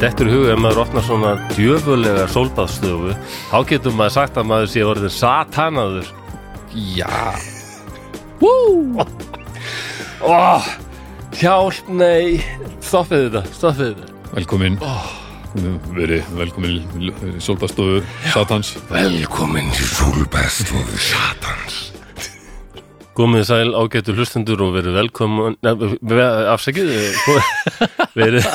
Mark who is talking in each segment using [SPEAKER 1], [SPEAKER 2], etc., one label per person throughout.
[SPEAKER 1] dettur í huga ef maður opnar svona djöfulega sólbaðstöfu þá getur maður sagt að maður sé orðin satanaður
[SPEAKER 2] Já,
[SPEAKER 1] oh, Hjálp, nei Stoppið þetta, stoppið þetta
[SPEAKER 2] velkomin Veri, velkomin Sólbastofu, Satans
[SPEAKER 3] Velkomin til Súlbestofu Satans
[SPEAKER 1] Gómið sæl ágætu hlustendur og verið velkomin Afsækið Verið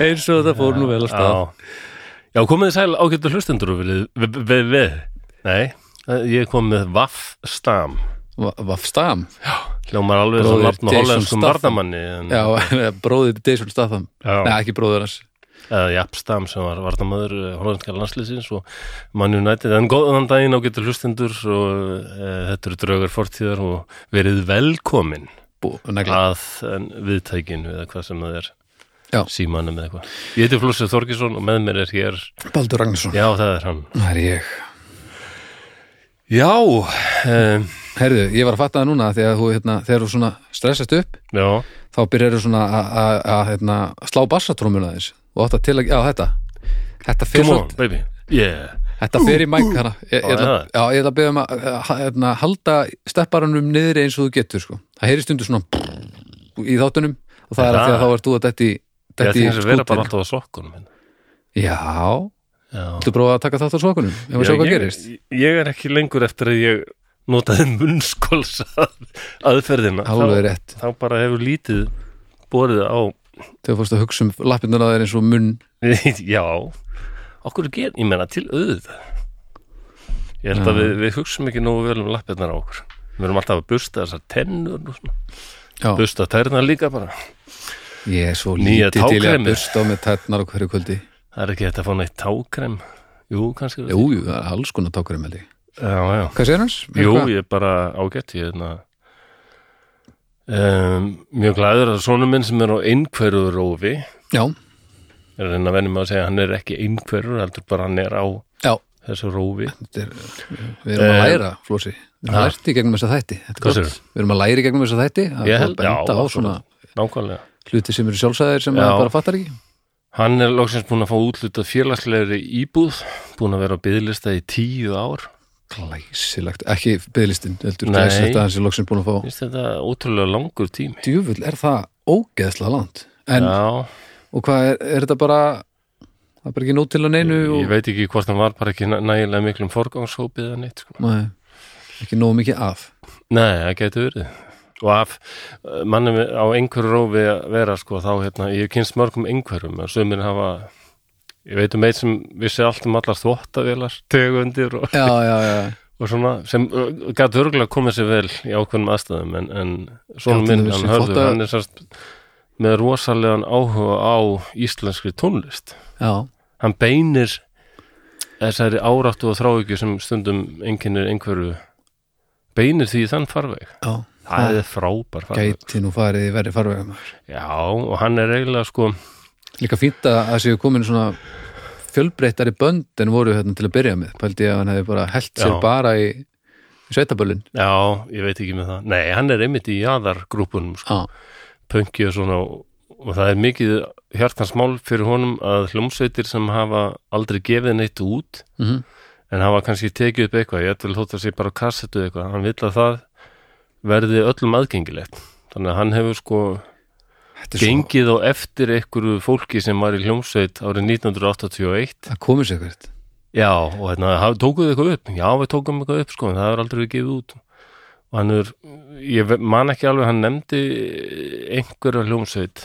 [SPEAKER 4] eins og þetta fór nú vel að stað
[SPEAKER 1] Já, já komið þið sæl ágættu hlustendur og viljið við, við, við. Nei, eh, ég kom með Vaff Stam
[SPEAKER 2] Va- Vafstam
[SPEAKER 1] Hljómar alveg svo
[SPEAKER 2] Bróðir
[SPEAKER 1] nafn á
[SPEAKER 2] Jason
[SPEAKER 1] hollenskum
[SPEAKER 2] Statham.
[SPEAKER 1] vardamanni en,
[SPEAKER 2] Já, bróðið Desul Statham
[SPEAKER 1] Já.
[SPEAKER 2] Nei, ekki bróður hans
[SPEAKER 1] eða Japp Stam sem var vardamöður hollenska landslýsins og Man United en góðan daginn ágættu hlustendur og e, þetta eru draugar fortíðar og verið velkomin
[SPEAKER 2] Bú, negla
[SPEAKER 1] að en, viðtækinu eða hvað sem það er
[SPEAKER 2] Já.
[SPEAKER 1] símanum eða eitthvað Ég heiti Flósið Þorgesson og með mér er hér
[SPEAKER 2] Baldur Ragnarsson
[SPEAKER 1] Já, það er hann
[SPEAKER 2] Það er ég
[SPEAKER 1] Já, um,
[SPEAKER 2] Herðu, ég var að fatta það núna því að þú, hérna, þegar þú svona stressast upp
[SPEAKER 1] já
[SPEAKER 2] þá byrjar þú svona að- að að, hérna, slá bassatrómuna þess og átt að til að, já þetta Þetta fer,
[SPEAKER 1] Come
[SPEAKER 2] svo,
[SPEAKER 1] on, baby Yeah
[SPEAKER 2] þetta fer í mæk hana ég, ég, ætla,
[SPEAKER 1] Já,
[SPEAKER 2] já, ég ætla að byrja um að að, hérna, halda stepparanum niðri eins og þú getur sko. það heyri stundu svona í þáttunum og það er að því að þá ert þú að detti
[SPEAKER 1] Ég
[SPEAKER 2] detti í
[SPEAKER 1] þýnir að vera bara
[SPEAKER 2] skútinn.
[SPEAKER 1] alltaf á sokkunum minn.
[SPEAKER 2] Já,
[SPEAKER 1] Já.
[SPEAKER 2] þú prófaði að taka þátt á svokunum ef að sjá hvað
[SPEAKER 1] ég,
[SPEAKER 2] gerist
[SPEAKER 1] Ég er ekki lengur eftir að ég notaði munnskóls aðferðina. þá,
[SPEAKER 2] Alveg rétt,
[SPEAKER 1] þá bara hefur lítið borið á
[SPEAKER 2] þegar fórst að hugsa um lappindan að þeir eins og munn
[SPEAKER 1] Já, okkur ger, ég menna til auðvitað. Ég held að
[SPEAKER 2] Já.
[SPEAKER 1] við, við hugsum ekki nógu vel um lappirnar á okkur. Við erum alltaf að busta þessar tennur og svona.
[SPEAKER 2] Já,
[SPEAKER 1] Busta tærnar líka bara.
[SPEAKER 2] ég er svo
[SPEAKER 1] Nýja
[SPEAKER 2] lítið til ég
[SPEAKER 1] tákremið.
[SPEAKER 2] að bursta á með tætnar á hverju kvöldi
[SPEAKER 1] Það er ekki hægt að fá neitt tákrem. Jú, kannski.
[SPEAKER 2] Jú, jú, það er alls konar tákrem held ég.
[SPEAKER 1] Já, já.
[SPEAKER 2] Hvað segir hans?
[SPEAKER 1] Jú, ég er bara ágætt ég hefna um, mjög glæður að sonur minn sem er á einhverju rófi
[SPEAKER 2] Já,
[SPEAKER 1] er að reyna að venni mig að segja að hann er ekki einhverjur heldur bara hann er á
[SPEAKER 2] já,
[SPEAKER 1] þessu rófi
[SPEAKER 2] þetta er, við erum að
[SPEAKER 1] Eh,
[SPEAKER 2] læra, Flósi Við erum
[SPEAKER 1] ha?
[SPEAKER 2] að lært í gegnum þessa þætti Þetta er
[SPEAKER 1] Hvað
[SPEAKER 2] gott.
[SPEAKER 1] segirðu?
[SPEAKER 2] Við erum að læra í gegnum þessa þætti að
[SPEAKER 1] Ég
[SPEAKER 2] fá
[SPEAKER 1] held-
[SPEAKER 2] að benda
[SPEAKER 1] já,
[SPEAKER 2] á svona
[SPEAKER 1] nákvæmlega
[SPEAKER 2] hluti sem eru sjálfsæðir sem
[SPEAKER 1] Já.
[SPEAKER 2] maður bara fattar ekki
[SPEAKER 1] hann er loksins búin að fá útlutað félagslegri íbúð búin að vera á byðlista í tíu ár
[SPEAKER 2] Glæsilegt, ekki byggðlistin heldur
[SPEAKER 1] Nei.
[SPEAKER 2] glæsilegt að hans er loksinn búin að fá
[SPEAKER 1] finnst þetta ótrúlega langur tími
[SPEAKER 2] Djúfull, er það ógeðslega langt En,
[SPEAKER 1] já,
[SPEAKER 2] og hvað er, er þetta bara það er bara ekki nót til að neinu
[SPEAKER 1] ég
[SPEAKER 2] og,
[SPEAKER 1] veit ekki hvort hann var bara ekki næ- nægilega miklum forgangshópið eða neitt sko.
[SPEAKER 2] nei, ekki nóg mikið af
[SPEAKER 1] Nei, það getur verið og af eh, mannum á einhverju rófi að vera sko þá hérna, ég hef kynst mörgum einhverjum og sömur hafa ég veit um eitt sem vissi allt um allar þvottavélar, tegundir og,
[SPEAKER 2] Já, já, já,
[SPEAKER 1] og svona sem gæti örgulega komið sér vel í ákveðnum aðstæðum en, en svona minn,
[SPEAKER 2] Já, til
[SPEAKER 1] hann
[SPEAKER 2] þessi
[SPEAKER 1] hörður,
[SPEAKER 2] þvotta-
[SPEAKER 1] hann er sérst með rosalegan áhuga á íslenskri tónlist
[SPEAKER 2] já
[SPEAKER 1] hann beinir þessari áráttu og þráhyggju sem stundum einhvernir einhverju beinir því í þann farveg
[SPEAKER 2] Já,
[SPEAKER 1] Það er frábær farvegur.
[SPEAKER 2] gæti nú farið í verri farvega maður.
[SPEAKER 1] Já, og hann er eiginlega sko
[SPEAKER 2] Líka fínt að það séu komin svona fjölbreyttari bönd en voru hérna til að byrja með pældi ég að hann hefði bara held sér
[SPEAKER 1] Já.
[SPEAKER 2] bara í sveitaböllin
[SPEAKER 1] Já, ég veit ekki með það Nei, hann er einmitt í jaðargrúpunum sko,
[SPEAKER 2] Já,
[SPEAKER 1] pönki og svona og, og það er mikið hjartansmál fyrir honum að hljómsveitir sem hafa aldrei gefið neitt út
[SPEAKER 2] mm
[SPEAKER 1] en hafa kannski tekið upp eitthvað ég ætla þótt að sé bara á kassetu eða eitthvað hann vil að það verði öllum aðgengilegt þannig að hann hefur sko
[SPEAKER 2] þetta er svo
[SPEAKER 1] gengið á eftir einhverju fólki sem var í hljómsveit árið 1981
[SPEAKER 2] það komið sér hvert
[SPEAKER 1] Já, og hérna, haf- tókuðu þið eitthvað upp? Já, við tókum eitthvað upp, sko, en það er aldrei verið gefið út. Og hann er, ég ve- man ekki alveg, hann nefndi einhverja hljómsveit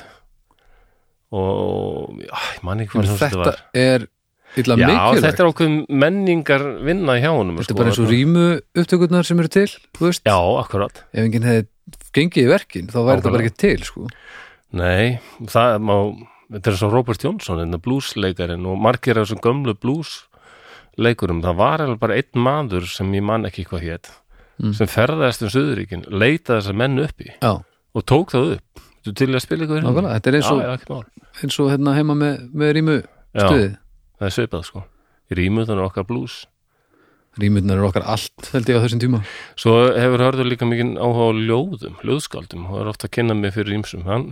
[SPEAKER 1] og, já, ég man ekki hvað
[SPEAKER 2] En
[SPEAKER 1] hljómsveit
[SPEAKER 2] þetta
[SPEAKER 1] var.
[SPEAKER 2] er illa
[SPEAKER 1] Já,
[SPEAKER 2] mikilvægt
[SPEAKER 1] þetta er ákveðum menningar vinna hjá honum, sko,
[SPEAKER 2] Þetta er bara eins og rýmu upptökurnar sem eru til þú veist,
[SPEAKER 1] Já, akkurat.
[SPEAKER 2] ef enginn hefði gengið í verkin þá væri þetta bara
[SPEAKER 1] Nákvæmlega.
[SPEAKER 2] ekki til sko.
[SPEAKER 1] Nei, það má, þetta er svo Robert Jónsson, þetta blúsleikarinn og margir af þessum gömlu blúsleikurum, það var alveg bara einn maður sem ég man ekki hvað hét,
[SPEAKER 2] Mm.
[SPEAKER 1] sem ferðaðist um Suðuríkin, leitaði þessar menn uppi
[SPEAKER 2] Já,
[SPEAKER 1] og tók það upp, þú til að spila ykkur
[SPEAKER 2] nákvæmlega, þetta er eins og,
[SPEAKER 1] Já, já, ekki mál
[SPEAKER 2] eins og hérna, heima með, með rýmu
[SPEAKER 1] Já,
[SPEAKER 2] stuðið
[SPEAKER 1] það er svipað sko, í rýmuðan okkar blús
[SPEAKER 2] Rýmurnar eru okkar allt, held ég á þessum tíma
[SPEAKER 1] Svo hefur hörður líka mikið áhuga á ljóðum, ljóðskaldum og er ofta að kynna mig fyrir rýmsum hann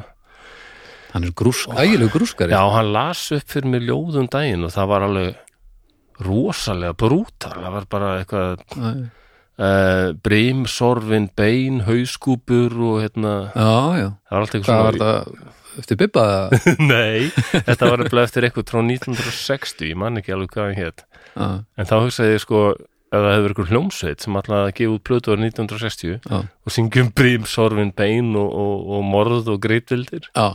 [SPEAKER 2] hann er grúsk, ægilegu grúskari
[SPEAKER 1] Já, hann las upp fyrir mig ljóðum daginn og það var alveg rosalega brútal, það var bara eitthvað
[SPEAKER 2] já,
[SPEAKER 1] uh, brimsorfin, bein, hauskúpur og hérna,
[SPEAKER 2] já,
[SPEAKER 1] það var alltaf eitthvað
[SPEAKER 2] hvað var þetta eftir Bibba eða?
[SPEAKER 1] Nei, þetta var eitthvað eftir eitthvað frá 1960, ég man ekki alveg hvað hann hétt
[SPEAKER 2] Já,
[SPEAKER 1] en þá hugsaði ég sko ef það hefur eitthvað hljómsveit sem alltaf að gefa út plötu árið 1960
[SPEAKER 2] já,
[SPEAKER 1] og syngjum brimsorfin, bein og, og, og morð og greitvildir
[SPEAKER 2] já,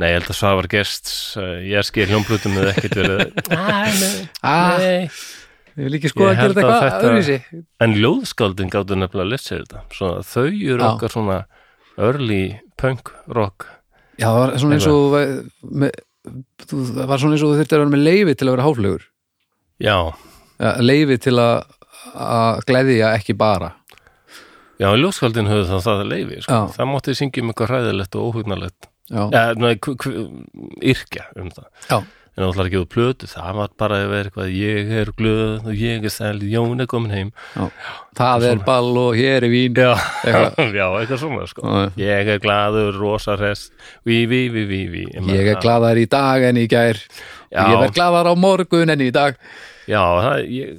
[SPEAKER 1] Nei, ég held að Svavar Gests, uh, ég sker hljómblutum eða ekkert verið
[SPEAKER 2] Ah.
[SPEAKER 1] Nei.
[SPEAKER 2] ég vil ekki sko
[SPEAKER 1] Ég
[SPEAKER 2] að gera
[SPEAKER 1] held að
[SPEAKER 2] þetta eitthvað
[SPEAKER 1] þetta-
[SPEAKER 2] öðruvísi.
[SPEAKER 1] En ljóðskáldin gáttu nefnilega að lesa þetta svona, Þau eru
[SPEAKER 2] Já.
[SPEAKER 1] okkar svona early punk rock
[SPEAKER 2] Já, það var svona eins og væ- með, þú, það var svona eins og þú þurfti að vera með leifi til að vera háflugur
[SPEAKER 1] Já,
[SPEAKER 2] ja, leifi til að að gleðja ekki bara
[SPEAKER 1] já ljóðskáldin höfðu það það að leifi sko.
[SPEAKER 2] Já.
[SPEAKER 1] Það mátti syngja um eitthvað hræðilegt og óhugnalegt
[SPEAKER 2] Já,
[SPEAKER 1] ja, nei, hv- hv- Yrkja um það
[SPEAKER 2] já,
[SPEAKER 1] En það ætlar ekki úr plötu, það var bara að vera eitthvað Ég er glöð og ég er sæl, Jón er komin heim
[SPEAKER 2] já. það er ball og hér er vín
[SPEAKER 1] Já,
[SPEAKER 2] Eitthvað.
[SPEAKER 1] já eitthvað svona sko.
[SPEAKER 2] Já, já.
[SPEAKER 1] Ég er glaður, rosa hress Ví, ví, ví, ví, ví
[SPEAKER 2] Ég er glaðar í dag en í gær
[SPEAKER 1] Já.
[SPEAKER 2] Ég verð glaðar á morgun en í dag
[SPEAKER 1] Já, það, ég,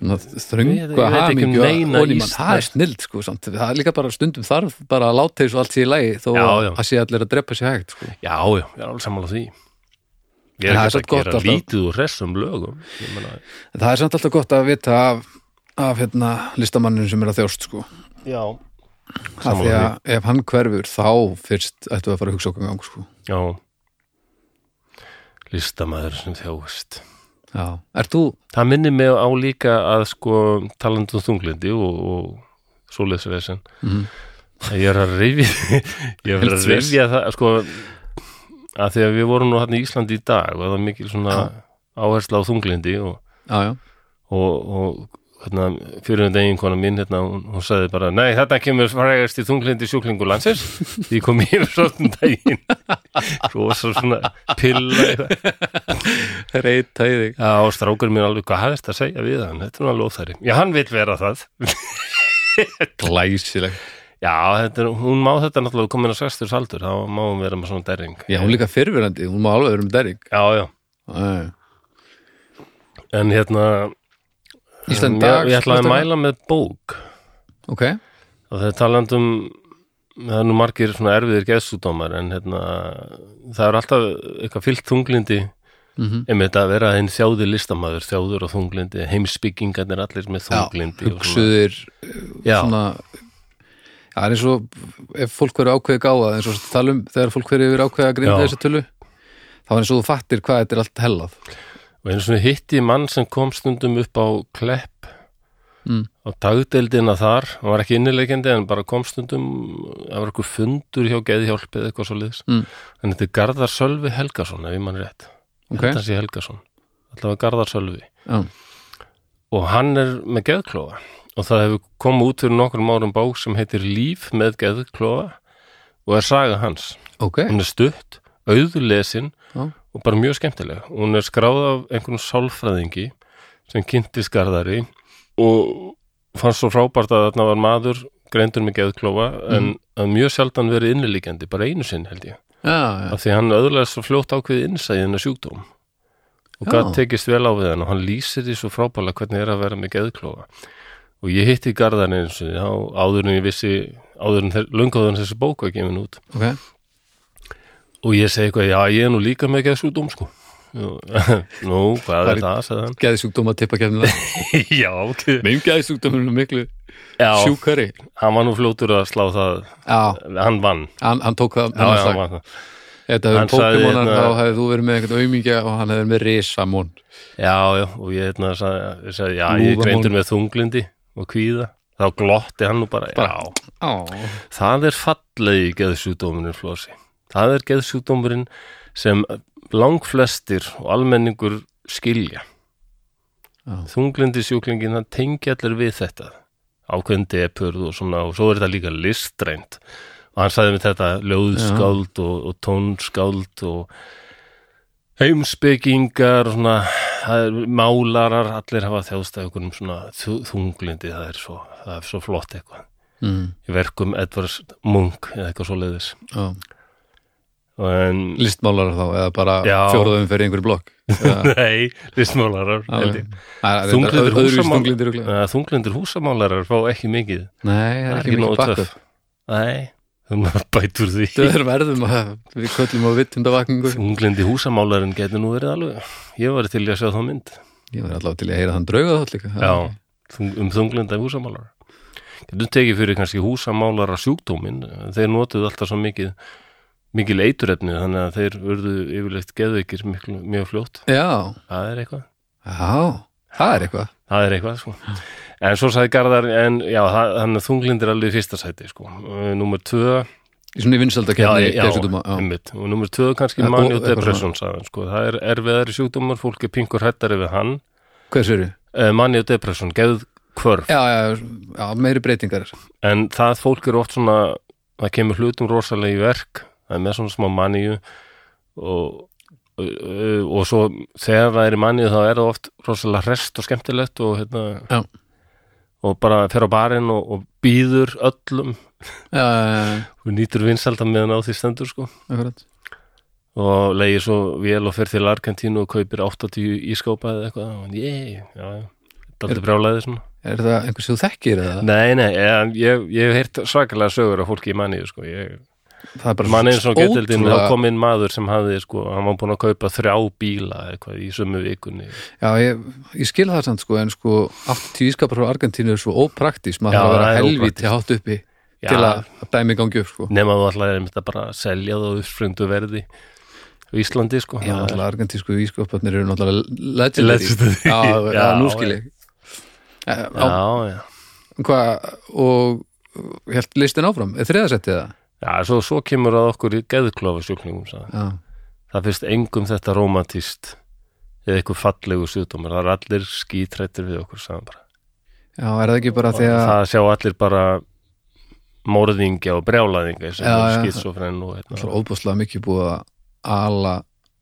[SPEAKER 2] Ná,
[SPEAKER 1] Ég- ég
[SPEAKER 2] Þröngu
[SPEAKER 1] veit
[SPEAKER 2] að
[SPEAKER 1] ekki um
[SPEAKER 2] hamingju
[SPEAKER 1] neina
[SPEAKER 2] og onímann.
[SPEAKER 1] íslensk-
[SPEAKER 2] Það er snild sko samt Það er líka bara stundum þarf bara að láta þessu allt sé í lagi þó
[SPEAKER 1] Já,
[SPEAKER 2] að
[SPEAKER 1] já.
[SPEAKER 2] það sé allir að drepa sér hægt sko.
[SPEAKER 1] já, já, ég er alveg sammála því Ég
[SPEAKER 2] En
[SPEAKER 1] er
[SPEAKER 2] það er
[SPEAKER 1] ekki
[SPEAKER 2] samt
[SPEAKER 1] að gera
[SPEAKER 2] gott alltaf.
[SPEAKER 1] lítið úr hressum lögum Ég meina,
[SPEAKER 2] En Það er samt alltaf gott að vita af, af hérna, listamanninu sem er að þjást sko.
[SPEAKER 1] Já
[SPEAKER 2] að
[SPEAKER 1] Sammála
[SPEAKER 2] því að ef hann hverfur þá fyrst ættu að fara að hugsa okkur gang sko.
[SPEAKER 1] Já Listamæður sem þjáist
[SPEAKER 2] Já. Ert þú?
[SPEAKER 1] Það minnir mig á líka að sko talandum þunglindi og, og svoleiðsvesen
[SPEAKER 2] Mhm.
[SPEAKER 1] Ég er að rifja Ég er að
[SPEAKER 2] Helst ves.
[SPEAKER 1] rifja það sko að því að við vorum nú hann í Íslandi í dag og það var mikil svona áhersla á þunglindi og
[SPEAKER 2] Já, já,
[SPEAKER 1] og, og hérna, fyrirhund eiginkona mín hérna, hún, hún sagði bara nei þetta kemur frægast í þunglindi sjúklingu landsins því kom ég yfir svona daginn rosa svona pilla í það.
[SPEAKER 2] reyta í þig
[SPEAKER 1] já og strákur mér alveg hvað hafðist að segja við hann, þetta er nú alveg óþæri já hann vil vera það
[SPEAKER 2] Glæsileg
[SPEAKER 1] já þetta, er- hún má þetta náttúrulega komin á sextur saldur þá má hún vera með svona derring
[SPEAKER 2] Já, hún er líka fyrirverandi, hún má alveg vera um derring
[SPEAKER 1] já já
[SPEAKER 2] Já, já.
[SPEAKER 1] en hérna
[SPEAKER 2] Ísland
[SPEAKER 1] um,
[SPEAKER 2] dag
[SPEAKER 1] ég, ég ætlaði að
[SPEAKER 2] listamanninn?
[SPEAKER 1] mæla með bók
[SPEAKER 2] Ok,
[SPEAKER 1] og það er talandum um, það er nú margir svona erfiðir geðsúdómar en hérna það er alltaf eitthvað fyllt þunglindi
[SPEAKER 2] Mhm.
[SPEAKER 1] einmitt að vera hinn þjáði listamaður þjáður og þunglindi, heimsbyggingarnir allir með
[SPEAKER 2] já,
[SPEAKER 1] þunglindi og svona.
[SPEAKER 2] hugsuðir
[SPEAKER 1] já,
[SPEAKER 2] svona það er eins og ef fólk verið ákveðið gáða eins og tala um þegar fólk verið yfir ákveðið að grinda
[SPEAKER 1] Já.
[SPEAKER 2] þessu tölu þá er eins og þú fattir hvað þetta er allt hellað
[SPEAKER 1] og einu svona hitti ég mann sem kom stundum upp á klepp
[SPEAKER 2] Mm.
[SPEAKER 1] á dagdeldina þar hann var ekki innilegjandi en bara kom stundum það var eitthvað fundur hjá geðhjálp eða eitthvað svo liðs
[SPEAKER 2] Mm.
[SPEAKER 1] en þetta er Garðar Sölvi Helgason ef ég mann rétt,
[SPEAKER 2] ok,
[SPEAKER 1] þetta sé Helgason allavega Garðar Sölvi
[SPEAKER 2] já,
[SPEAKER 1] og hann er með geðklofa og það hefur komið út fyrir nokkrum árum bók sem heitir Líf með geðklofa og er saga hans
[SPEAKER 2] ok
[SPEAKER 1] hún er stutt, auðlesin
[SPEAKER 2] Já.
[SPEAKER 1] og bara mjög skemmtileg hún er skráð af einhvern sálfræðingi sem kynnti skarðari og fannst svo frábært að þarna var maður greindur með geðklofa en
[SPEAKER 2] Mhm.
[SPEAKER 1] að mjög sjaldan verið innilíkjandi, bara einu sinn held ég
[SPEAKER 2] já, já,
[SPEAKER 1] af því hann öðrulega svo fljótt ákveði innsæði hennar sjúkdóm og
[SPEAKER 2] Já.
[SPEAKER 1] gætt tekist vel á við hann og hann lýsir því svo frábæla hvernig er að vera með geðklófa og ég hitti garðan eins og þá áður en ég vissi áður en þeir, löngáður en þessi bók var gefin út
[SPEAKER 2] ok
[SPEAKER 1] og ég segi eitthvað, já ég er nú líka með geðsjúkdóm sko Nú, nú, hvað
[SPEAKER 2] Bara
[SPEAKER 1] er
[SPEAKER 2] í-
[SPEAKER 1] það, sagði hann
[SPEAKER 2] geðsjúkdóma tippa kemna
[SPEAKER 1] Já, ok.
[SPEAKER 2] meðum geðsjúkdóminu miklu
[SPEAKER 1] já
[SPEAKER 2] sjúkari
[SPEAKER 1] hann var nú fljótur að slá það
[SPEAKER 2] já,
[SPEAKER 1] Hann vann,
[SPEAKER 2] hann, hann tók það
[SPEAKER 1] já,
[SPEAKER 2] hann
[SPEAKER 1] já, hann
[SPEAKER 2] sagði,
[SPEAKER 1] vann. það.
[SPEAKER 2] þetta hefur
[SPEAKER 1] Hann sagði
[SPEAKER 2] Pokémonan
[SPEAKER 1] hérna-
[SPEAKER 2] þá hefur þú verið með einhvern aumingja og hann hefur með risamón
[SPEAKER 1] já, já og ég, hérna, sagði, ég sagði, já, ég
[SPEAKER 2] Lúðamál.
[SPEAKER 1] er greindur með þunglindi og kvíða, þá glotti hann nú bara,
[SPEAKER 2] Bara,
[SPEAKER 1] já,
[SPEAKER 2] já,
[SPEAKER 1] Það er fallegi geðsjúkdómurinn flósi. Það er geðsjúkdómurinn sem langflestir og almenningur skilja.
[SPEAKER 2] Já.
[SPEAKER 1] Þunglindi sjúklingin, það tengi allir við þetta. Ákveðin depurð og svona og svo er þetta líka listrænt. Og hann sagði með þetta ljóðskáld og, og tónskáld og heimspekingar og svona það er, málarar, allir hafa þjáðstæð okkur um svona þu- þunglindi, það er svo, það er svo flott eitthvað
[SPEAKER 2] mm,
[SPEAKER 1] í verkum Edvards Munk eða eitthvað svo leiðis
[SPEAKER 2] já,
[SPEAKER 1] en,
[SPEAKER 2] listmálarar þá eða bara
[SPEAKER 1] Já.
[SPEAKER 2] fjóruðum fyrir einhverju blokk Eða-
[SPEAKER 1] nei, listmálarar
[SPEAKER 2] Já,
[SPEAKER 1] held
[SPEAKER 2] já.
[SPEAKER 1] ég.
[SPEAKER 2] Það er- þetta
[SPEAKER 1] Þunglindir
[SPEAKER 2] er öðruvísi
[SPEAKER 1] húsamál-
[SPEAKER 2] þunglindir örugglega.
[SPEAKER 1] Eh, þunglindir húsamálarar fá ekki mikið
[SPEAKER 2] Nei, það er ekki
[SPEAKER 1] nógu
[SPEAKER 2] mikið
[SPEAKER 1] töff.
[SPEAKER 2] bakkup
[SPEAKER 1] Nei, um það maður bætur því
[SPEAKER 2] Þetta er verðum að við köllum á vittundavakningu
[SPEAKER 1] Þunglindi húsamálarinn getur nú verið alveg Ég var til í að sjá þá mynd
[SPEAKER 2] Ég var allavega til í að heyra þann drauga þátt líka
[SPEAKER 1] Já, þung- um þunglinda húsamálar Getur tekið fyrir kannski húsamálara sjúkdómin Þeir notuðu alltaf svo mikið mikil eiturefni þannig að þeir urðu yfirleitt geðveikir miklu, mjög fljótt
[SPEAKER 2] Já,
[SPEAKER 1] það er eitthvað,
[SPEAKER 2] já, það er eitthvað
[SPEAKER 1] það er eitthvað sko. en svo sagði Garðar en já, það- þannig að þunglindir alveg í fyrsta sæti sko. nummer tvö
[SPEAKER 2] Í svona vinsaldakefni
[SPEAKER 1] já,
[SPEAKER 2] geðsjúkdóma,
[SPEAKER 1] já. einmitt. og nummer tvö kannski
[SPEAKER 2] Ja, og
[SPEAKER 1] manjó
[SPEAKER 2] eitthvað
[SPEAKER 1] depression sagði, hann, sko. það er erfiðari sjúkdómar, fólk er pinkur hættari við hann
[SPEAKER 2] Hvers eru?
[SPEAKER 1] uh, manjó depression, geð kvörf
[SPEAKER 2] Já, já, já, meiri breytingar
[SPEAKER 1] en það fólk er oft svona það kemur hlutum rosalega í verk það er með svona smá manju og og- og svo þegar það er í mannið þá er það oft rosalega rest og skemmtilegt og,
[SPEAKER 2] Já.
[SPEAKER 1] hérna, og bara fer á barinn og, og býður öllum
[SPEAKER 2] Já, já, já,
[SPEAKER 1] og nýtur vinsalda meðan á því stendur sko
[SPEAKER 2] akkurat
[SPEAKER 1] og leiði svo vél og fer til Argentínu og kaupir 80 ískópa eða eitthvað og hann, ég, já, já Daldi brjálæði svona.
[SPEAKER 2] Er það einhvers sem þú þekkir eða?
[SPEAKER 1] Nei, nei, ég, ég, ég hef heyrt svakalega sögur af fólki í manniðu, sko. Ég,
[SPEAKER 2] Það er bara
[SPEAKER 1] manniðin svo geteldin, þá
[SPEAKER 2] ótrúlega-
[SPEAKER 1] kom inn maður sem hafði, sko, hann var búin að kaupa þrjá bíla eitthvað í sömu vikunni.
[SPEAKER 2] Já, ég, ég skil það samt sko en sko 80 ískapar frá Argentínu er svo ópraktís maður
[SPEAKER 1] Já, það
[SPEAKER 2] þarf að vera
[SPEAKER 1] er
[SPEAKER 2] helviti hátt uppi
[SPEAKER 1] Já.
[SPEAKER 2] til að að dæmi gangi upp sko
[SPEAKER 1] Nefn að þú ætlaði einmitt að bara selja það á uppspringdu verði á Íslandi, sko. Það
[SPEAKER 2] Já,
[SPEAKER 1] er-
[SPEAKER 2] náttúrulega argentísku ískaparnir eru náttúrulega legendary
[SPEAKER 1] Legendary,
[SPEAKER 2] Já, já,
[SPEAKER 1] já,
[SPEAKER 2] nú skil ég Eh, á,
[SPEAKER 1] já, já.
[SPEAKER 2] Hvað, og uh, hélt listin áfram, er þriðasettið það?
[SPEAKER 1] Já, svo, svo kemur að okkur í geðklofa sjúklingum, sagði.
[SPEAKER 2] Já,
[SPEAKER 1] það finnst engum þetta romantist eða eitthvað fallegu sjúdómar það er allir skítrættir við okkur sagði hann bara.
[SPEAKER 2] já er það ekki bara
[SPEAKER 1] og
[SPEAKER 2] því að
[SPEAKER 1] það sjá allir bara morðingja og brjálæðingja sem
[SPEAKER 2] Já,
[SPEAKER 1] er
[SPEAKER 2] já.
[SPEAKER 1] skýtsofrenn og
[SPEAKER 2] Það er
[SPEAKER 1] hérna.
[SPEAKER 2] óbúslega mikið búið að ala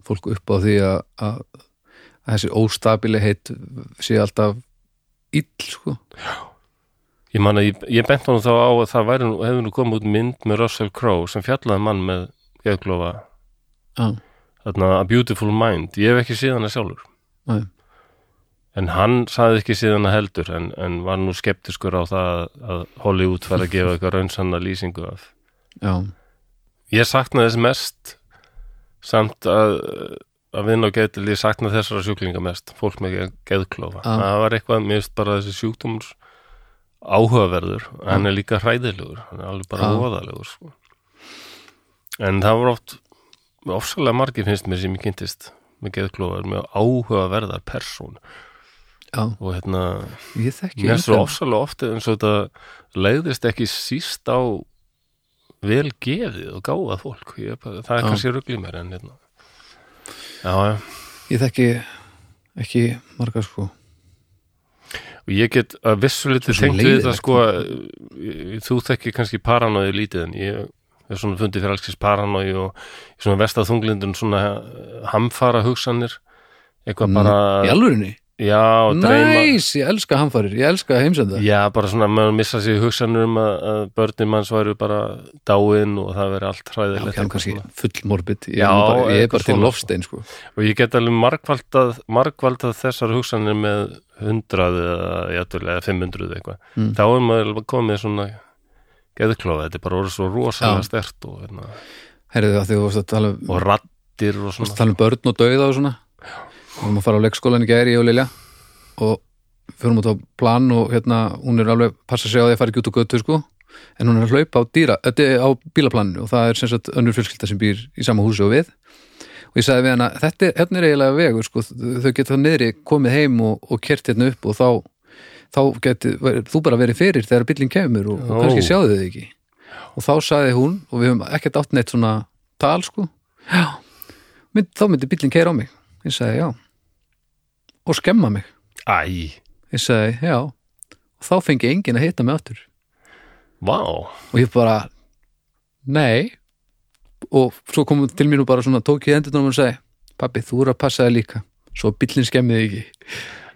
[SPEAKER 2] fólk upp á því að, að, að þessi óstabili heitt sé alltaf ill sko
[SPEAKER 1] ég man að ég, ég bent honum þá á að það væri, nú- hefur nú komið út mynd með Russell Crowe sem fjallaði um mann með geðklofa
[SPEAKER 2] Já,
[SPEAKER 1] þarna, A Beautiful Mind, ég hef ekki síðan að sjálfur
[SPEAKER 2] nei
[SPEAKER 1] en hann saði ekki síðan að heldur en, en var nú skeptiskur á það að Hollywood fær að gefa eitthvað raunsanna lýsingu af
[SPEAKER 2] Já,
[SPEAKER 1] Ég sakna þess mest samt að að vinna á geðdil, ég sakna þessara sjúklinga mest fólk með ge- geðklofa
[SPEAKER 2] Ah.
[SPEAKER 1] það var eitthvað, mér finnst bara þessi sjúkdóms áhugaverður, hann er líka hræðilegur, hann er alveg bara
[SPEAKER 2] Ah.
[SPEAKER 1] óðalegur sko. en það var oft ofsalega margir finnst mér sem ég kynntist með geðklofa, með áhugaverðar persón
[SPEAKER 2] já,
[SPEAKER 1] og hérna,
[SPEAKER 2] ég þekki
[SPEAKER 1] mér finnst svo
[SPEAKER 2] engan.
[SPEAKER 1] ofsalega oft eins og þetta leiðist ekki síst á vel gefið og gáðað fólk ég, er bara, það er
[SPEAKER 2] Já.
[SPEAKER 1] kannski ruggli mér en hérna já, já,
[SPEAKER 2] Ég þekki ekki margar sko
[SPEAKER 1] og ég get að vissuliti
[SPEAKER 2] Svo sem
[SPEAKER 1] tengt við
[SPEAKER 2] leiðilegt.
[SPEAKER 1] þetta sko að, eh, þú þekki kannski paranói lítið en ég er svona fundið fyrir allskis paranói og í svona vestað þunglindun svona eh, hamfara hugsanir eitthvað bara,
[SPEAKER 2] Í alvörinni?
[SPEAKER 1] já, og dreima
[SPEAKER 2] Mm, Næs, ég elska hamfarir, ég elska heimsenda
[SPEAKER 1] Já, bara svona, maður missa sér hugsanur um að, að börnin manns væru bara dáin og það veri allt
[SPEAKER 2] Já,
[SPEAKER 1] hræðilegt
[SPEAKER 2] ok, hann
[SPEAKER 1] eitthvað
[SPEAKER 2] kannski
[SPEAKER 1] svona.
[SPEAKER 2] fullmorbid Ég,
[SPEAKER 1] Já,
[SPEAKER 2] er nú bara, ég
[SPEAKER 1] eitthvað
[SPEAKER 2] er bara til
[SPEAKER 1] svona.
[SPEAKER 2] lofstein sko
[SPEAKER 1] og ég get alveg margvaldað, margvaldað þessar hugsanir með 100 eða, jætul, eða 500 eitthvað
[SPEAKER 2] Mm.
[SPEAKER 1] þá er maður alveg komið með svona geðklofa, þetta er bara orðið svo rosalega
[SPEAKER 2] Já.
[SPEAKER 1] stert og, hérna,
[SPEAKER 2] Herðu það því þú varst að tala um
[SPEAKER 1] og rattir og
[SPEAKER 2] varst að
[SPEAKER 1] svona
[SPEAKER 2] tala um börn og dauða og svona við erum að fara á leikskólan í gæri, ég og Lilja og förum út á plan og hérna, hún er alveg passa sig á því að fara ekki út á götu sko en hún er að hlaupa á dýra, þetta er á bílaplaninu og það er sem sagt önnur fjölskylda sem býr í sama húsi og við og ég sagði við hana, þetta er, hérna er eiginlega vegur sko, þau geta það niðri komið heim og, og kert hérna upp og þá þá geti, væri- þú bara verið fyrir þegar bíllinn kemur og, og
[SPEAKER 1] Ó.
[SPEAKER 2] kannski sjáðu þau ekki og þá sagði hún, og við höfum ekkert átt neitt svona tal sko já, mynd, þá myndi bíllinn keira á mig ég sagði já og skemma mig,
[SPEAKER 1] Æ,
[SPEAKER 2] ég sagði já og þá fengi enginn að hitta mig aftur
[SPEAKER 1] vá
[SPEAKER 2] og ég bara, nei og svo kom hún til mín og bara svona tók ég endurnum og sagði pappi, þú eru að passa það líka svo bíllinn skemmiði ekki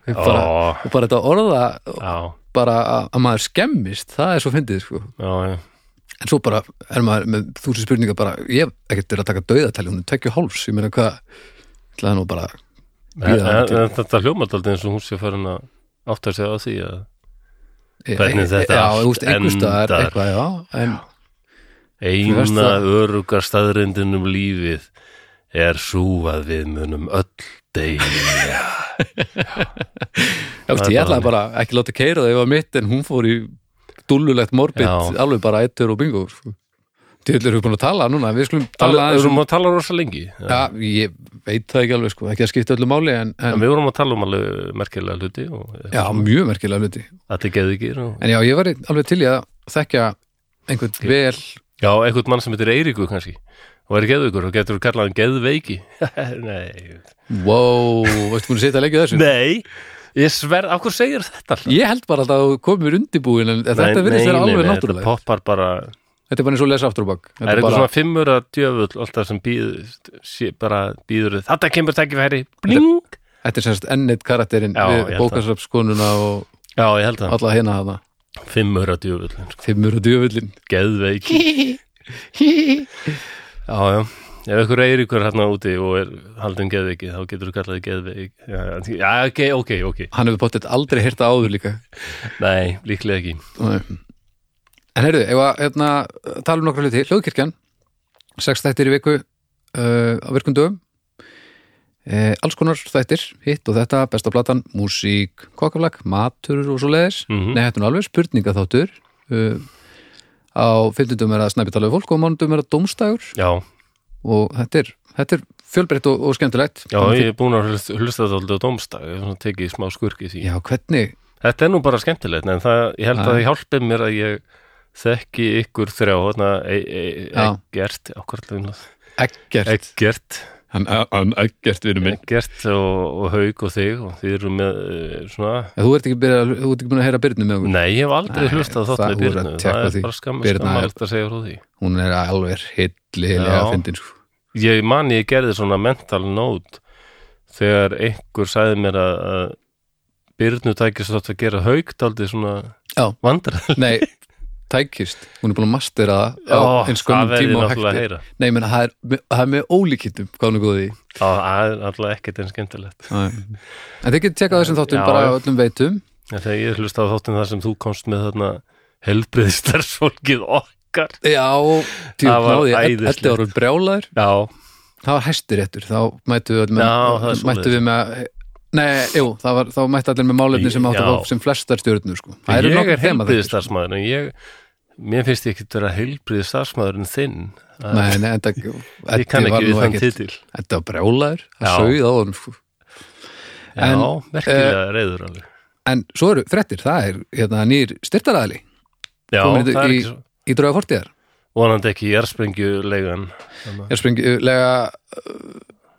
[SPEAKER 2] Ég bara,
[SPEAKER 1] Ó,
[SPEAKER 2] og bara þetta orða
[SPEAKER 1] Já,
[SPEAKER 2] bara að, að maður skemmist, það er svo fyndið sko
[SPEAKER 1] já, já
[SPEAKER 2] en svo bara er maður með þúsi spurningar bara, ég hef ekkert verið að taka dauðatæli hún er tvekju háls, ég meina hvað ætlaði nú bara
[SPEAKER 1] En,
[SPEAKER 2] Bíða þangað
[SPEAKER 1] en,
[SPEAKER 2] til-
[SPEAKER 1] en þetta hljómaldaldi eins og hún sé farin að átta sig á því að
[SPEAKER 2] Ég-
[SPEAKER 1] Hvernig
[SPEAKER 2] ég-
[SPEAKER 1] þetta
[SPEAKER 2] e- já,
[SPEAKER 1] allt
[SPEAKER 2] þú veist, einhvers staðar
[SPEAKER 1] endar.
[SPEAKER 2] eitthvað, já, en Þú veist
[SPEAKER 1] eina
[SPEAKER 2] það.
[SPEAKER 1] örugar staðrindinum lífið er sú að við munum öll degi
[SPEAKER 2] já, veist,
[SPEAKER 1] Það er
[SPEAKER 2] ég
[SPEAKER 1] bara
[SPEAKER 2] ætlaði bara ekki láta keira það ef að mitt en hún fór í dúllulegt morbid
[SPEAKER 1] Já.
[SPEAKER 2] alveg bara eittur og bingo sko. djöðlega erum við búin að tala núna við skulum tala
[SPEAKER 1] Tala- Við
[SPEAKER 2] aðeins um
[SPEAKER 1] vorum að tala rosa lengi
[SPEAKER 2] já, ég veit það ekki alveg, sko, ekki að skipta öllu máli en,
[SPEAKER 1] En
[SPEAKER 2] en
[SPEAKER 1] Við vorum að tala um alveg merkilega hluti og
[SPEAKER 2] já, mjög merkilega hluti
[SPEAKER 1] þetta geði ekki og...
[SPEAKER 2] en já, ég var í- alveg til í að þekkja einhvern vel
[SPEAKER 1] Já, einhvern mann sem heitir Eiríkur kannski og er geðvíkur og getur kallað hann geðveiki Nei
[SPEAKER 2] wow, veistu búin að setja að leggja þessu
[SPEAKER 1] Nei, ég sverð, af hverju segir þetta alltaf?
[SPEAKER 2] ég held bara alltaf að þú komir undirbúin en þetta virðist vera alveg
[SPEAKER 1] Þetta
[SPEAKER 2] náttúrulega
[SPEAKER 1] poppar bara,
[SPEAKER 2] þetta er bara eins og lesa aftur á bak Þetta
[SPEAKER 1] er eitthvað
[SPEAKER 2] bara-
[SPEAKER 1] svona fimmur að djöfull alltaf sem býður, sé, bara býður þetta kemur tækifæri, bling
[SPEAKER 2] Þetta er semst ennit karakterinn
[SPEAKER 1] Já, ég
[SPEAKER 2] við
[SPEAKER 1] held
[SPEAKER 2] bókasrapskonuna og
[SPEAKER 1] Já, ég held það,
[SPEAKER 2] alla hérna hana
[SPEAKER 1] fimmur að djöfull sko.
[SPEAKER 2] Fimmur og djöfullin
[SPEAKER 1] geðveiki Já, já, ef ykkur er ykkur hérna úti og er haldin geðveiki þá getur þú kallaði geðveiki Já, já, ok, ok, ok,
[SPEAKER 2] Hann hefur bóttið aldrei hérta áður líka
[SPEAKER 1] nei, líklega ekki
[SPEAKER 2] Nei. En heyrðu, ef að hérna, tala um nokkra hluti Hljóðkirkjan, sex þættir í viku uh, á virkum dögum eh, alls konar þættir hitt og þetta, besta platan, músík kokkaflag, matur og svo leiðis
[SPEAKER 1] Mhm.
[SPEAKER 2] Nei, þetta er nú alveg spurningaþáttur uh, á 50 dögum er að snæpi talaðu fólk og á mánudum er að dómstægur
[SPEAKER 1] Já,
[SPEAKER 2] og þetta er, þetta er fjölbreytt og, og skemmtilegt
[SPEAKER 1] já,
[SPEAKER 2] Þannig að
[SPEAKER 1] ég er búin að hlust- hlusta þóldi á domstag, ég hef svona tekið smá skurki því
[SPEAKER 2] þið- já, hvernig
[SPEAKER 1] Þetta er nú bara skemmtilegt, en það, ég held að
[SPEAKER 2] Já.
[SPEAKER 1] það hjálpi mér að ég þekki ykkur þrjá, þarna, e, e,
[SPEAKER 2] Já.
[SPEAKER 1] ekkert, okkur allir,
[SPEAKER 2] ekkert,
[SPEAKER 1] ekkert,
[SPEAKER 2] hann, hann ekkert vinur
[SPEAKER 1] ekkert og, og haug og þig og þið eru með, e, svona,
[SPEAKER 2] þú ert ekki byrjað, að- þú ert ekki búin að heyra Byrnu með okkur
[SPEAKER 1] nei, ég hef aldrei
[SPEAKER 2] Nei,
[SPEAKER 1] hlustað þátt
[SPEAKER 2] það-
[SPEAKER 1] með
[SPEAKER 2] þú verður
[SPEAKER 1] Birnu,
[SPEAKER 2] að
[SPEAKER 1] það
[SPEAKER 2] tékka
[SPEAKER 1] er
[SPEAKER 2] því.
[SPEAKER 1] bara skammast
[SPEAKER 2] Birna er-
[SPEAKER 1] að segja frá því.
[SPEAKER 2] hún er alveg hilli hilja
[SPEAKER 1] Já.
[SPEAKER 2] að fyndin sko.
[SPEAKER 1] Ég man ég gerði svona mental note þegar einhver sagði mér að, að Birnu tækist þátt að gera haug, daldi svona
[SPEAKER 2] Já.
[SPEAKER 1] vandræð.
[SPEAKER 2] nei, tækist, hún er búin að mastera það á
[SPEAKER 1] Ó,
[SPEAKER 2] eins skömmum
[SPEAKER 1] það verð ég
[SPEAKER 2] tíma og
[SPEAKER 1] náttúrulega að
[SPEAKER 2] hægt er.
[SPEAKER 1] heyra.
[SPEAKER 2] nei, menn, það, er með- það er með ólíkittum hvað hún er góð í
[SPEAKER 1] Já, Það er alltaf ekkert en skemmtilegt.
[SPEAKER 2] Nei. en þið getur tekað þessum þáttum
[SPEAKER 1] Já,
[SPEAKER 2] bara
[SPEAKER 1] já.
[SPEAKER 2] á öllum veitum
[SPEAKER 1] Já, þegar ég hlusta á þáttin þar sem þú komst með þarna helbriðstarsfólkið okkar.
[SPEAKER 2] já, tíu
[SPEAKER 1] Það var
[SPEAKER 2] náði,
[SPEAKER 1] æðislegt.
[SPEAKER 2] þetta voru brjálaður
[SPEAKER 1] Já,
[SPEAKER 2] það var hæstiréttur, þá mættu við, öll
[SPEAKER 1] Já, það er
[SPEAKER 2] með,
[SPEAKER 1] svoleiðis.
[SPEAKER 2] mættu við með Nei, jú, það var, þá mættu allir með málefni sem áttu
[SPEAKER 1] Já.
[SPEAKER 2] á sem flestar stjórnur sko.
[SPEAKER 1] ég
[SPEAKER 2] eru
[SPEAKER 1] er
[SPEAKER 2] nokkur þema þættir.
[SPEAKER 1] helbriðstarsmaður en ég, mér finnst ég ekkert vera helbriðstarsmaður en þinn. Það-
[SPEAKER 2] Nei, nei, þetta
[SPEAKER 1] ég kann
[SPEAKER 2] þetta var
[SPEAKER 1] ekki
[SPEAKER 2] nú
[SPEAKER 1] við þann
[SPEAKER 2] ekkert-
[SPEAKER 1] titil.
[SPEAKER 2] Þetta var brjálæður, það
[SPEAKER 1] Já.
[SPEAKER 2] sögð á honum sko.
[SPEAKER 1] Já,
[SPEAKER 2] En, eh,
[SPEAKER 1] merkilega reyður alveg.
[SPEAKER 2] En svo eru frettir, það er hérna, nýr styrtaraðali
[SPEAKER 1] Já,
[SPEAKER 2] komin
[SPEAKER 1] það er
[SPEAKER 2] í-
[SPEAKER 1] ekki svo.
[SPEAKER 2] í drauga fortíðar
[SPEAKER 1] Vonandi ekki jærsprengjulegan.
[SPEAKER 2] Ég springi, lega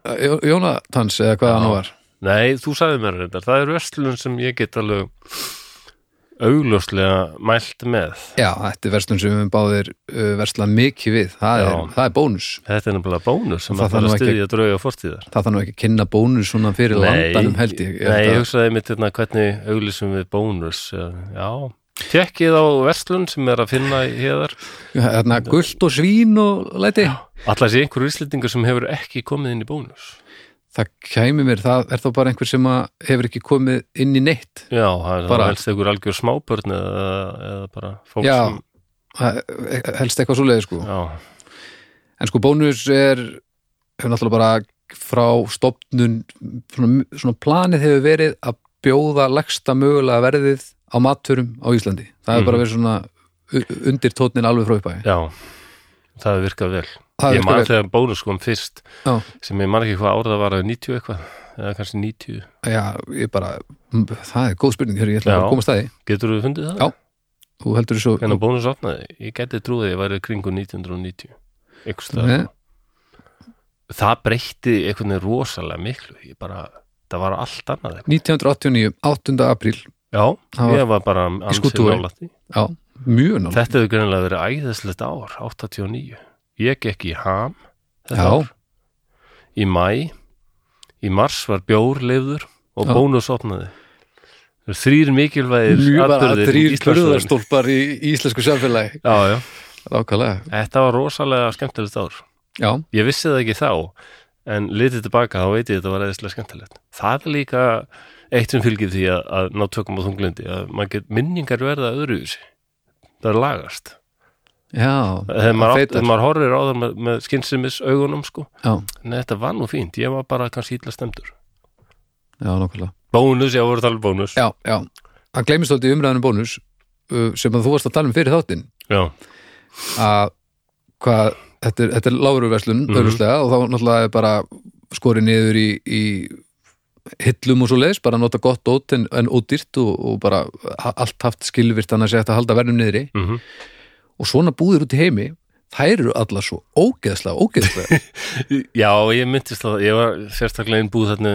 [SPEAKER 2] uh, Jónatans eða hvað hann var
[SPEAKER 1] Nei, þú sagði mér reyndar. Það er verslun sem ég get alveg augljóslega mælt með.
[SPEAKER 2] Já, þetta er verslun sem við höfum báðir uh, verslað mikið við, það er,
[SPEAKER 1] Já.
[SPEAKER 2] það er bónus
[SPEAKER 1] Þetta er nefnilega bónus sem að
[SPEAKER 2] Það
[SPEAKER 1] fara
[SPEAKER 2] þarf
[SPEAKER 1] að
[SPEAKER 2] nú ekki-
[SPEAKER 1] styðja drauga fortíðar.
[SPEAKER 2] það þarf nú ekki að kynna bónus svona fyrir landanum held ég, ég
[SPEAKER 1] Nei,
[SPEAKER 2] held
[SPEAKER 1] ég
[SPEAKER 2] að-
[SPEAKER 1] hugsaði mitt hérna hvernig auglýsum við bónus Já, já. tekkið á verslun sem er að finna héðar
[SPEAKER 2] hérna, gult og svín og læti
[SPEAKER 1] Alla sé einhverju íslendingur sem hefur ekki komið inn í bónus
[SPEAKER 2] það kæmi mér, það er þá bara einhver sem að hefur ekki komið inn í neitt
[SPEAKER 1] Já, það
[SPEAKER 2] Bara-
[SPEAKER 1] bara. helst einhver algjör smábörn eða, eða bara fólk
[SPEAKER 2] Já.
[SPEAKER 1] sem
[SPEAKER 2] Það helst eitthvað svo leiði sko
[SPEAKER 1] Já,
[SPEAKER 2] en sko bónus er hefur náttúrulega bara frá stopnun svona, svona planið hefur verið að bjóða leggsta mögulega verðið á matfurum á Íslandi það hefur bara
[SPEAKER 1] Mhm.
[SPEAKER 2] verið svona u- undir tónin alveg frá uppæði
[SPEAKER 1] já Það hefur virkað vel
[SPEAKER 2] Það hefur
[SPEAKER 1] Ég
[SPEAKER 2] virkað
[SPEAKER 1] man
[SPEAKER 2] vel.
[SPEAKER 1] þegar bónus kom fyrst
[SPEAKER 2] Já.
[SPEAKER 1] sem ég man ekki hvað árða var að 90 eitthvað eða kannski 90
[SPEAKER 2] já, ég bara, m- það er góð spurning hér, ég ætla
[SPEAKER 1] Já.
[SPEAKER 2] bara að koma stæði
[SPEAKER 1] Getur þú fundið það?
[SPEAKER 2] Já. þú heldur þessu
[SPEAKER 1] Hvernig bónus opnaði? Ég gæti trúið að ég væri kringu 1990 Ykkur stað
[SPEAKER 2] Nei,
[SPEAKER 1] það breytti einhvern veginn rosalega miklu ég bara, það var allt annað eitthvað.
[SPEAKER 2] 1989, 8. apríl
[SPEAKER 1] já,
[SPEAKER 2] Það var-
[SPEAKER 1] ég var bara ansi
[SPEAKER 2] skútunni.
[SPEAKER 1] nálægt því.
[SPEAKER 2] já, mjög nátt
[SPEAKER 1] þetta hefur greinilega verið æðislegt ár 89, ég gekk í ham þetta
[SPEAKER 2] já,
[SPEAKER 1] ár, í mæ í mars var bjór leifður og
[SPEAKER 2] Já.
[SPEAKER 1] bónus opnaði þrýr mikilvægir
[SPEAKER 2] mjög bara
[SPEAKER 1] atburðir í
[SPEAKER 2] drýr
[SPEAKER 1] Íslandssögunni.
[SPEAKER 2] burðarstólpar í í íslensku samfélagi
[SPEAKER 1] já, já,
[SPEAKER 2] Lákalega,
[SPEAKER 1] Þetta var rosalega skemmtilegt ár.
[SPEAKER 2] já,
[SPEAKER 1] Ég vissi það ekki þá, en litið tilbaka þá veit ég þetta var eðislega skemmtilegt. Það er líka eitt sem fylgir því að, að ná tökum á þunglindi, að maður get minningar verða öðruvísi. Það er lagast.
[SPEAKER 2] já
[SPEAKER 1] Þegar maður, átt-
[SPEAKER 2] feitar.
[SPEAKER 1] þegar maður horfir á það með, með skinsimis augunum, sko.
[SPEAKER 2] Já,
[SPEAKER 1] Nei, þetta var nú fínt, ég var bara kannski ítla stemdur.
[SPEAKER 2] já, nákvæmlega
[SPEAKER 1] Bónus, já, voru að tala um bónus.
[SPEAKER 2] Já, já, það gleymist aldrei umræðanum um bónus uh, sem að þú varst að tala um fyrir þáttinn
[SPEAKER 1] Já,
[SPEAKER 2] að hvað, þetta er, þetta er láruverslun mm
[SPEAKER 1] Mhm.
[SPEAKER 2] og þá náttúrulega er bara skorið niður í, í hillum og svo leiðis, bara nota gott ótt en, en ódýrt og, og bara ha- allt haft skilvirt annars er hægt að halda verðum niðri
[SPEAKER 1] mm
[SPEAKER 2] og svona búðir út í heimi þær eru allar svo ógeðslega, ógeðslega
[SPEAKER 1] já ég myndist að ég var sérstaklega einn búð þarna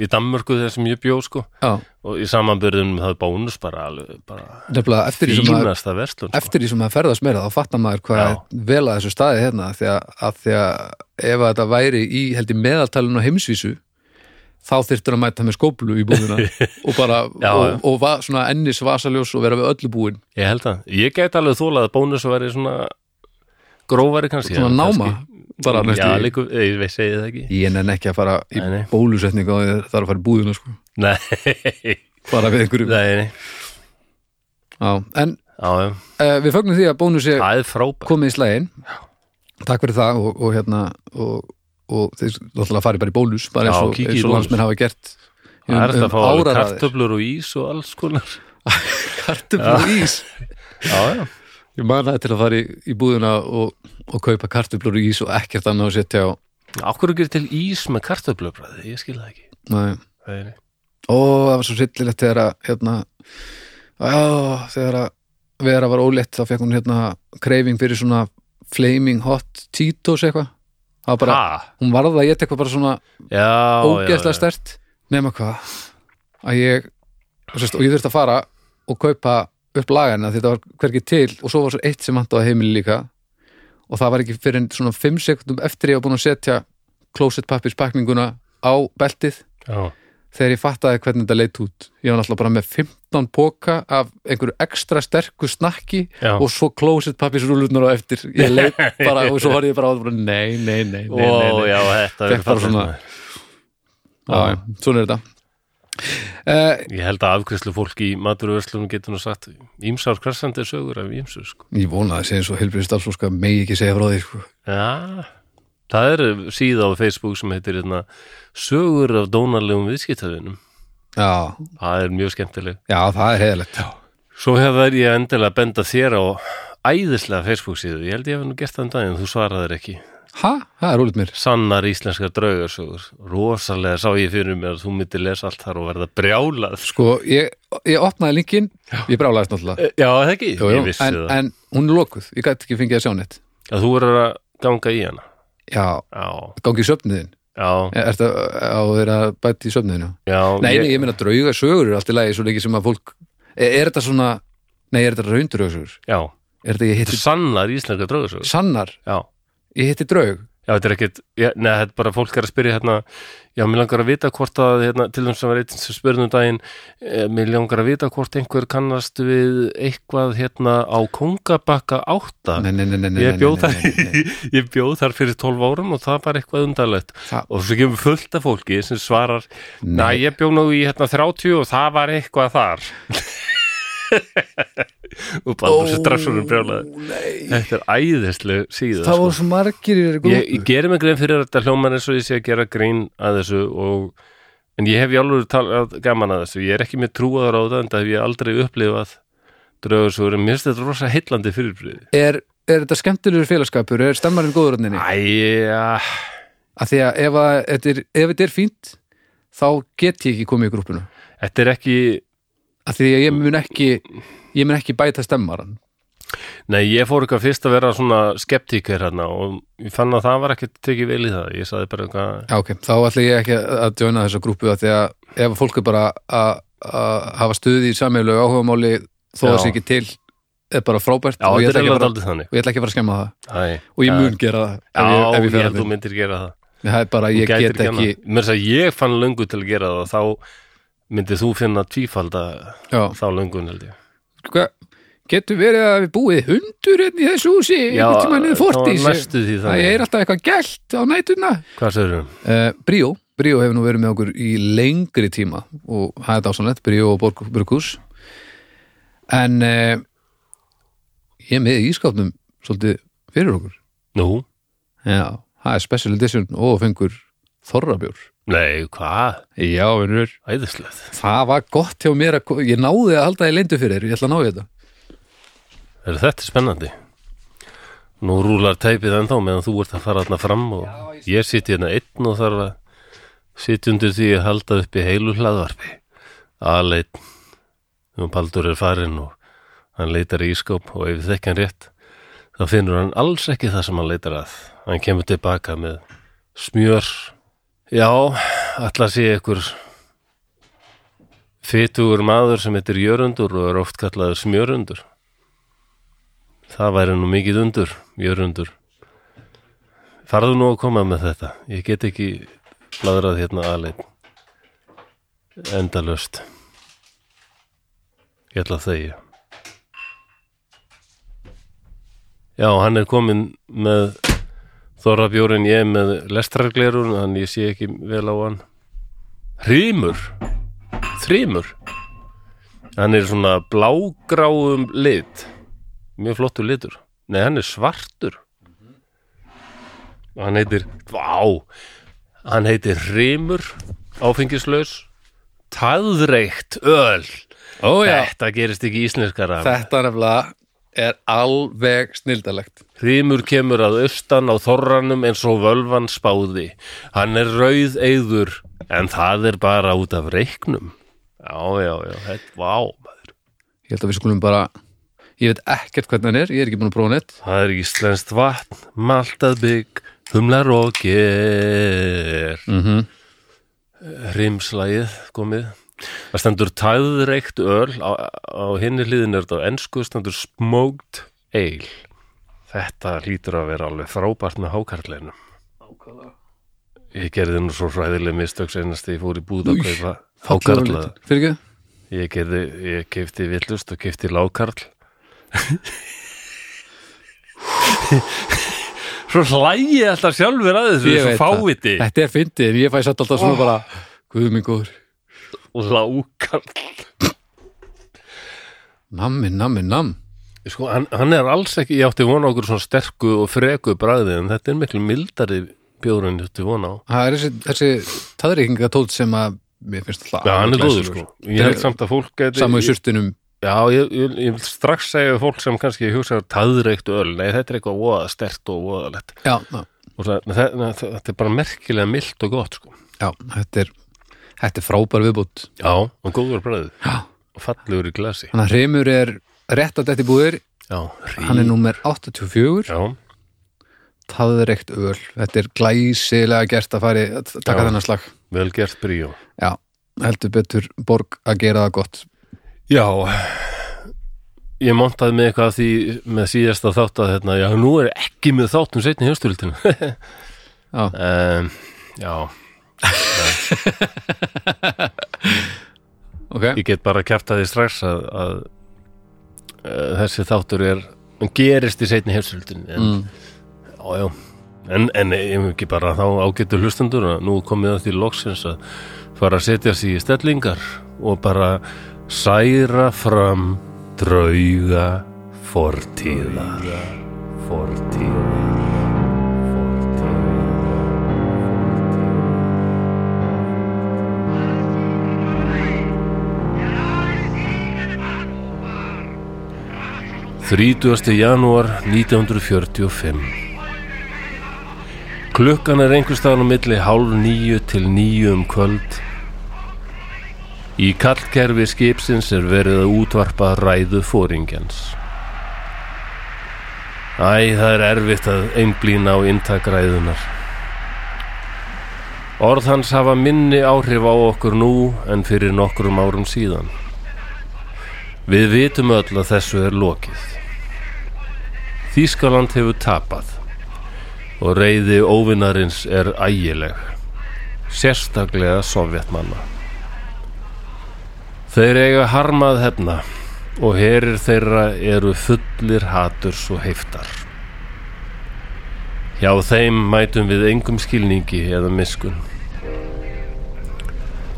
[SPEAKER 1] í Danmörku þegar sem ég bjó, sko.
[SPEAKER 2] Já,
[SPEAKER 1] Og í samanbyrðunum það er bónus bara alveg, bara
[SPEAKER 2] nefnilega eftir því sem að
[SPEAKER 1] fínasta verslun, sko.
[SPEAKER 2] eftir því sem maður ferðast meira þá fattar maður hvað
[SPEAKER 1] Já.
[SPEAKER 2] er vel að þessu staði hérna því að, að því að ef að þetta væri í held í meðaltalun á heimsvísu þá þyrftur að mæta með skóplu í búðuna og bara
[SPEAKER 1] Já,
[SPEAKER 2] og,
[SPEAKER 1] já.
[SPEAKER 2] og va, svona ennis vasaljós og vera við öllu búin
[SPEAKER 1] Ég held að, ég gæti alveg þólað að bónus væri svona grófari kannski.
[SPEAKER 2] Svona
[SPEAKER 1] en
[SPEAKER 2] náma, bara
[SPEAKER 1] kannski,
[SPEAKER 2] næstu
[SPEAKER 1] Já,
[SPEAKER 2] í.
[SPEAKER 1] líku, ég veist segi það ekki.
[SPEAKER 2] ég nenn ekki að fara í
[SPEAKER 1] Nei, nei.
[SPEAKER 2] bólusetningu og það er að fara í búðuna sko.
[SPEAKER 1] Nei,
[SPEAKER 2] bara við einhverju
[SPEAKER 1] nei, nei.
[SPEAKER 2] Já. en
[SPEAKER 1] Já, já.
[SPEAKER 2] uh, við fögnum því að bónus er
[SPEAKER 1] það er frábært.
[SPEAKER 2] komið í slægin takk fyrir það og, og hérna og, og þeir náttúrulega farið bara í bólus bara
[SPEAKER 1] Já,
[SPEAKER 2] eins og,
[SPEAKER 1] kíkið í
[SPEAKER 2] eins og
[SPEAKER 1] bólus.
[SPEAKER 2] landsmenn hafa gert Um-
[SPEAKER 1] Það er þetta að fá alveg
[SPEAKER 2] áraraðir.
[SPEAKER 1] kartöflur og ís og alls konar.
[SPEAKER 2] kartöflur og ís
[SPEAKER 1] Já, já.
[SPEAKER 2] ég man það til að fara í, í búðuna og, og kaupa kartöflur og ís og ekkert annað að setja á
[SPEAKER 1] Akkur gerir til ís með kartöflubræði, ég skil það ekki.
[SPEAKER 2] Nei.
[SPEAKER 1] Það er-
[SPEAKER 2] ó, það var svo sillilegt þegar að hérna, á, þegar að vera var ólétt þá fekk hún hérna kreifing fyrir svona flaming hot títos eitthvað það var bara,
[SPEAKER 1] Ha?
[SPEAKER 2] hún varða að geta eitthvað bara svona
[SPEAKER 1] Já, já,
[SPEAKER 2] ógeðslega
[SPEAKER 1] já.
[SPEAKER 2] stert nema hvað að ég, og, sérst, og ég þurfti að fara og kaupa upp lagana því þetta var hvergi til og svo var svo eitt sem hann á heimili líka og það var ekki fyrir en svona 5 sekundum eftir ég var búin að setja klósettpappispakninguna á beltið
[SPEAKER 1] Já.
[SPEAKER 2] þegar ég fattaði hvernig þetta leit út ég var náttúrulega bara með 15 póka af einhverju ekstra sterku snakki
[SPEAKER 1] Já.
[SPEAKER 2] og svo klósettpappisrúlurnar á eftir ég leit bara og svo var ég bara á það bara, nei, nei, nei, nei, nei, nei.
[SPEAKER 1] Ó, já, þetta er
[SPEAKER 2] Fekk bara
[SPEAKER 1] fallegt
[SPEAKER 2] svona-
[SPEAKER 1] maður.
[SPEAKER 2] Já, já, svona er þetta uh,
[SPEAKER 1] Ég held að afkvæslu fólk í maturvörslunum getur nú sagt ímsár kressandi sögur af ímsu, sko.
[SPEAKER 2] Ég vona að það sé eins og helbriði starfsfólk að megi ekki segja frá því sko.
[SPEAKER 1] Já, það er síða á Facebook sem heitir hérna, sögur af dónarlegum viðskiptöðunum.
[SPEAKER 2] já,
[SPEAKER 1] Það er mjög skemmtileg.
[SPEAKER 2] já, það er heðalegt já.
[SPEAKER 1] Svo hefur ég endilega að benda þér á æðislega Facebook síðu. Ég held ég hef nú gert það um daginn, þú svaraðir ekki.
[SPEAKER 2] Ha? Það er úlít mér
[SPEAKER 1] Sannar íslenskar draugarsögur. Rosalega sá ég fyrir mér að þú myndir lesa allt þar og verða brjálað.
[SPEAKER 2] Sko, ég, ég opnaði linkin Ég brálaðist
[SPEAKER 1] E,
[SPEAKER 2] náttúrulega
[SPEAKER 1] Já, er það ekki? Ég vissi
[SPEAKER 2] en,
[SPEAKER 1] það.
[SPEAKER 2] en hún er lokuð, ég gæti ekki fengið að sjá neitt
[SPEAKER 1] Að þú verður að ganga í hana.
[SPEAKER 2] Já,
[SPEAKER 1] Já,
[SPEAKER 2] gangi í söfniðin
[SPEAKER 1] já,
[SPEAKER 2] Er þetta á þeirra bætt í söfniðinu?
[SPEAKER 1] já.
[SPEAKER 2] Nei, nei, ég meina drauga sögur er allt í lagi svo leiki sem að fólk Er, er þetta svona, nei, er þetta raundraugasögur?
[SPEAKER 1] Já,
[SPEAKER 2] Er þetta ég
[SPEAKER 1] þetta
[SPEAKER 2] hitti
[SPEAKER 1] er sannar íslenskar draugarsögur.
[SPEAKER 2] sannar,
[SPEAKER 1] Já.
[SPEAKER 2] ég hitti draug
[SPEAKER 1] Já, þetta er ekkert, já, neða, þetta er bara fólk er að spyrja hérna, já, mér langar að vita hvort að, hérna, til þess að vera einn sem spyrðum daginn, eh, mér langar að vita hvort einhver kannast við eitthvað hérna á Kongabakka 8.
[SPEAKER 2] Nei, nei, nei, nei, nei,
[SPEAKER 1] ég, bjóð
[SPEAKER 2] nei, nei, nei, nei.
[SPEAKER 1] Þar, ég bjóð þar fyrir 12 árum og það var eitthvað undarlegt.
[SPEAKER 2] Það-
[SPEAKER 1] Og svo kemur fullt af fólki sem svarar, næ,
[SPEAKER 2] Nei.
[SPEAKER 1] ég bjóð nú í hérna 30 og það var eitthvað þar. og bara þessi drassunum brjólaði.
[SPEAKER 2] Nei
[SPEAKER 1] Þetta er æðisleg síða. sko.
[SPEAKER 2] Það voru svo margir í þeirri
[SPEAKER 1] ég,
[SPEAKER 2] grúpu
[SPEAKER 1] ég gerir mig grein fyrir að þetta hljómar eins og ég sé að gera grein að þessu og, en ég hef í alveg talað gaman að þessu, ég er ekki með trúaður á það en það hef ég aldrei upplifað draugasögur, en mér finnst þetta rosa heillandi fyrirbrið
[SPEAKER 2] er, er þetta skemmtilegur félagskapur er stemmarinn góður hann
[SPEAKER 1] Ah.
[SPEAKER 2] inni
[SPEAKER 1] Æja
[SPEAKER 2] að því að ef, að, þetta er, ef þetta er fínt þá get ég ekki komið í grúpuna
[SPEAKER 1] Þetta er ekki,
[SPEAKER 2] að því að ég mun ekki ég mun ekki bæta stemmaran
[SPEAKER 1] nei ég fór eitthvað fyrst að vera svona skeptíker hérna og ég fann að það var ekki tekið vel í það ég saði bara eitthvað,
[SPEAKER 2] Já, ok, þá ætla ég ekki að að joina þessa grúpu að því að ef fólk er bara að að hafa stuði í sammeilög áhugamáli þó að
[SPEAKER 1] Já.
[SPEAKER 2] sé ekki til er bara frábært
[SPEAKER 1] já
[SPEAKER 2] og, ég
[SPEAKER 1] þetta
[SPEAKER 2] ætla
[SPEAKER 1] er
[SPEAKER 2] ekki að
[SPEAKER 1] alveg
[SPEAKER 2] fara,
[SPEAKER 1] aldrei þannig
[SPEAKER 2] og ég ætla ekki að fara að skemma það
[SPEAKER 1] Æ,
[SPEAKER 2] og ég
[SPEAKER 1] já.
[SPEAKER 2] mun gera
[SPEAKER 1] Já,
[SPEAKER 2] það ef ég, ef ég,
[SPEAKER 1] ég
[SPEAKER 2] fer
[SPEAKER 1] held
[SPEAKER 2] að
[SPEAKER 1] þú myndir gera það
[SPEAKER 2] það er bara,
[SPEAKER 1] Þú
[SPEAKER 2] ég
[SPEAKER 1] gætir
[SPEAKER 2] get ekki
[SPEAKER 1] annað. Mér þess að ég fann löngu til að gera það og þá myndið þú finna tvífalda
[SPEAKER 2] já,
[SPEAKER 1] þá löngun held ég
[SPEAKER 2] Hva? getur verið að við búið hundur hérna í þessu húsi einhvern tíma niður
[SPEAKER 1] það var
[SPEAKER 2] fórtís
[SPEAKER 1] næstu því
[SPEAKER 2] það er alltaf eitthvað gælt á nætuna
[SPEAKER 1] Hvað segirðu?
[SPEAKER 2] Uh, Bríó, Bríó hefur nú verið með okkur í lengri tíma og það er dásanlegt, Bríó og Borg Brukus en uh, ég er með í ískapnum svolítið fyrir okkur
[SPEAKER 1] Nú?
[SPEAKER 2] Já, það er special edition og fengur Þorrabjór
[SPEAKER 1] Nei, hvað?
[SPEAKER 2] Já, vinnur
[SPEAKER 1] Æðislegt
[SPEAKER 2] Það var gott hjá mér að ko- ég náði að halda í leindu fyrir þér, ég ætla að ná í þetta
[SPEAKER 1] Er þetta spennandi? Nú rúlar teipið ennþá meðan þú ert að fara þarna fram og ég sitja hérna einn og þarf að sitja undir því að halda uppi heilu hlaðvarpi. Aðleitt, um Baldur er farinn og hann leitar í ískáp og ef þekki hann rétt, þá finnur hann alls ekki það sem hann leitar að. Hann kemur tilbaka með smjör. Já, allar sé ykkur fytugur maður sem heitir Jörundur og er oft kallaður smjörundur. Það væri nú mikið undur, jörundur. Farðu nú að koma með þetta. Ég get ekki bladrað hérna aðleitt. Endalöst. Ég ætla að þegja. Já, hann er komin með Þorrabjórin ég með lestrarglerun, hann ég sé ekki vel á hann. Hrímur. Þrímur. Hann er svona blágráum lit mjög flottur litur nei, hann er svartur og hann heitir vá, hann heitir Rímur áfengislaus taðreikt öl
[SPEAKER 2] Ó já,
[SPEAKER 1] þetta gerist ekki íslenskara
[SPEAKER 2] þetta nefnilega er alveg snildalegt
[SPEAKER 1] Hrímur kemur að austan á þorranum eins og völvan spáði. Hann er rauð eyður, en það er bara út af reiknum. Já, já, já, þetta, vá, maður.
[SPEAKER 2] Ég held að við skulum bara Ég veit ekkert hvernig hann er, ég er ekki búin að prófa neitt
[SPEAKER 1] Það er íslenskt vatn, maltað bygg, humlar og ger.
[SPEAKER 2] mm -hmm.
[SPEAKER 1] rimslægið komið það stendur tæðreikt öl á, á hinni hliðin er þetta á ensku stendur smoked ale þetta hlýtur að vera alveg frábært með hákarlinu ég gerði nú svo hræðileg mistök senast þegar ég fór í búð að
[SPEAKER 2] Új,
[SPEAKER 1] kaupa hákarla
[SPEAKER 2] Fyrir ekki?
[SPEAKER 1] ég, gerði, ég kefti villust og kefti lákarl svo hlægi ég alltaf sjálfur að þessu
[SPEAKER 2] Ég
[SPEAKER 1] þessu
[SPEAKER 2] veit
[SPEAKER 1] fáviti
[SPEAKER 2] það. Þetta er fyndið, ég fæ satt alltaf svona bara Guð minn góður,
[SPEAKER 1] lákarl
[SPEAKER 2] nammi, nammi, namm
[SPEAKER 1] Sko, hann, hann er alls ekki, ég átti vona okkur svona sterku og freku bræði en þetta er miklu mildari bjóður en ég átti vona á.
[SPEAKER 2] Það er þessi, þessi taðreikingatótt sem að mér finnst alltaf
[SPEAKER 1] Já, hann er
[SPEAKER 2] alveg
[SPEAKER 1] góður
[SPEAKER 2] glæsilegur.
[SPEAKER 1] sko. Ég held samt að fólk geti...
[SPEAKER 2] Saman í surtinum
[SPEAKER 1] Já, ég, ég, ég vil strax segja við fólk sem kannski hugsaður taðreikt öl, nei þetta er eitthvað voða stert og voðalegt.
[SPEAKER 2] Já, já,
[SPEAKER 1] Og það, það, það, þetta er bara merkilega mild og gott sko.
[SPEAKER 2] já þetta, er, þetta er frábær viðbútt
[SPEAKER 1] Já, og góður bræðið
[SPEAKER 2] Já.
[SPEAKER 1] og fallegur í glasi.
[SPEAKER 2] Þannig að Hreymur er rétt að þetta í búðir
[SPEAKER 1] Já,
[SPEAKER 2] Hann er númer 84
[SPEAKER 1] Já,
[SPEAKER 2] taðreikt öl Þetta er glæsilega gert að fari að taka
[SPEAKER 1] Já.
[SPEAKER 2] þennan slag
[SPEAKER 1] vel gert bríó.
[SPEAKER 2] Já, heldur betur Borg að gera það gott
[SPEAKER 1] Já Ég montaði með eitthvað af því með síðasta þátt að hérna, já, nú er ekki með þátt um seinni heimstöldina
[SPEAKER 2] Já.
[SPEAKER 1] um, Já,
[SPEAKER 2] Ok,
[SPEAKER 1] ég get bara að kæfta því strax að, að, að þessi þáttur er hann gerist í seinni heimstöldin en,
[SPEAKER 2] Mm.
[SPEAKER 1] Já, já En, en ég hef ekki bara þá ágættu hlustendur að nú komið að því loksins að fara að setja sig í stellingar og bara særa fram drauga fortíðar fortíðar Þrítuasti janúar 1945 Klukkan er einhverstaðan á milli hálf nýju til nýju um kvöld Í kallkerfi skipsins er verið að útvarpa ræðu fóringjans Æ, það er erfitt að einblýna á intakræðunar. Orð hans hafa minni áhrif á okkur nú en fyrir nokkrum árum síðan. Við vitum öll að þessu er lokið. Þýskaland hefur tapað og reyði óvinarins er ægileg, sérstaklega sovjetmanna. Þeir eiga harmað hefna og herir þeirra eru fullir haturs og heiftar. Hjá þeim mætum við engum skilningi eða miskun.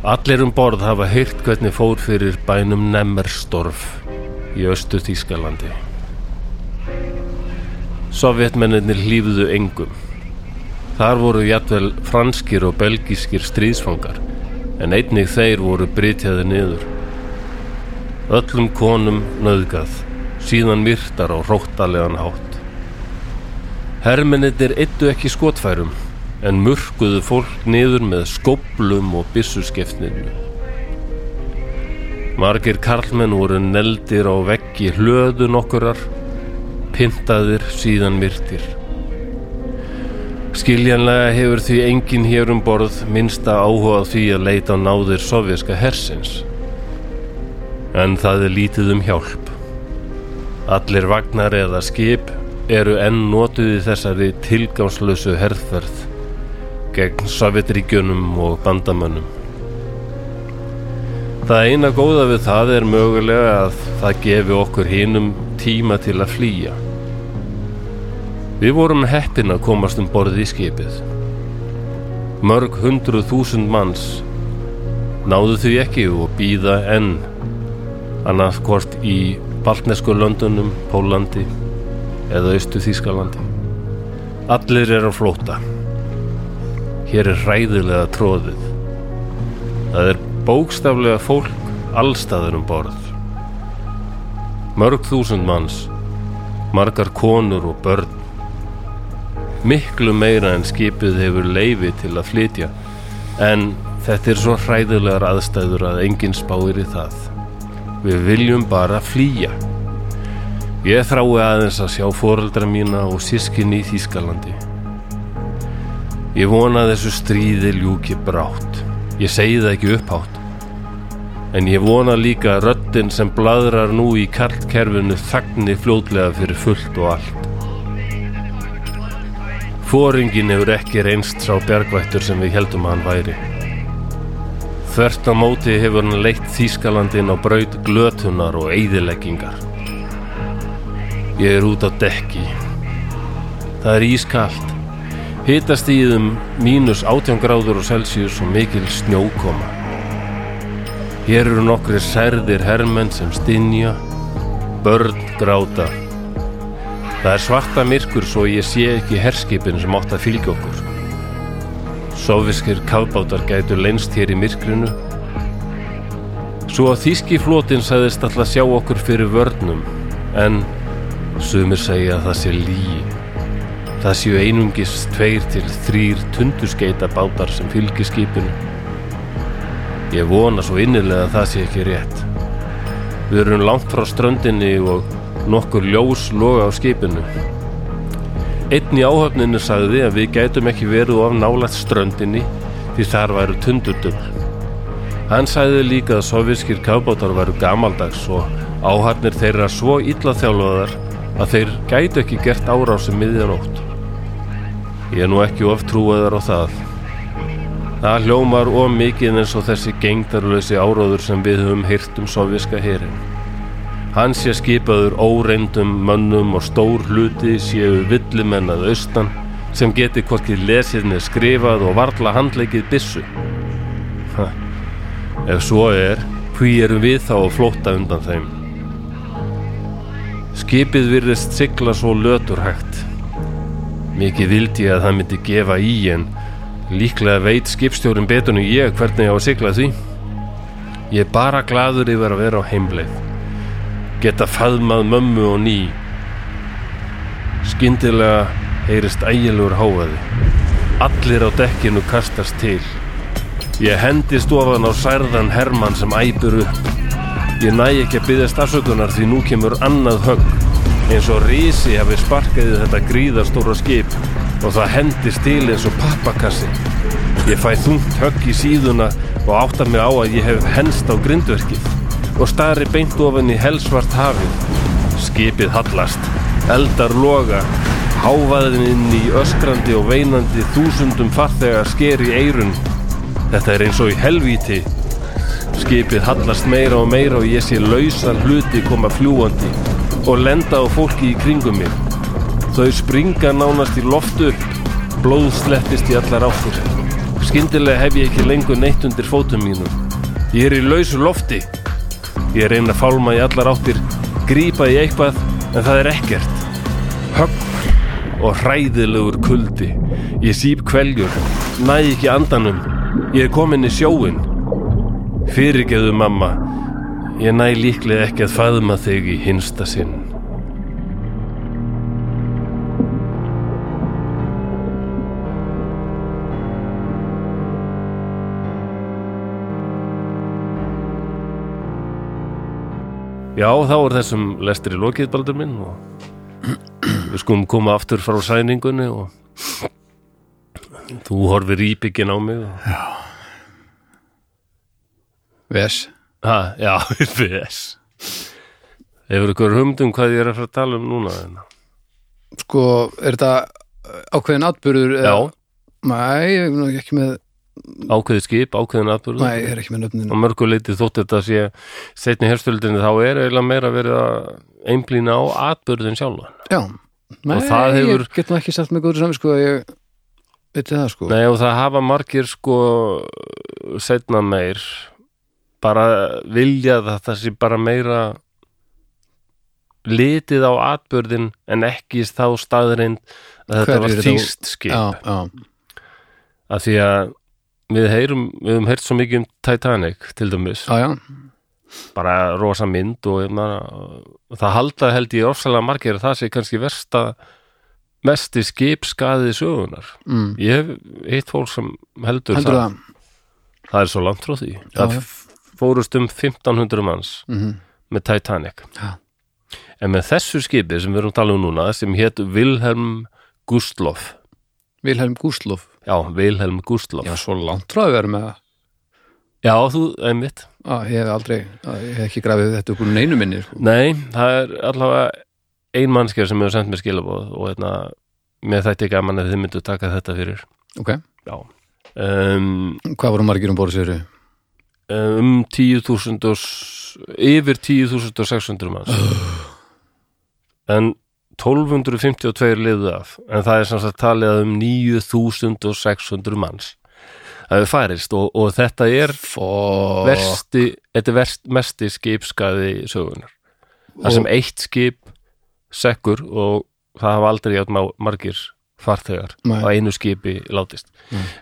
[SPEAKER 1] Allir um borð hafa heyrt hvernig fór fyrir bænum Nemmerstorf í östu Þýskalandi. Sovjetmenninni hlýfðu engum. Þar voru jættvel franskir og belgískir stríðsfangar en einnig þeir voru brytjaði niður. Öllum konum nöðgað, síðan myrtar á róttalegan hátt. Hermennir eittu ekki skotfærum, en murkuðu fólk niður með skóplum og byssuskeftninu. Margir karlmenn voru neldir á veggi hlöðu nokkurar, pyntaðir síðan myrtir. Skiljanlega hefur því enginn hér um borð minnsta áhuga á því að leita á náðir sovjerska hersins. En það er lítið um hjálp. Allir vagnar eða skip eru enn notuð í þessari tilgangslösu herðferð gegn Sovjetríkjunum og bandamönnum. Það eina góða við það er mögulega að það gefi okkur hinum tíma til að flýja. Við vorum heppin að komast um borð í skipið. Mörg hundruð þúsund manns náðu því ekki og býða enn annað hvort í baltnesku löndunum, Pólandi eða austu Þýskalandi. Allir er á flóta. Hér er hræðilega tróðið. Það er bókstaflega fólk allstaður um borð. Mörg þúsund manns, margar konur og börn. Miklu meira en skipið hefur leifi til að flytja, en þetta er svo hræðilegar aðstæður að enginn spáir í það. Við viljum bara flýja. Ég þrái aðeins að sjá foreldra mína og sískinni í Þýskalandi. Ég vona að þessu stríði ljúki brátt. Ég segi það ekki upphátt. En ég vona líka að röddin sem bladrar nú í kartkerfinu þagni fljótlega fyrir fullt og allt. Fóringin hefur ekki reynst sá bjargvættur sem við heldum að hann væri. Þvert á móti hefur hann leitt Þýskalandin á braut glötunar og eyðileggingar. Ég er út á dekki. Það er ískalt. Hittast í þeim mínus 18 gráður og Celsius og mikil snjókoma. Hér eru nokkri særðir hermenn sem stinja, börn gráta. Það er svarta myrkur svo ég sé ekki herskipin sem átt að fylgja okkur. Sofiskir kafbátar gætu lengst hér í myrkrinu. Svo að þýski flotin sagðist alltaf sjá okkur fyrir vörnum, en sumir segja að það sé líi. Það séu einungis tveir til þrýr tunduskeita bátar sem fylgir skipinu. Ég vona svo innilega að það sé ekki rétt. Við erum langt frá ströndinni og nokkur ljós loga á skipinu. Einn í áhöfninu sagði að við gætum ekki verið of nálægt ströndinni því þar væru tundutum. Hann sagði líka að soviskir kafbátar væru gamaldags og áhafnir þeirra svo illa þjálfaðar að þeir gætu ekki gert árásum miðjanótt. Ég er nú ekki oftrúaðar á það. Það hljómar of mikið eins og þessi gengdarlösi áróður sem við höfum heyrt um sovjiska herin. Hann sé skipaður óreindum mönnum og stór hluti séu villumennað austan sem geti hvorki lesirni skrifað og varla handleikið byssu. Ha. Ef svo er, hví erum við þá að flóta undan þeim? Skipið virðist sigla svo löturhægt. Mikið vildi ég að það myndi gefa í en líklega veit skipstjórin betur en ég hvernig ég á að sigla því. Ég er bara gladur yfir að vera á heimleið. Geta faðmað mömmu og ný. Skyndilega heyrist ægilegur háaði. Allir á dekkinu kastast til. Ég hendist ofan á særðan Hermann sem æpur upp. Ég næ ekki að byggja stafsökunar því nú kemur annað högg eins og Rísi hafi sparkað í þetta gríðarstóra skip og það hendist til eins og pappakassi. Ég fæ þungt högg í síðuna og átta mig á að ég hef henst á grindverkið og starri beint ofan í helsvart hafið. Skipið hallast, eldar loga, hávaðininn í öskrandi og veinandi þúsundum farþegar sker í eirun. Þetta er eins og í helvíti Skipið hallast meira og meira og ég sé lausar hluti koma fljúandi og lenda á fólki í kringum mig. Þau springa nánast í loftu, blóð sleppist í allar áttur. Skyndilega hef ég ekki lengur neitt undir fótum mínum. Ég er í lausu lofti. Ég reyna að fálma í allar áttir, grípa í eitthvað, en það er ekkert. Högg og hræðilegur kuldi. Ég síp kveljur, næ ekki andanum. Ég er komin í sjóin. Fyrirgeðu mamma, ég næ líklega ekki að faðma þig í hinsta sinn. Já, þá er þessum lestri lokið, Baldur minn, og við skulum koma aftur frá sæningunni og þú horfir íbyggin á mig og...
[SPEAKER 2] Ves
[SPEAKER 1] Ha, já, viss. Hefur ykkur humd um hvað ég er að fara að tala um núna? hérna?
[SPEAKER 2] Sko, er þetta uh, ákveðin atbyrður?
[SPEAKER 1] Já,
[SPEAKER 2] Nei, ég er nú ekki með
[SPEAKER 1] ákveðið skip, ákveðin atbyrður.
[SPEAKER 2] Nei, ég er ekki
[SPEAKER 1] Á
[SPEAKER 2] með nöfnin
[SPEAKER 1] mörgu leiti þótt þetta sé setni herstöldinni þá er eiginlega meira verið að einblýna á atbyrðin sjálfan.
[SPEAKER 2] Já, nei,
[SPEAKER 1] það hefur-
[SPEAKER 2] ég get nú ekki sagt með góður samvið sko að ég veit það sko
[SPEAKER 1] Nei og það hafa margir sko setna meir bara viljað að það sé bara meira litið á atbyrðin en ekki þá staðreind að þetta
[SPEAKER 2] Hverjir
[SPEAKER 1] var
[SPEAKER 2] þetta-
[SPEAKER 1] þýst skip
[SPEAKER 2] Já, já,
[SPEAKER 1] að því að við heyrum, við höfum heyrt svo mikið um Titanic til dæmis,
[SPEAKER 2] já, já,
[SPEAKER 1] bara rosa mynd og ég meina, og það halda held ég ofsalega margir að það sé kannski versta mesti skipskaði sögunar
[SPEAKER 2] mm.
[SPEAKER 1] ég hef hitt fólk sem heldur
[SPEAKER 2] heldur það
[SPEAKER 1] Það er svo langt frá því. Það
[SPEAKER 2] já.
[SPEAKER 1] fórust um 1500 manns
[SPEAKER 2] Mhm.
[SPEAKER 1] með Titanic.
[SPEAKER 2] Já.
[SPEAKER 1] En með þessu skipi sem við erum að tala um núna, sem hétt Wilhelm Gustloff.
[SPEAKER 2] Vilhelm Gúslof
[SPEAKER 1] Já, Wilhelm Gustloff.
[SPEAKER 2] Já, svo langt frá að vera með það
[SPEAKER 1] Já, þú, einmitt.
[SPEAKER 2] Já, ég hef aldrei, já, ég hef ekki grafið þetta upp úr neinu minni sko.
[SPEAKER 1] Nei, það er allavega ein mannskjör sem hefur sendt mér skilabóð og hérna, mér þætti gaman að þið myndu taka þetta fyrir.
[SPEAKER 2] Ok,
[SPEAKER 1] Já. Um,
[SPEAKER 2] hvað voru margir um borðið sér?
[SPEAKER 1] um 10.000 og s- yfir 10.600 manns en 1252 liðu af en það er sem sagt talið að um 9.600 manns það er færist og, og þetta er
[SPEAKER 2] Fó...
[SPEAKER 1] versti, þetta er verst, mesti skipskaði sögunar það sem eitt skip sekkur og það hafa aldrei játn má- margir farþegar
[SPEAKER 2] Nei.
[SPEAKER 1] á einu skipi látist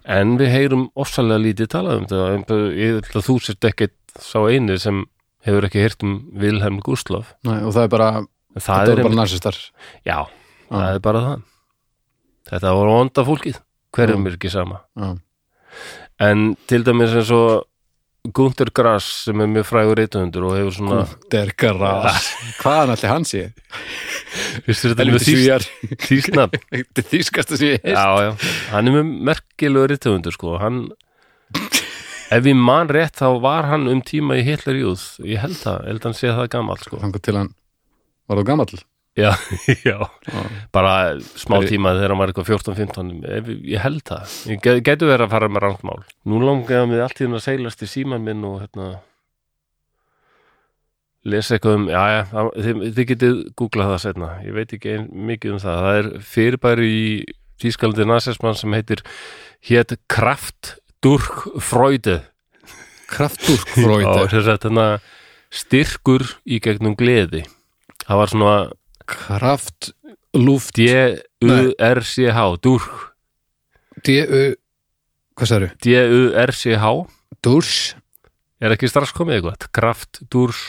[SPEAKER 1] en við heyrum ofsalega lítið talað um þetta ég held að þú sért ekkert sá eini sem hefur ekki heyrt um Vilhelm Gustlof
[SPEAKER 2] Nei, og það er bara,
[SPEAKER 1] það
[SPEAKER 2] þetta
[SPEAKER 1] er
[SPEAKER 2] voru bara
[SPEAKER 1] einmitt-
[SPEAKER 2] narsistar
[SPEAKER 1] já, það er bara það þetta voru vonda fólkið hverjum er ekki sama
[SPEAKER 2] Já.
[SPEAKER 1] en til dæmis eins og Gunther Grass sem er mjög frægur reytuhundur og hefur svona
[SPEAKER 2] Dergaras, hvaðan allir hans ég?
[SPEAKER 1] Vissi, þetta er mjög
[SPEAKER 2] Helviti
[SPEAKER 1] þýst-
[SPEAKER 2] svíjar,
[SPEAKER 1] þýst nafn
[SPEAKER 2] þetta er þýskasta sem ég heist
[SPEAKER 1] já, já. hann er með merkilegu rítöfundur sko. hann ef ég man rétt þá var hann um tíma í Hitler Júð, ég held það, held hann sé það gamall sko.
[SPEAKER 2] Þangar til hann, var það gamall?
[SPEAKER 1] já, já, bara smá
[SPEAKER 2] Er-
[SPEAKER 1] tíma þegar hann var eitthvað 14-15 ef ég- ég held það, ég get, getur verið að fara með rangmál nú langaði mig allt í þennan að seilast í síman minn og hérna lesa eitthvað um, já, já, þið, þið getið googlað það setna, ég veit ekki ein, mikið um það, það er fyrirbæri í tískalandi nasismann sem heitir hétt Kraft Durk Freude og
[SPEAKER 2] Kraftúrkfróið
[SPEAKER 1] þess að þarna hérna, styrkur í gegnum gleði það var svona
[SPEAKER 2] Kraft, lúft
[SPEAKER 1] D-U-R-C-H Durk,
[SPEAKER 2] D-U, hvað særu?
[SPEAKER 1] D-U-R-C-H
[SPEAKER 2] Durs,
[SPEAKER 1] er ekki strax komið eitthvað, Kraft Durk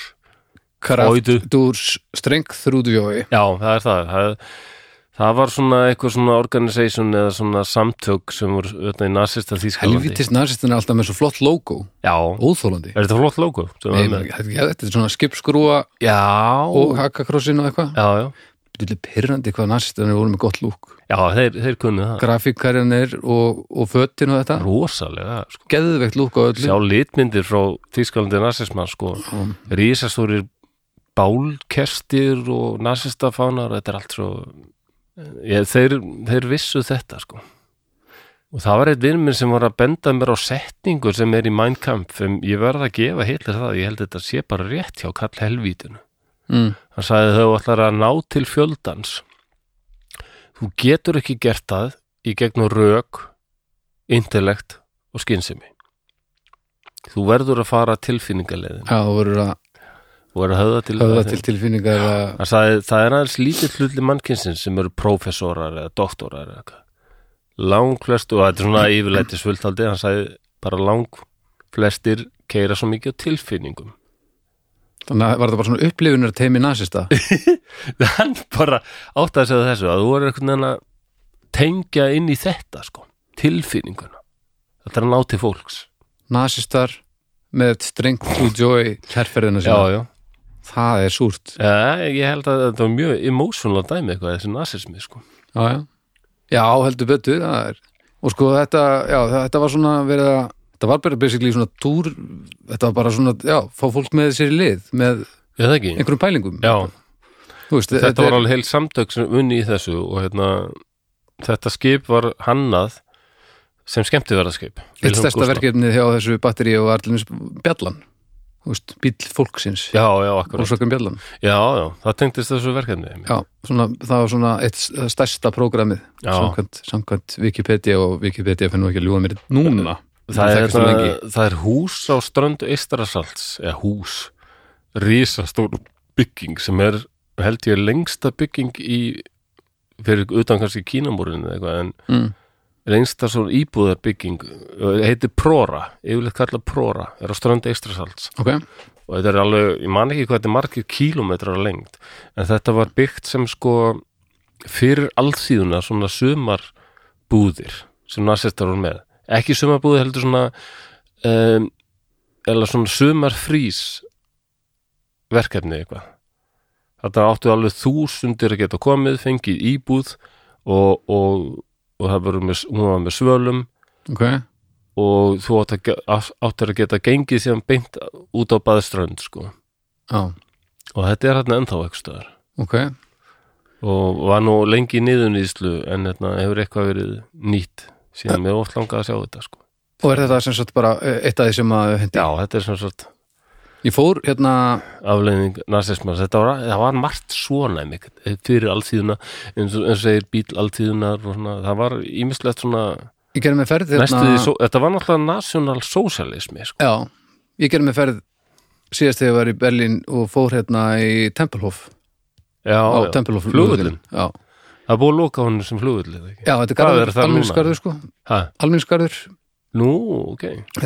[SPEAKER 2] kraft,
[SPEAKER 1] Freude.
[SPEAKER 2] durs, streng, þrúdvjói
[SPEAKER 1] Já, það er það. það Það var svona eitthvað svona organisation eða svona samtök sem voru auðvitað í nasista þýskalandi.
[SPEAKER 2] Helvitist narsistin er alltaf með svo flott logo,
[SPEAKER 1] Já,
[SPEAKER 2] óþólandi
[SPEAKER 1] er þetta flott logo? sem var
[SPEAKER 2] Nei,
[SPEAKER 1] með?
[SPEAKER 2] maður- þetta ja, þetta er svona skipskrúa
[SPEAKER 1] Já,
[SPEAKER 2] og hakakrossin og eitthvað
[SPEAKER 1] já, já,
[SPEAKER 2] Þetta er pirrandi hvað narsistinir voru með gott lúk
[SPEAKER 1] já, þeir, þeir kunnu það.
[SPEAKER 2] Grafíkarinnir og, og fötin og þetta
[SPEAKER 1] Rosalega, sko.
[SPEAKER 2] Geðveikt lúk á öllu
[SPEAKER 1] Sjá litmyndir frá þýskalandi nasismann, sko.
[SPEAKER 2] Mm.
[SPEAKER 1] Rísastórir bálkestir og eh, nasistafánar, þetta er allt svo... Ég, þeir, þeir vissu þetta, sko. og það var eitt vinn minn sem var að benda mér á setningu sem er í Mein Kampf um, ég verð að gefa heilir það, ég held að þetta sé bara rétt hjá kall helvítinu
[SPEAKER 2] mm.
[SPEAKER 1] hann sagði þau ætlar að ná til fjöldans þú getur ekki gert það í gegnum rök intellekt og skynsemi þú verður að fara tilfinningaleiðin
[SPEAKER 2] Já, þú verður að
[SPEAKER 1] og verður að höfða til,
[SPEAKER 2] höfða til tilfinningar að
[SPEAKER 1] Hann sagði, það er aðeins lítið hlutli mannkynsins sem eru prófessorar eða doktorar eða eitthvað. Langflest, og þetta er svona yfirleiti svöldaldi, hann sagði bara langflestir keira svo mikið á tilfinningum.
[SPEAKER 2] Þannig að var það bara svona upplifunar teimi nasista
[SPEAKER 1] Hann bara áttaði sig á þessu að þú voru einhvern veginn að tengja inn í þetta, sko, tilfinninguna. Þetta er að ná til fólks.
[SPEAKER 2] Nasistar með strength to joy herrferðina
[SPEAKER 1] Já,
[SPEAKER 2] sína
[SPEAKER 1] já.
[SPEAKER 2] Það er súrt
[SPEAKER 1] Ja, ég held að þetta var mjög emotional dæmi eitthvað, þessi nasismi, sko.
[SPEAKER 2] Já, já. já heldur betur það er. og sko þetta, já, þetta var svona verið að, þetta var bara basically svona túr, þetta var bara svona já, fá fólk með sér í lið, með
[SPEAKER 1] Ég það ekki?
[SPEAKER 2] einhverjum pælingum
[SPEAKER 1] Já.
[SPEAKER 2] Þú veist,
[SPEAKER 1] þetta,
[SPEAKER 2] þetta
[SPEAKER 1] var
[SPEAKER 2] er,
[SPEAKER 1] alveg heil samtök sem unni í þessu og hérna, þetta skip var hannað sem skemmtiverðarskip
[SPEAKER 2] eitt stærsta verkefnið hjá þessu batteri og allinins bjallan þú veist, bíll fólksins
[SPEAKER 1] já, já, akkurat,
[SPEAKER 2] Volkswagen bjallan,
[SPEAKER 1] já, já, það tengdist þessu verkefni
[SPEAKER 2] já, svona, það var svona eitt stærsta prógramið
[SPEAKER 1] Já.
[SPEAKER 2] samkvæmt, samkvæmt Wikipedia og Wikipedia finnum ekki að ljúga mér núna
[SPEAKER 1] það, er,
[SPEAKER 2] þekkist svo
[SPEAKER 1] hérna,
[SPEAKER 2] lengi.
[SPEAKER 1] það er hús á ströndu Eistarasalts eða hús, risastór bygging sem er held ég lengsta bygging í fyrir utan kannski Kínamúrinu eða eitthvað, en
[SPEAKER 2] mm.
[SPEAKER 1] lengsta svona íbúðarbygging heiti Prora, yfirleitt kallað Prora er á ströndu Eistarasalts
[SPEAKER 2] ok,
[SPEAKER 1] og þetta er alveg, ég man ekki hvað þetta er margir kílómetrar á lengt, en þetta var byggt sem sko fyrir allsíðuna svona sumarbúðir sem nasistar voru með ekki sumarbúðir heldur svona um, eða svona sumarfrís verkefni eitthvað þetta áttu alveg þúsundir að geta komið fengið íbúð og, og, og það voru með, hún var með svölum
[SPEAKER 2] ok
[SPEAKER 1] og þú átt að ge- átt- áttir að geta gengið síðan beint út á baðströnd sko.
[SPEAKER 2] já,
[SPEAKER 1] og þetta er hérna ennþá ekki stöðar
[SPEAKER 2] ok
[SPEAKER 1] og var nú lengi í niðurnýðslu en hérna, hefur eitthvað verið nýtt síðan mér er oft langað að sjá þetta sko.
[SPEAKER 2] Og er þetta sem sagt bara eh, eitt af því sem að hendi?
[SPEAKER 1] já, þetta er svona svart
[SPEAKER 2] Ég fór hérna,
[SPEAKER 1] afleiðing narsismans, þetta var, það var margt svona einmitt, fyrir alltíðuna eins og eins og segir bíl alltíðunar og svona, það var ímislegt svona
[SPEAKER 2] ég gerði með ferð
[SPEAKER 1] næstu því,
[SPEAKER 2] hérna,
[SPEAKER 1] só- þetta var náttúrulega national socialismi sko.
[SPEAKER 2] Já, ég gerði með ferð síðast þegar ég var í Berlín og fór hérna í Tempelhof
[SPEAKER 1] já,
[SPEAKER 2] á
[SPEAKER 1] já.
[SPEAKER 2] Tempelhof
[SPEAKER 1] flugvöllin,
[SPEAKER 2] Já.
[SPEAKER 1] það er búið að loka honum sem flugvöllin
[SPEAKER 2] já, þetta er
[SPEAKER 1] Hvað er
[SPEAKER 2] garður,
[SPEAKER 1] það núna?
[SPEAKER 2] alminnsgarður sko
[SPEAKER 1] ha,
[SPEAKER 2] alminnsgarður,
[SPEAKER 1] nú, ok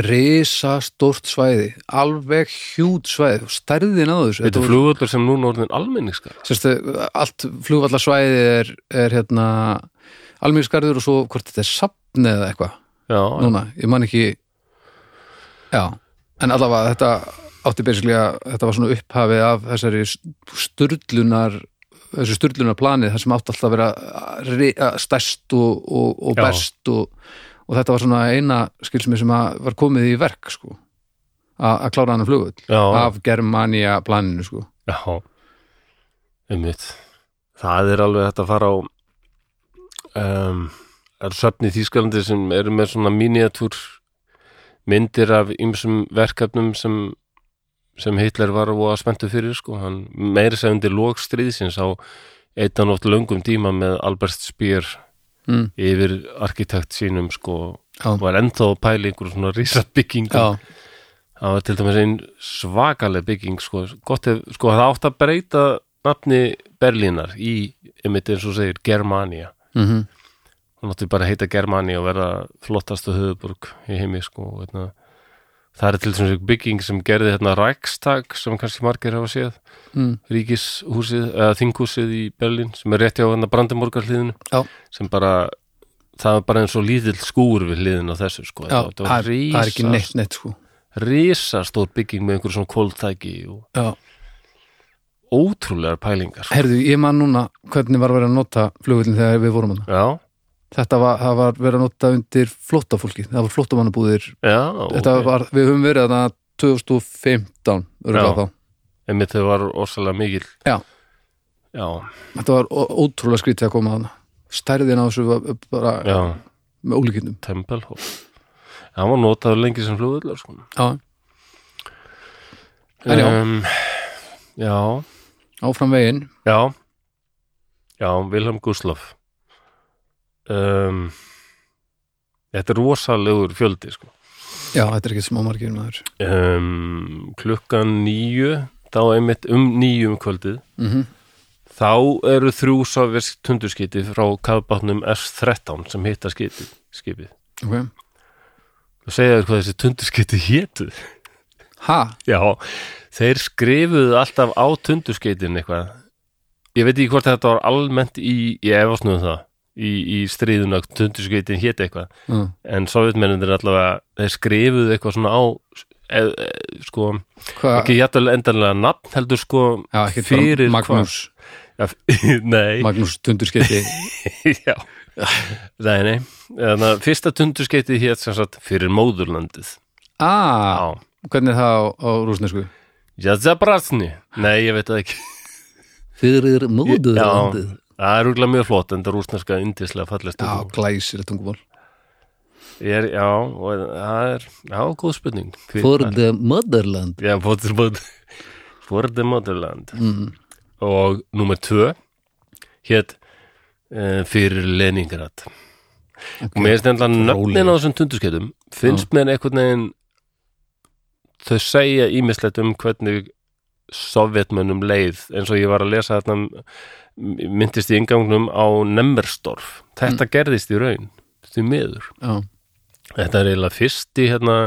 [SPEAKER 2] risa stórt svæði alveg hjút svæði og stærðin á þessu
[SPEAKER 1] Þetta er
[SPEAKER 2] var-
[SPEAKER 1] flugvöllur sem núna orðin almenningskar
[SPEAKER 2] Sérstu, allt flugvallarsvæði er, er hérna alminnsgarður og svo hvort þetta er sapn eða eitthvað
[SPEAKER 1] Já,
[SPEAKER 2] núna, ég man ekki já, en allavega þetta átti basically að þetta var svona upphafið af þessari sturlunar þessu sturlunar planið, það sem átti alltaf að vera ri- að stærst og, og, og
[SPEAKER 1] Já.
[SPEAKER 2] best og, og þetta var svona eina skilsmi sem að var komið í verk sko, a, að klára hann að flugull
[SPEAKER 1] já,
[SPEAKER 2] af Germania planinu sko.
[SPEAKER 1] já Einmitt Það er alveg þetta að fara á um, er söfni í Þýskalandi sem eru með svona miniatúr myndir af ymsum verkefnum sem sem Hitler var og að spenntu fyrir sko, hann meiri sem undir lókstríðsins á eittan oft löngum tíma með Albert Speer
[SPEAKER 2] Mm.
[SPEAKER 1] yfir arkitekt sínum sko,
[SPEAKER 2] Já.
[SPEAKER 1] var ennþá að pæla í einhverjum svona risabyggingu
[SPEAKER 2] já,
[SPEAKER 1] Það var til dæmis einn svakaleg bygging sko, gott ef, sko það átt að breyta nafni Berlínar í, einmitt eins og þú segir, Germania
[SPEAKER 2] mm
[SPEAKER 1] hún átti bara að heita Germania og verða flottastu höfuborg í heimi sko og hérna, það er til dæmis bygging sem gerði hérna Rækstag sem kannski margir hafa séð
[SPEAKER 2] mm.
[SPEAKER 1] ríkishúsið, eða þinghúsið í Berlín sem er rétti á hérna Brandenburgar hliðinu
[SPEAKER 2] Já.
[SPEAKER 1] sem bara það var bara eins og lítill skúr við hliðin á þessu sko
[SPEAKER 2] já
[SPEAKER 1] þetta
[SPEAKER 2] það,
[SPEAKER 1] var
[SPEAKER 2] er, það er ekki
[SPEAKER 1] risast-
[SPEAKER 2] neitt neitt sko.
[SPEAKER 1] risastór bygging með einhverjum svona kóltæki og
[SPEAKER 2] já
[SPEAKER 1] ótrúlegar pælingar sko.
[SPEAKER 2] Herðu, ég man núna hvernig var verið að nota flugullin þegar við vorum hann
[SPEAKER 1] Já,
[SPEAKER 2] þetta var, það var verið að nota undir flóttafólki, það var flóttamannabúðir
[SPEAKER 1] já
[SPEAKER 2] þetta
[SPEAKER 1] ok.
[SPEAKER 2] var, við höfum verið þarna 2015 örugglega
[SPEAKER 1] Já.
[SPEAKER 2] þá.
[SPEAKER 1] Einmitt þau var orsalega mikill
[SPEAKER 2] Já.
[SPEAKER 1] Já,
[SPEAKER 2] þetta var ó- ótrúlega skrítið að koma þarna stærðin á þessu var bara
[SPEAKER 1] já
[SPEAKER 2] með ólíkinnum
[SPEAKER 1] Tempelhof hann var notaður lengi sem flugvöldlar sko.
[SPEAKER 2] já, En já.
[SPEAKER 1] um, já
[SPEAKER 2] áfram veginn
[SPEAKER 1] já já, Vilhelm Gustloff um, þetta er rosalegur fjöldi sko.
[SPEAKER 2] já, þetta er ekki smá margir maður
[SPEAKER 1] um, klukkan nýju þá einmitt um nýju um kvöldið
[SPEAKER 2] mm
[SPEAKER 1] þá eru þrjú sovjersk tundurskiti frá kafbátnum S-13 sem hitta skiti, skipið
[SPEAKER 2] ok,
[SPEAKER 1] og segja þér hvað þessi tundurskiti hétu
[SPEAKER 2] ha,
[SPEAKER 1] já, þeir skrifuðu alltaf á tundurskitin eitthvað ég veit ekki hvort þetta var almennt í, ég efast nú um það í, í stríðuna tundurskitin héti eitthvað
[SPEAKER 2] uh,
[SPEAKER 1] en sovjetmennir allavega, þeir skrifuðu eitthvað svona á e, e, sko,
[SPEAKER 2] hvað
[SPEAKER 1] ekki jættulega endanlega nafn heldur sko
[SPEAKER 2] já, ekki
[SPEAKER 1] fyrir
[SPEAKER 2] bara Magnús,
[SPEAKER 1] hvað já, nei,
[SPEAKER 2] Magnús tundurskiti
[SPEAKER 1] já Nei, nei, þannig að fyrsta tundurskeytið hétt sem sagt fyrir móðurlandið
[SPEAKER 2] ah,
[SPEAKER 1] Já,
[SPEAKER 2] hvernig er það á, á rúsnesku
[SPEAKER 1] Jazabratsni Nei, ég veit það ekki
[SPEAKER 2] fyrir
[SPEAKER 1] Já, það er úrlega mjög flott en það er rúsneska indislega fallist
[SPEAKER 2] já, glæsir tungumál
[SPEAKER 1] er, Já, og það er Já, góð spurning Hví-
[SPEAKER 2] the motherland
[SPEAKER 1] Já, for the mother- For the motherland
[SPEAKER 2] Mm.
[SPEAKER 1] Og nummer tvö hétt uh, fyrir Leningrad og mér finnst ennlega nöfnin á þessum tunduskeitum finnst mér einhvern veginn þau segja ímislegt um hvernig sovjetmönnum leið eins og ég var að lesa þarna m- myndist í ingangnum á Nemmersdorf þetta gerðist í raun því miður
[SPEAKER 2] já,
[SPEAKER 1] þetta er eiginlega fyrsti hérna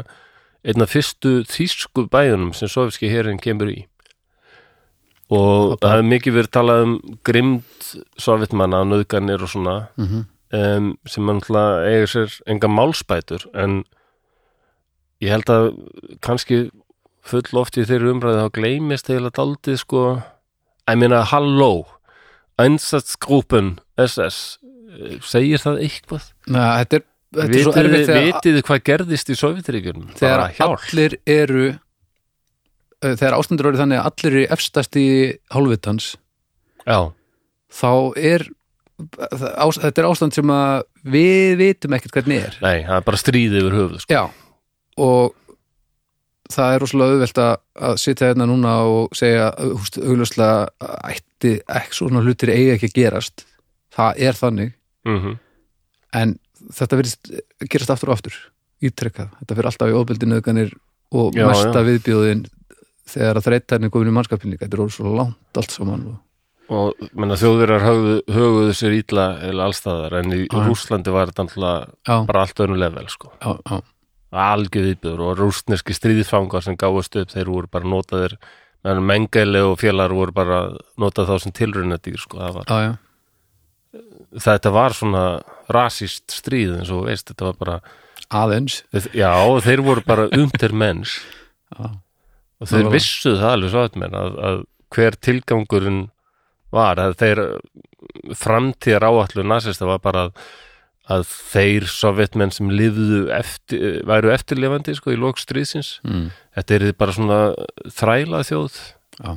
[SPEAKER 1] einna fyrstu þýsku bæjunum sem sovjetski herin kemur í og það hefur mikið verið talað um grimd sovjetmanna, nöðganir og svona
[SPEAKER 2] mhm,
[SPEAKER 1] um, sem náttúrulega eiga sér enga málsbætur en ég held að kannski full oft í þeirri umræði þá gleymist eiginlega daldið sko ég meina halló Einsatzgruppen SS eh, segir það eitthvað?
[SPEAKER 2] na, þetta er, þetta er svo
[SPEAKER 1] Vitið
[SPEAKER 2] erfitt
[SPEAKER 1] þið
[SPEAKER 2] þegar
[SPEAKER 1] vitið þið hvað gerðist í Sovjetiríkjunum?
[SPEAKER 2] þegar
[SPEAKER 1] Bara hjálp.
[SPEAKER 2] allir eru uh, þegar ástendur eru þannig að allir eru efstast í hálfvitans
[SPEAKER 1] Já,
[SPEAKER 2] þá er það- ás- þetta er ástand sem að við vitum ekkert hvernig er
[SPEAKER 1] nei, það er bara stríðið yfir höfuð sko.
[SPEAKER 2] já, og það er rosalega auðvelt að, að sitja hérna núna og segja húst, augljóslega ætti ekki svona hlutir eiga ekki að gerast það er þannig,
[SPEAKER 1] mm
[SPEAKER 2] Mhm. en þetta verðist gerast aftur og aftur, ítrekkað þetta verður alltaf í ofbeldi nöðganir og
[SPEAKER 1] Já,
[SPEAKER 2] mesta viðbjóðin þegar að þreytan er komin í mannskapin líka, þetta er rosalega langt allt saman og
[SPEAKER 1] og menna, þjóðverjar höfuðu, höfuðu sér ítla eða allstæðar en í
[SPEAKER 2] Já.
[SPEAKER 1] Rússlandi var þetta náttúrulega
[SPEAKER 2] já,
[SPEAKER 1] bara allt önnum level sko.
[SPEAKER 2] já, já,
[SPEAKER 1] algjör viðbjör og rústneski stríðfangar sem gáðust upp þeir voru bara notaðir meðan mengeli og félagar voru bara notað þá sem tilraunadýr sko. það var,
[SPEAKER 2] já, já.
[SPEAKER 1] þetta var svona rasist stríð eins og þú veist þetta var bara,
[SPEAKER 2] aðeins
[SPEAKER 1] já þeir voru bara umtir menns
[SPEAKER 2] já.
[SPEAKER 1] og þeir
[SPEAKER 2] Nákvæmlega.
[SPEAKER 1] vissu það alveg svo að menn að, að hver tilgangurinn var að þeir framtíðar áallu nasista var bara að, að þeir sovjetmenn sem lifðu eftir, væru eftirlifandi sko, í lok stríðsins
[SPEAKER 2] Mm.
[SPEAKER 1] Þetta er bara svona þræla þjóð
[SPEAKER 2] Já.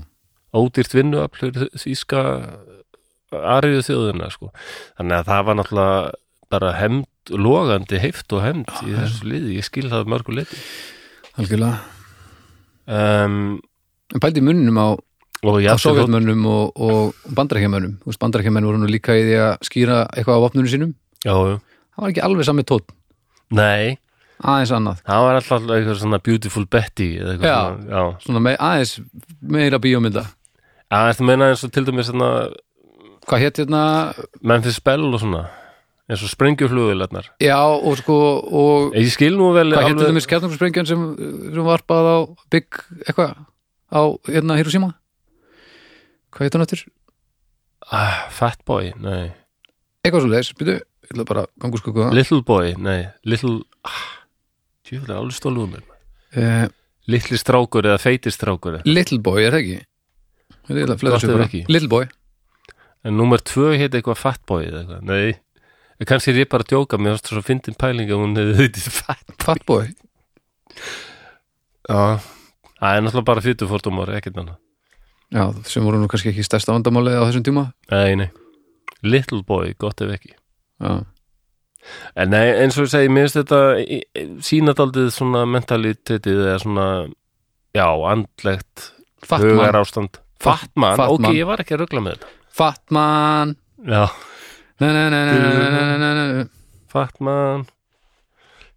[SPEAKER 1] ódýrt vinnuaflur þýska ariðu þjóðina sko. þannig að það var náttúrulega bara hemd, logandi heift og hemd í þessu liði, ég skil það að mörgu liti
[SPEAKER 2] algjörlega
[SPEAKER 1] um,
[SPEAKER 2] En pældi í munninum á,
[SPEAKER 1] og
[SPEAKER 2] á
[SPEAKER 1] já, þó,
[SPEAKER 2] sovjetmönnum og, og bandarækjamönnum. Þú veist, bandarækjamenn voru nú líka í því að skýra eitthvað á vopnunum sínum.
[SPEAKER 1] já, já.
[SPEAKER 2] Það var ekki alveg sami tótt,
[SPEAKER 1] nei
[SPEAKER 2] aðeins annað.
[SPEAKER 1] það var alltaf eitthvað svona beautiful Betty eða eitthvað
[SPEAKER 2] Já.
[SPEAKER 1] svona, já
[SPEAKER 2] Svona með, aðeins meira bíómynda.
[SPEAKER 1] að þetta meina eins og til dæmis svona,
[SPEAKER 2] Hvað hétt hérna?
[SPEAKER 1] Memphis Bell og svona eins og sprengjuflugulegnar
[SPEAKER 2] Já, og sko, og
[SPEAKER 1] ég skil nú vel
[SPEAKER 2] hvað hétt
[SPEAKER 1] alveg-
[SPEAKER 2] þetta með skjartungssprengjan sem, eh, sem varpað á bygg eitthvað á hérna Hiroshima? Hvað hétt hann áttur?
[SPEAKER 1] ah, Fatboy, nei
[SPEAKER 2] Eitthvað svo leiðis, byrju, ég ætla bara að ganga úr skugga. það.
[SPEAKER 1] Little boy, nei, little ah, Tjóðlega, alveg stóluðum mér
[SPEAKER 2] Eh,
[SPEAKER 1] Litli strákur eða feiti strákur
[SPEAKER 2] Little Boy, er það ekki? Ég ætla að fletta
[SPEAKER 1] Gott
[SPEAKER 2] þessu
[SPEAKER 1] ef
[SPEAKER 2] bara.
[SPEAKER 1] ekki.
[SPEAKER 2] Little Boy,
[SPEAKER 1] En númer tvö heit eitthvað fatboy eða eitthvað Nei, En kannski er ég bara að djóka Mér varst svo fyndin pæling að hún hefði heitið fat
[SPEAKER 2] Fat Boy.
[SPEAKER 1] Já Það er náttúrulega bara fytu fórtum ári, ekkert annað
[SPEAKER 2] Já, sem voru nú kannski ekki stærsta vandamálið á þessum tíma
[SPEAKER 1] Nei, nei Little boy, gott ef ekki
[SPEAKER 2] Já,
[SPEAKER 1] En nei, eins og ég segi, mér finnst þetta sínadaldið svona mentalitetið eða svona, já, andlegt hugar
[SPEAKER 2] Fatman,
[SPEAKER 1] ástand Fatman,
[SPEAKER 2] Fat
[SPEAKER 1] ok,
[SPEAKER 2] man.
[SPEAKER 1] ég var ekki að ruggla með þetta
[SPEAKER 2] Fatman
[SPEAKER 1] Já,
[SPEAKER 2] Nei, nei, nei, nei, nei, nei, nei, nei, nei.
[SPEAKER 1] Fatman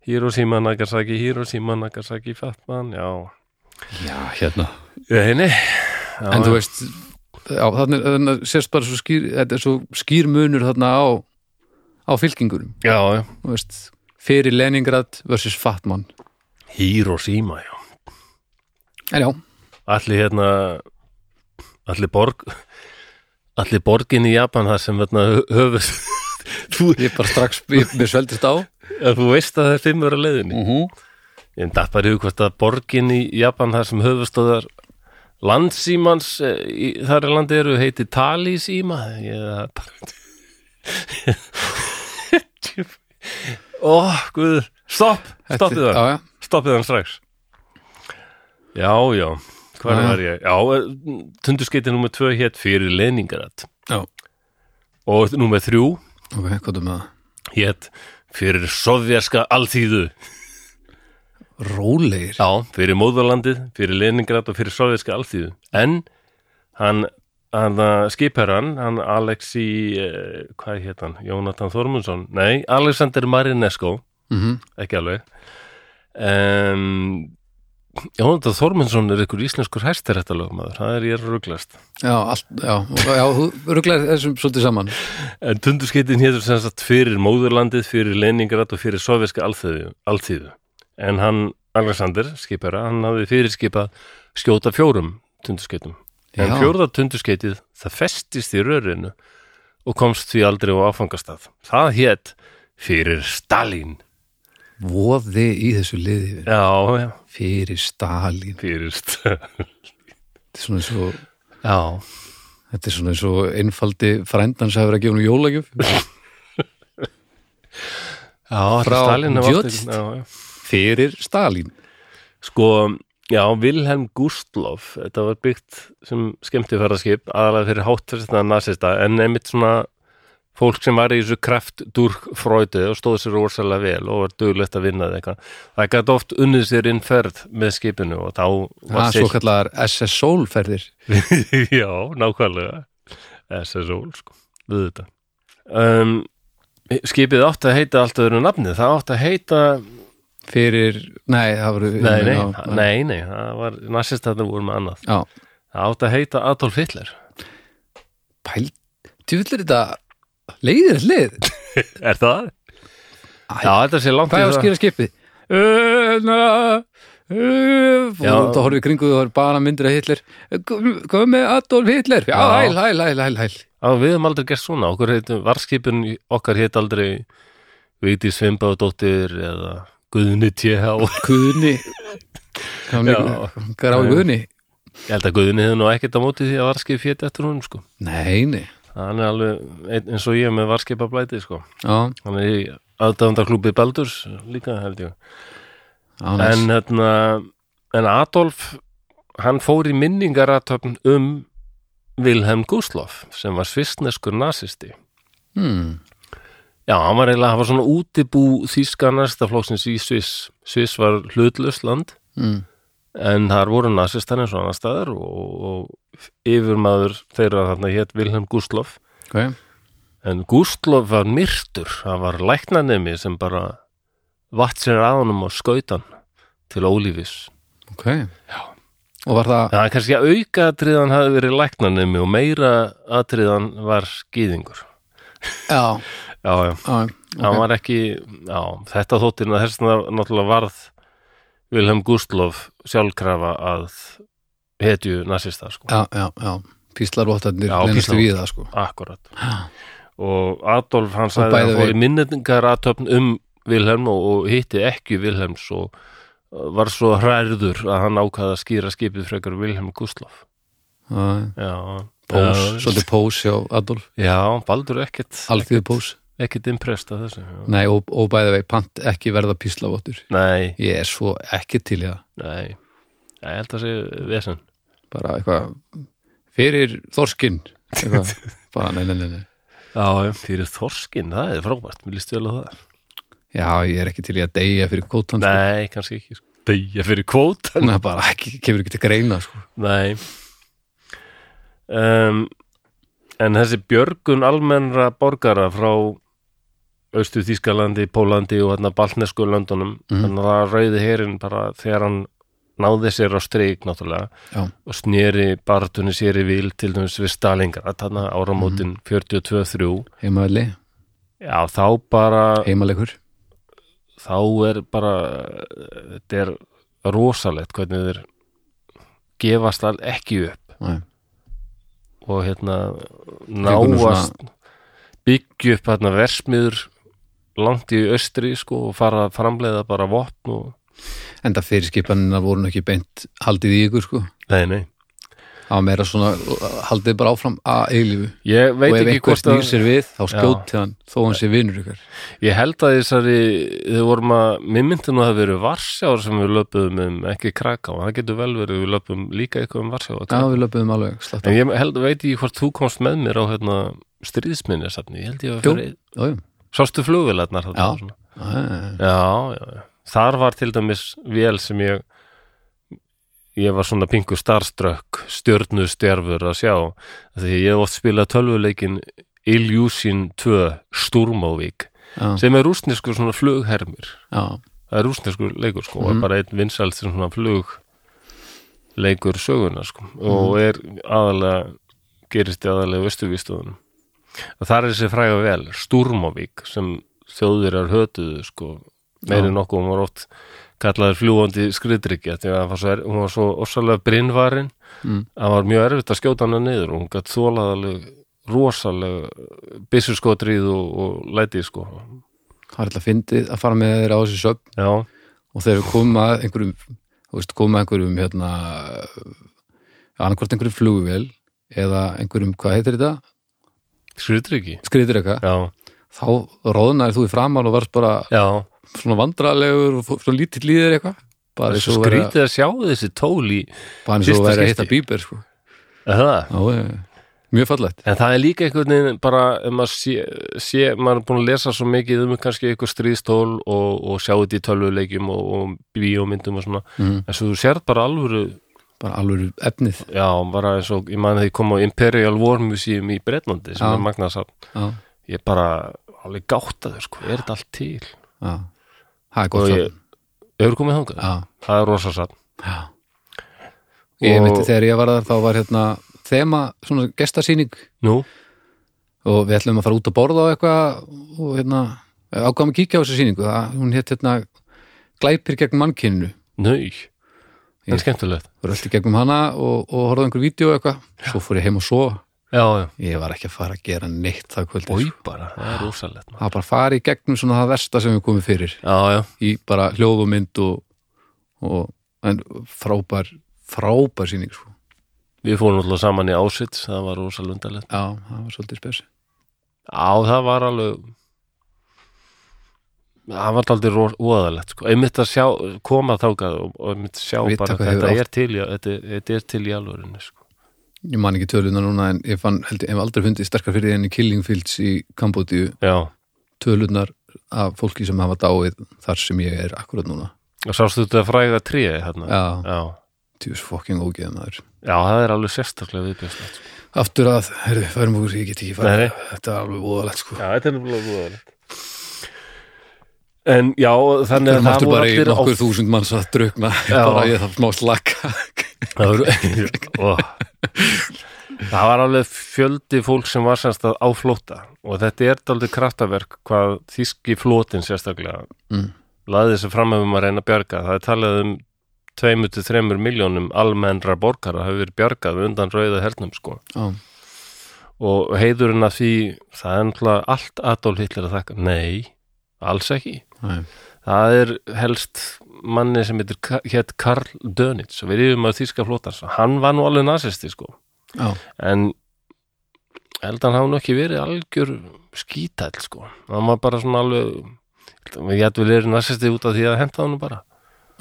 [SPEAKER 1] Hiroshima Nagasaki, Hiroshima Nagasaki Fatman, já
[SPEAKER 2] Já, hérna
[SPEAKER 1] Ég henni
[SPEAKER 2] En þú veist já, þarna, er- þarna sérst bara svo skýr, þetta er svo skýr munur þarna á á fylkingurum,
[SPEAKER 1] Já, já,
[SPEAKER 2] þú veist fyrir Leningrad versus Fatman
[SPEAKER 1] Hiroshima, já
[SPEAKER 2] En já,
[SPEAKER 1] Allir hérna Allir borg Allir borgin í Japan þar sem hérna, höfuð þú,
[SPEAKER 2] ég bara strax, ég, mér sveldist á
[SPEAKER 1] þú veist að það er fimmur að leiðinni
[SPEAKER 2] uh -huh.
[SPEAKER 1] Ég datt bara í hug hvort að borgin í Japan þar sem höfustóðar landsímans eh, í, þar í landi eru heiti Talísíma ég það bara um Ó, guð Stopp, stoppið
[SPEAKER 2] Já,
[SPEAKER 1] það
[SPEAKER 2] já,
[SPEAKER 1] Stoppið hann strax Já, já, hvar
[SPEAKER 2] Já.
[SPEAKER 1] var ég? Já, tundurskeitin nummer tvö hétt fyrir Leningrad
[SPEAKER 2] já,
[SPEAKER 1] og nummer þrjú
[SPEAKER 2] ok, hvað er með það
[SPEAKER 1] hétt fyrir sovjarska alþýðu
[SPEAKER 2] Rólegir,
[SPEAKER 1] Já, fyrir móðurlandið, fyrir Leningrad og fyrir soviðska alþýðu. En hann, hann skipherran, hann Alexi, eh, hvað hétt hann? Jónatan Þormundsson? Nei, Alexander Marinesko,
[SPEAKER 2] mm
[SPEAKER 1] ekki alveg. Um, Jónatan Þormundsson er ykkur íslenskur hæstirættalögmaður, það er ég að rugglast.
[SPEAKER 2] já, allt, já, og- já þú rugglaði þessum svolítið saman
[SPEAKER 1] En tundurskeitin hétur sem sagt fyrir móðurlandið, fyrir Leningrad og fyrir soviðska alþýðu. alþýðu. En hann, Alexander, skipherra, hann hafði fyrirskipað skjóta fjórum tunduskeitum. En
[SPEAKER 2] Já.
[SPEAKER 1] fjórða tundurskeitið, það festist í rörinu og komst því aldrei á áfangastað. Það hétt fyrir Stalin.
[SPEAKER 2] voði í þessu liði
[SPEAKER 1] Já, já,
[SPEAKER 2] fyrir Stalin
[SPEAKER 1] fyrir Stalin.
[SPEAKER 2] þetta er svona eins og
[SPEAKER 1] Já,
[SPEAKER 2] þetta er svona eins og einfaldi frændans að vera að gefa nú jólagjöf
[SPEAKER 1] já allir
[SPEAKER 2] Frá
[SPEAKER 1] Stalin hafa átt
[SPEAKER 2] Judst.
[SPEAKER 1] einhvern- já, já.
[SPEAKER 2] fyrir Stalin
[SPEAKER 1] Sko, já, Wilhelm Gustloff, þetta var byggt sem skemmtifæraskip, aðalega fyrir hátfærsna nasista, en einmitt svona fólk sem var í þessu kraft dúr fröytið og stóð sér orsalega vel og var duglegt að vinna eða eitthvað. Það gæti oft unnið sér inn ferð með skipinu og þá var
[SPEAKER 2] að svo kallar SS Soulferðir
[SPEAKER 1] Já, nákvæmlega. SSO, sko, við þetta. Um, skipið átti að heita allt öðru nafni, það átti að heita
[SPEAKER 2] fyrir, nei, það voru
[SPEAKER 1] nei, nei,
[SPEAKER 2] já,
[SPEAKER 1] nei, nei, það var nasistarnir voru með annað.
[SPEAKER 2] já,
[SPEAKER 1] Það átti að heita Adolf Hitler.
[SPEAKER 2] pæl, tjúfullir þetta leiðir lið
[SPEAKER 1] Er það? Já, þetta sé langt
[SPEAKER 2] hvað er
[SPEAKER 1] í
[SPEAKER 2] að
[SPEAKER 1] það.
[SPEAKER 2] skýra skipið Eh, na, eh, og
[SPEAKER 1] Já.
[SPEAKER 2] þá horfum við kringu og það er bara myndir að Hitler kom með Adolf Hitler já,
[SPEAKER 1] Já.
[SPEAKER 2] hæl, hæl, hæl, hæl, hæl
[SPEAKER 1] Já, við hefum aldrei gert svona. Okkur heitum, varskipin okkar heit aldrei Viti Sveinbáðdóttir eða Guðni T.H.
[SPEAKER 2] Guðni
[SPEAKER 1] Já.
[SPEAKER 2] Grá
[SPEAKER 1] Já, já.
[SPEAKER 2] Guðni
[SPEAKER 1] Ég held að Guðni hefði nú ekkert á móti því að varskip hétt eftir honum, sko.
[SPEAKER 2] Nei, nei
[SPEAKER 1] Hann er alveg einn- eins og ég með varskipablæti, sko.
[SPEAKER 2] Já,
[SPEAKER 1] Hann er í aðdæfandaklúbi Baldurs líka, held ég.
[SPEAKER 2] já, næs.
[SPEAKER 1] en, hérna, en Adolf hann fór í minningaratöfn um Wilhelm Gustloff sem var svissneskur nazisti
[SPEAKER 2] hmm.
[SPEAKER 1] Já, hann var eiginlega, hann var svona útibú þýska nazistaflóksins í Sviss Sviss var hlutlust land
[SPEAKER 2] Mm.
[SPEAKER 1] en þar voru nazistar eins og annar staðar og, og yfirmaður þeirra þarna hétt Wilhelm Gustloff
[SPEAKER 2] Okay.
[SPEAKER 1] en Gustloff var myrtur hann var læknanemi sem bara vatt sér að honum og skautan til ólífis
[SPEAKER 2] ok Og var það,
[SPEAKER 1] Það er kannski að auka atriðan hafi verið læknanemi og meira atriðan var skýðingur.
[SPEAKER 2] já,
[SPEAKER 1] Já, já,
[SPEAKER 2] já
[SPEAKER 1] hann
[SPEAKER 2] ok.
[SPEAKER 1] var ekki, já, þetta þóttir að þess að náttúrulega varð Vilhelm Gustloff sjálfkrafa að hetju nasista, sko.
[SPEAKER 2] já, já, já Píslarvottarnir
[SPEAKER 1] Já,
[SPEAKER 2] leinastu
[SPEAKER 1] píslarvottar.
[SPEAKER 2] við það sko
[SPEAKER 1] Akkurat.
[SPEAKER 2] Já.
[SPEAKER 1] Og Adolf, hann
[SPEAKER 2] Og
[SPEAKER 1] sagði
[SPEAKER 2] by
[SPEAKER 1] að
[SPEAKER 2] the
[SPEAKER 1] hann fór
[SPEAKER 2] way-
[SPEAKER 1] í minningaratöfn um Vilhelm og, og hitti ekki Vilhelms og uh, var svo hrærður að hann ákvaða að skýra skipið frekar Vilhelm Gustloff.
[SPEAKER 2] Já,
[SPEAKER 1] Já,
[SPEAKER 2] Pós,
[SPEAKER 1] Já,
[SPEAKER 2] svolítið pós hjá Adolf
[SPEAKER 1] Já, Baldur er ekkit
[SPEAKER 2] Alþýðu pós
[SPEAKER 1] ekkit impressed að þessu já.
[SPEAKER 2] Nei, og, og bæði vei, pant ekki verða píslarvottur
[SPEAKER 1] Nei,
[SPEAKER 2] Ég er svo ekki til í það
[SPEAKER 1] nei Ég held að segja vesen
[SPEAKER 2] Bara eitthvað Fyrir þorskinn Eitthvað Bara, nei, nei, nei, nei
[SPEAKER 1] Já, fyrir þorskinn, það er frábært, mér líst vel á það
[SPEAKER 2] já, ég er ekki til í að deyja fyrir kótan sko.
[SPEAKER 1] Nei, kannski ekki sko. Deyja fyrir kvóta
[SPEAKER 2] Þannig að bara ekki, kemur ekki til greina sko.
[SPEAKER 1] Nei um, En þessi björgun almennra borgara frá Austu Þískalandi, Pólandi og hérna Baltnesku löndunum
[SPEAKER 2] Mhm.
[SPEAKER 1] þannig að það rauði herinn bara þegar hann náði sér á streik náttúrulega
[SPEAKER 2] Já.
[SPEAKER 1] og sneri barðunni sér í vil til dæmis við Stalingrad þannig áramótin 42-3
[SPEAKER 2] heimavelli,
[SPEAKER 1] Já, þá bara
[SPEAKER 2] heimalegur
[SPEAKER 1] þá er bara þetta er rosalegt hvernig þeir gefast all ekki upp
[SPEAKER 2] Nei.
[SPEAKER 1] og hérna
[SPEAKER 2] Tekur nú
[SPEAKER 1] náast byggja upp hérna versmiður langt í austri sko og fara að framleiða bara vopn og
[SPEAKER 2] enda fyrirskipanina voru nú ekki beint haldið í ykkur sko
[SPEAKER 1] nei, nei,
[SPEAKER 2] það var meira svona, haldið bara áfram að eilífu
[SPEAKER 1] ég
[SPEAKER 2] og
[SPEAKER 1] veit
[SPEAKER 2] ef
[SPEAKER 1] ekki
[SPEAKER 2] einhver
[SPEAKER 1] hvort
[SPEAKER 2] snýr
[SPEAKER 1] að
[SPEAKER 2] sér við, þá skjótið hann þó hann sé vinur ykkur
[SPEAKER 1] ég held að þessari, þau vorum að mér myndi nú að það verið Varsjáður sem við löpum um, ekki Kraká, það getur vel verið við löpum líka eitthvað um Varsjáður
[SPEAKER 2] já, við löpum alveg, slátt á
[SPEAKER 1] En ég held, veit ég hvort þú komst með mér á hérna, stríðsminni safni, ég held ég að
[SPEAKER 2] Jú.
[SPEAKER 1] fyrir
[SPEAKER 2] já, já.
[SPEAKER 1] Sástu flugvélarnar þarna
[SPEAKER 2] Já.
[SPEAKER 1] og svona?
[SPEAKER 2] Ah,
[SPEAKER 1] já, já, já Þar var til dæmis vél sem ég ég var svona pingu starströkk stjörnustjörfur að sjá því ég hef oft spilað tölvuleikin Illusion 2 Sturmovik
[SPEAKER 2] já,
[SPEAKER 1] sem er rústneskur svona flughermir
[SPEAKER 2] já,
[SPEAKER 1] það er rústneskur leikur sko og er
[SPEAKER 2] Mhm.
[SPEAKER 1] bara einn vinsælt svona flug leikur söguna sko
[SPEAKER 2] Mhm.
[SPEAKER 1] og er aðalega gerist í aðalega vestuvístöðunum og þar er þessi fræga vel Sturmovík sem þjóðverjar hötuðu sko meiri
[SPEAKER 2] Já.
[SPEAKER 1] nokkuð hún var oft kallaður fljúandi skriðdrykja því að hann var svo er- hún var svo ossalega brinnvarin
[SPEAKER 2] Mm.
[SPEAKER 1] það var mjög erfitt að skjóta hana niður og hún gætt þólaðalega rosalega byssuskotrið og, og læti sko
[SPEAKER 2] það er alltaf fyndið að fara með þeir á þessi söp
[SPEAKER 1] já,
[SPEAKER 2] og þegar við komum að einhverjum þú veist, komum að einhverjum hérna annarkvort einhverjum flugvél eða einhverjum, hvað heitir þetta?
[SPEAKER 1] skriðdrykji
[SPEAKER 2] Skriðir eitthvað,
[SPEAKER 1] já,
[SPEAKER 2] þá róðnaði þú í framann og varst bara
[SPEAKER 1] já
[SPEAKER 2] svona vandralegur og fó- svona lítill líðir eitthvað
[SPEAKER 1] Það
[SPEAKER 2] bara
[SPEAKER 1] er
[SPEAKER 2] eins
[SPEAKER 1] svo
[SPEAKER 2] og vera,
[SPEAKER 1] skrítið að sjá þessi tól í
[SPEAKER 2] bara eins og
[SPEAKER 1] fyrsta
[SPEAKER 2] vera að
[SPEAKER 1] skipti.
[SPEAKER 2] hitta bíber sko.
[SPEAKER 1] það.
[SPEAKER 2] Já, já, já. mjög fallegt
[SPEAKER 1] En það er líka einhvern veginn bara um að sé, sé, maður er búin að lesa svo mikið um kannski einhver stríðstól og, og sjá þetta í tölvuleikjum og, og bíómyndum og svona.
[SPEAKER 2] mm.
[SPEAKER 1] En svo þú sérð bara alvöru,
[SPEAKER 2] bara alveg efnið
[SPEAKER 1] já, bara eins og ég man að ég kom á Imperial War Museum í Breitlandi sem
[SPEAKER 2] Já.
[SPEAKER 1] er magnaðsafn.
[SPEAKER 2] já,
[SPEAKER 1] Ég bara alveg gáttaður, sko, er þetta allt til?
[SPEAKER 2] já. það er gott
[SPEAKER 1] Og
[SPEAKER 2] ég,
[SPEAKER 1] ég- Hefur komið þangað?
[SPEAKER 2] já,
[SPEAKER 1] Það er rosasafn.
[SPEAKER 2] já. ég
[SPEAKER 1] Og-
[SPEAKER 2] veit þegar ég var þar þá var hérna þema, svona gestasýning
[SPEAKER 1] Nú,
[SPEAKER 2] og við ætlum að fara út að borða á eitthvað og hérna ákvæm að kíkja á þessu sýningu það, hún hétt hérna glæpir gegn mannkyninu
[SPEAKER 1] nöy. Það er skemmtilegt.
[SPEAKER 2] við rölti gegnum hana og, og horfði á einhver vídeo og eitthvað, svo fór ég heim og svo
[SPEAKER 1] Já, já.
[SPEAKER 2] ég var ekki að fara að gera neitt það kvöldi
[SPEAKER 1] Í bara, það er rosalegt. maður.
[SPEAKER 2] það var bara að fara í gegnum svona það versta sem við komum fyrir
[SPEAKER 1] Já, já.
[SPEAKER 2] í bara hljóð og mynd og, og en frábær frábær sýning sko.
[SPEAKER 1] Við fórum alltaf saman í Auschwitz, það var rosa lundalegt.
[SPEAKER 2] já, það var svolítið spes
[SPEAKER 1] Á, það var alveg, það var aldrei óðalegt, sko. Einmitt að sjá, koma þákað og og einmitt sjá
[SPEAKER 2] Viðtaka
[SPEAKER 1] bara,
[SPEAKER 2] hefur
[SPEAKER 1] þetta
[SPEAKER 2] átt-
[SPEAKER 1] er til, í- þetta, þetta er til í alvörinu, sko.
[SPEAKER 2] ég man ekki töluna núna en ég fann held, ég hef aldrei fundið sterkar fyrir enni Killing Fields í Kambodíu
[SPEAKER 1] Já,
[SPEAKER 2] tölunar af fólki sem hafa dáið þar sem ég er akkurat núna
[SPEAKER 1] og sástu þetta fræga tríði hérna.
[SPEAKER 2] já,
[SPEAKER 1] Já.
[SPEAKER 2] tjús fucking ógeða maður
[SPEAKER 1] Já, það er alveg sérstaklega viðbjörnslegt, sko.
[SPEAKER 2] aftur að, herru, færum okkur, ég get ekki
[SPEAKER 1] Nei,
[SPEAKER 2] farið
[SPEAKER 1] nei.
[SPEAKER 2] þetta er alveg óðalegt sko
[SPEAKER 1] Já, þetta er alveg óðalegt. En já, þannig að
[SPEAKER 2] það er
[SPEAKER 1] það
[SPEAKER 2] aftur
[SPEAKER 1] voru
[SPEAKER 2] bara í
[SPEAKER 1] allir á
[SPEAKER 2] nokkur þúsund manns að drukna
[SPEAKER 1] Já.
[SPEAKER 2] bara ég þarf smá slaka
[SPEAKER 1] Það var, Ó. það var alveg fjöldi fólk sem var semst að á flóta og þetta er daldið kraftaverk hvað þíski flótin sérstaklega
[SPEAKER 2] Mm.
[SPEAKER 1] laði þessu fram um að reyna að bjarga það er talað um 2-3 miljónum almennra borgara hafi verið bjargað undan rauða hernum sko
[SPEAKER 2] já,
[SPEAKER 1] og heiðurinn að því það er náttúrulega allt Adolf Hitler að þakka nei, alls ekki
[SPEAKER 2] nei,
[SPEAKER 1] Það er helst manni sem heitir Ka- hét Karl Dönitz og við erum að þýska flótans hann var nú alveg nasisti sko
[SPEAKER 2] já,
[SPEAKER 1] en ég held að hann hafa nú ekki verið algjör skítæll sko hann var bara svona alveg ég held við erum nasisti út af því að henda hann bara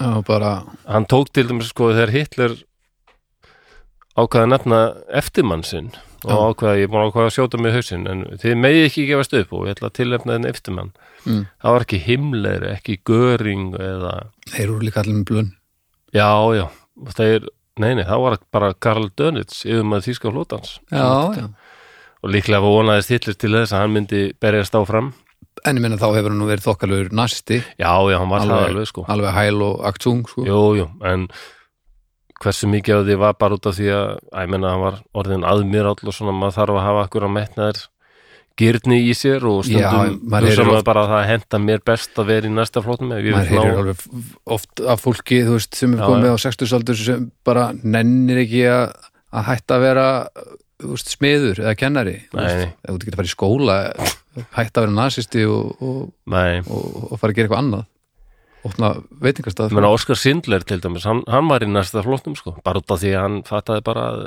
[SPEAKER 2] já, bara
[SPEAKER 1] hann tók til dæmis sko þegar Hitler ákvaði að nefna eftirmann sinn og ákveða, ég er búin að ákveða að sjóta mig í hausinn en þið megið ekki gefast upp og ég ætla að tilefna þenni eftir mann
[SPEAKER 2] Mm.
[SPEAKER 1] það var ekki himleir, ekki göring eða,
[SPEAKER 2] Þeir eru líka allir með blun
[SPEAKER 1] já, já þeir, nei, nei, það var bara Karl Dönitz yfir maður þýska flótans
[SPEAKER 2] Já, já
[SPEAKER 1] og líklega vonaði stillir til þess að hann myndi berjast áfram
[SPEAKER 2] En ég minna þá hefur hann nú verið þokkalur nasisti
[SPEAKER 1] já, já, hann var það alveg sko
[SPEAKER 2] alveg hæl og aktsung sko.
[SPEAKER 1] jú, jú, en hversu mikið af því var bara út af því að að ég menna, hann var orðin aðmir all og svona, maður þarf að hafa ekkur að metnaðir gyrni í sér og
[SPEAKER 2] Já,
[SPEAKER 1] stundum
[SPEAKER 2] maður
[SPEAKER 1] þú
[SPEAKER 2] heyrir
[SPEAKER 1] sem
[SPEAKER 2] oft-
[SPEAKER 1] bara að það henda mér best að vera í næsta flótum ef ég
[SPEAKER 2] maður
[SPEAKER 1] vil
[SPEAKER 2] heyrir
[SPEAKER 1] ná,
[SPEAKER 2] alveg f- oft af fólki þú veist, sem er
[SPEAKER 1] Já,
[SPEAKER 2] komið á 60 saldur sem bara nennir ekki að, að hætta að vera þú veist, smiður eða kennari þú
[SPEAKER 1] Nei,
[SPEAKER 2] veist.
[SPEAKER 1] nei.
[SPEAKER 2] ef þú getur að fara í skóla hætta að vera nasisti og, og,
[SPEAKER 1] nei
[SPEAKER 2] og, og fara að gera eitthvað annað opna veitingastað
[SPEAKER 1] Ég meina, Óskar Sindler til dæmis, hann, hann var í næsta flóttum sko, bara út af því að hann fattaði bara að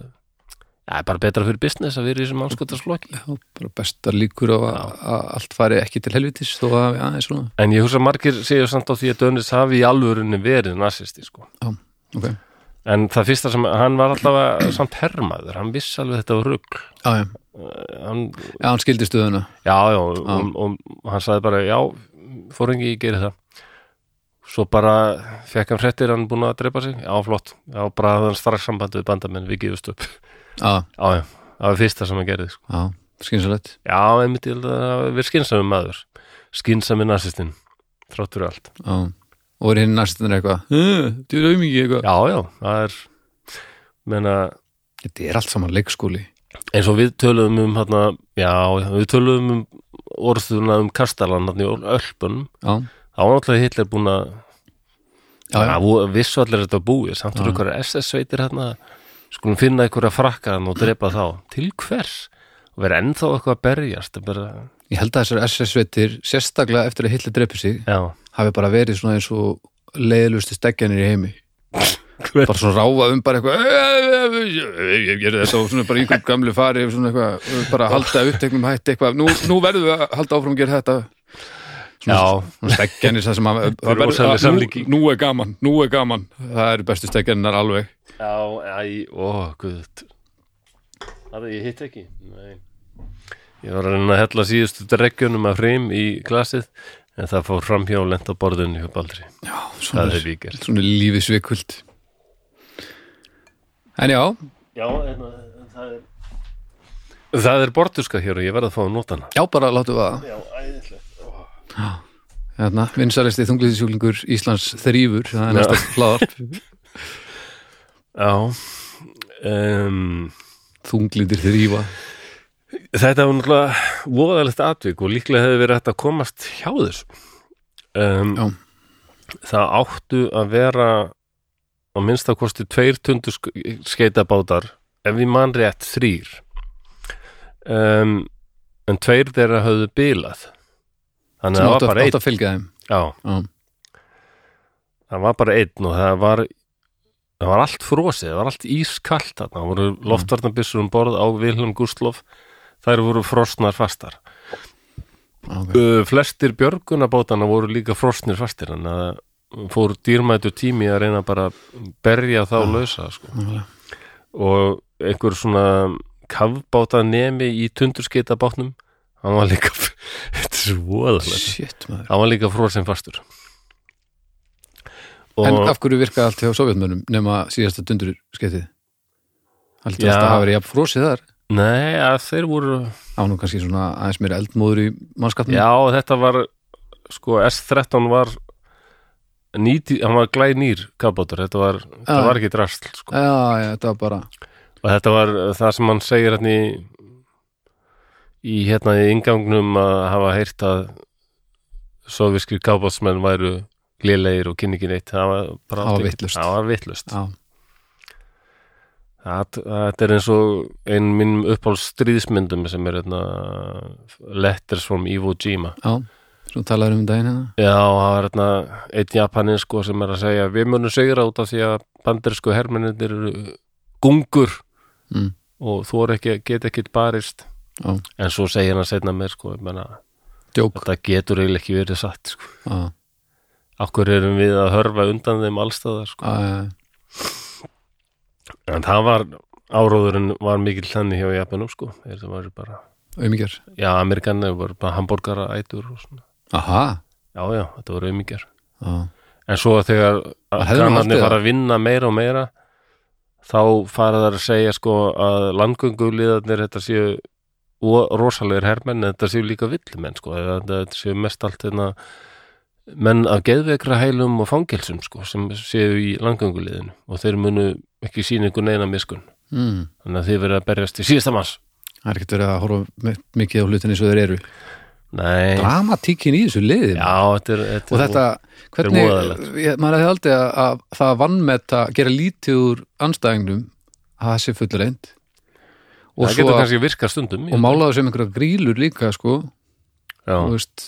[SPEAKER 1] það er bara betra fyrir business að vera í þessum anskotarsflokki
[SPEAKER 2] Já, bara bestar líkur á að að allt fari ekki til helvitis þó að aðeins svona
[SPEAKER 1] En ég hugsa að margir séu samt á því að Dönis hafi í alvörunni verið nasisti sko.
[SPEAKER 2] Já, ok
[SPEAKER 1] En það fyrsta sem, hann var allavega samt hermaður, hann vissi alveg þetta var rugl
[SPEAKER 2] Já, já,
[SPEAKER 1] Eh, hann,
[SPEAKER 2] já hann skildi stöðuna
[SPEAKER 1] Já, já, og, og, og hann sagði bara, já, fóringi, ég geri það Svo bara fekk hann fréttir, hann búin að drepa sig Já, flott, já, bara hafði hann strax samband við bandamenn, við gefust upp
[SPEAKER 2] Já,
[SPEAKER 1] Já, já, það var fyrsta sem hann gerði sko.
[SPEAKER 2] já, skynsalegt
[SPEAKER 1] Já, einmitt, ég held að það hafi verið skynsami maður Skynsami nasistinn, þráttur allt
[SPEAKER 2] Já, og er hinn næstinir eitthvað "Eh, Þú er aumingi eitthvað
[SPEAKER 1] Já, já, það er menna,
[SPEAKER 2] Þetta er allt saman leikskóli
[SPEAKER 1] eins og við töluðum um hérna, já, við töluðum um orðuna um kastalan hérna í Ölpunum
[SPEAKER 2] Já,
[SPEAKER 1] þá var náttúrulega Hitler búin að
[SPEAKER 2] já, já,
[SPEAKER 1] Það voru- vissu allir þetta búið, samt úr einhverja SS-sveitir hérna, skulum finna einhverja frakka hann og drepa þá. Til hvers? Og vera ennþá eitthvað að berjast, það bara,
[SPEAKER 2] ég held að þessar SS-sveitir sérstaklega eftir að Hitler dreipi sig
[SPEAKER 1] já.
[SPEAKER 2] hafi bara verið svona eins og leiðlusti steggjanir í heimi
[SPEAKER 1] Hver-
[SPEAKER 2] bara svona ráfa um bara eitthvað "Eh, eh, eh, eh, ég gerði þetta og svona bara einhver gamlu fari og svona eitthvað, eh, bara halda uppteknum hætti eitthvað, nú, nú verðum við að halda áfram að gera þetta
[SPEAKER 1] Já.
[SPEAKER 2] svona steggjanir sem að, að,
[SPEAKER 1] er
[SPEAKER 2] verður-
[SPEAKER 1] rosaleg
[SPEAKER 2] að nú,
[SPEAKER 1] samlíking.
[SPEAKER 2] nú er gaman, nú er gaman það eru bestu steggjanar alveg
[SPEAKER 1] Já, æ, ó, guð. Það er, ég hitt ekki. Nei. Ég var að reyna að hella síðustu dreggjunum af hreim í glasið, en það fór framhjá og lent á borðinu hjá Baldri.
[SPEAKER 2] Já,
[SPEAKER 1] Það
[SPEAKER 2] svona,
[SPEAKER 1] hef ég gert.
[SPEAKER 2] svona lífisvikvöld en já,
[SPEAKER 1] Já, en, það er... Það er bortuska hér og ég verð að fá að nota hana.
[SPEAKER 2] já bara látum við það
[SPEAKER 1] Já, æðislegt.
[SPEAKER 2] hérna, vinsalisti þungliðisjúklingur Íslands þrýfur, það er
[SPEAKER 1] Já.
[SPEAKER 2] næsta hlaðarp
[SPEAKER 1] Já, um,
[SPEAKER 2] þungliðir þrýfa
[SPEAKER 1] Þetta var náttúrulega voðalegt atvik og líklega hefði verið hægt að komast hjá þessu.
[SPEAKER 2] Já.
[SPEAKER 1] Um, það áttu að vera á minnsta kosti tveir tundu skeitabátar ef ég man rétt þrýr. Um, en tveir þeirra höfðu bilað. Þannig
[SPEAKER 2] sem
[SPEAKER 1] að það var
[SPEAKER 2] áttu að,
[SPEAKER 1] bara
[SPEAKER 2] áttu
[SPEAKER 1] einn.
[SPEAKER 2] að fylgja þeim
[SPEAKER 1] Já,
[SPEAKER 2] Já.
[SPEAKER 1] það var bara einn og það var það var allt frosið, það var allt ískalt þarna, það
[SPEAKER 2] Mm.
[SPEAKER 1] voru loftvarnabissur um borð á Vilhelm Gustloff, þær voru frosnar fastar.
[SPEAKER 2] okay.
[SPEAKER 1] Uh, flestir björgunabátana voru líka frosnir fastir en að fór dýrmætu tími að reyna bara að berja þá lausa sko.
[SPEAKER 2] Ah. nákvæmlega.
[SPEAKER 1] og einhver svona kafbáta nemi í tundurskita bátnum hann var líka þetta er svo voðalegt
[SPEAKER 2] shit maður
[SPEAKER 1] hann var líka frosin fastur
[SPEAKER 2] en
[SPEAKER 1] og
[SPEAKER 2] af hverju virkaði allt hjá sovjetmönnum nema síðasta dundur skeitið heldur
[SPEAKER 1] Já.
[SPEAKER 2] þetta að hafa verið jafn frosið þar
[SPEAKER 1] nei að þeir voru
[SPEAKER 2] það var nú kannski svona aðeins meira eldmóður í mannskapnum
[SPEAKER 1] já þetta var sko S13 var 90, hann var glænýr kafbátur þetta var, þetta
[SPEAKER 2] Já.
[SPEAKER 1] var ekki drasl sko.
[SPEAKER 2] já, já, þetta var bara
[SPEAKER 1] og þetta var uh, það sem hann segir hérna í, í hérna í ingangnum að hafa heyrt að soviskir kábátsmenn væru lélegir og kynningin eitt það var bara
[SPEAKER 2] Það var
[SPEAKER 1] allt í-
[SPEAKER 2] vitlaust.
[SPEAKER 1] það var vittlust
[SPEAKER 2] já,
[SPEAKER 1] það, það er eins og einn mínum uppáld stríðismyndum sem er hérna letters from Iwo Jima
[SPEAKER 2] já, svo talaður um daginn hérna
[SPEAKER 1] já, það var hérna einn japanin sko sem er að segja við munum segra út af því að bandersku hermennindir eru gungur
[SPEAKER 2] mm.
[SPEAKER 1] og þú er ekki, get ekki barist
[SPEAKER 2] Já.
[SPEAKER 1] en svo segir hann setna mér sko, ég menna,
[SPEAKER 2] djók
[SPEAKER 1] þetta getur eiginlega ekki verið satt sko.
[SPEAKER 2] já,
[SPEAKER 1] okkur erum
[SPEAKER 2] Ah.
[SPEAKER 1] við að hörfa undan þeim allstaðar sko.
[SPEAKER 2] já, já, já.
[SPEAKER 1] en það var áróðurinn var mikill þannig hjá Japanum sko, þeir það var bara
[SPEAKER 2] auðmíkjar
[SPEAKER 1] já, Amerikanar voru bara hambúrgara ætur og svona,
[SPEAKER 2] aha,
[SPEAKER 1] já, já, þetta voru auðmíkjar
[SPEAKER 2] já,
[SPEAKER 1] en svo þegar
[SPEAKER 2] hefði nú haldið
[SPEAKER 1] kannarnir
[SPEAKER 2] það.
[SPEAKER 1] fara að vinna meira og meira þá fara þar að segja sko að landgönguliðarnir þetta séu o- rosalegir herrmenn en þetta séu líka villumenn sko eða þetta þetta séu mest allt hérna menn af geðveikra heilum og fangelsum sko sem séu í landgönguliðinu og þeir munu ekki sína ykkur neina miskun
[SPEAKER 2] mm.
[SPEAKER 1] þannig að þið verið að berjast í síðasta manns
[SPEAKER 2] það er ekkert verið að horfa mi- mikið á hlutin eins og þeir eru
[SPEAKER 1] Nei,
[SPEAKER 2] dramatíkin í þessu liði
[SPEAKER 1] já, þetta er, þetta
[SPEAKER 2] og
[SPEAKER 1] er
[SPEAKER 2] þetta, hvernig
[SPEAKER 1] voðalegt.
[SPEAKER 2] ég, maður hefði aldrei að, að það vannmeta gera lítið úr anstæðingnum að það sé fullur reynd og,
[SPEAKER 1] það
[SPEAKER 2] svo,
[SPEAKER 1] getur
[SPEAKER 2] að-
[SPEAKER 1] kannski virka stundum
[SPEAKER 2] og málaðu sem einhverja grílur líka sko,
[SPEAKER 1] já,
[SPEAKER 2] þú veist,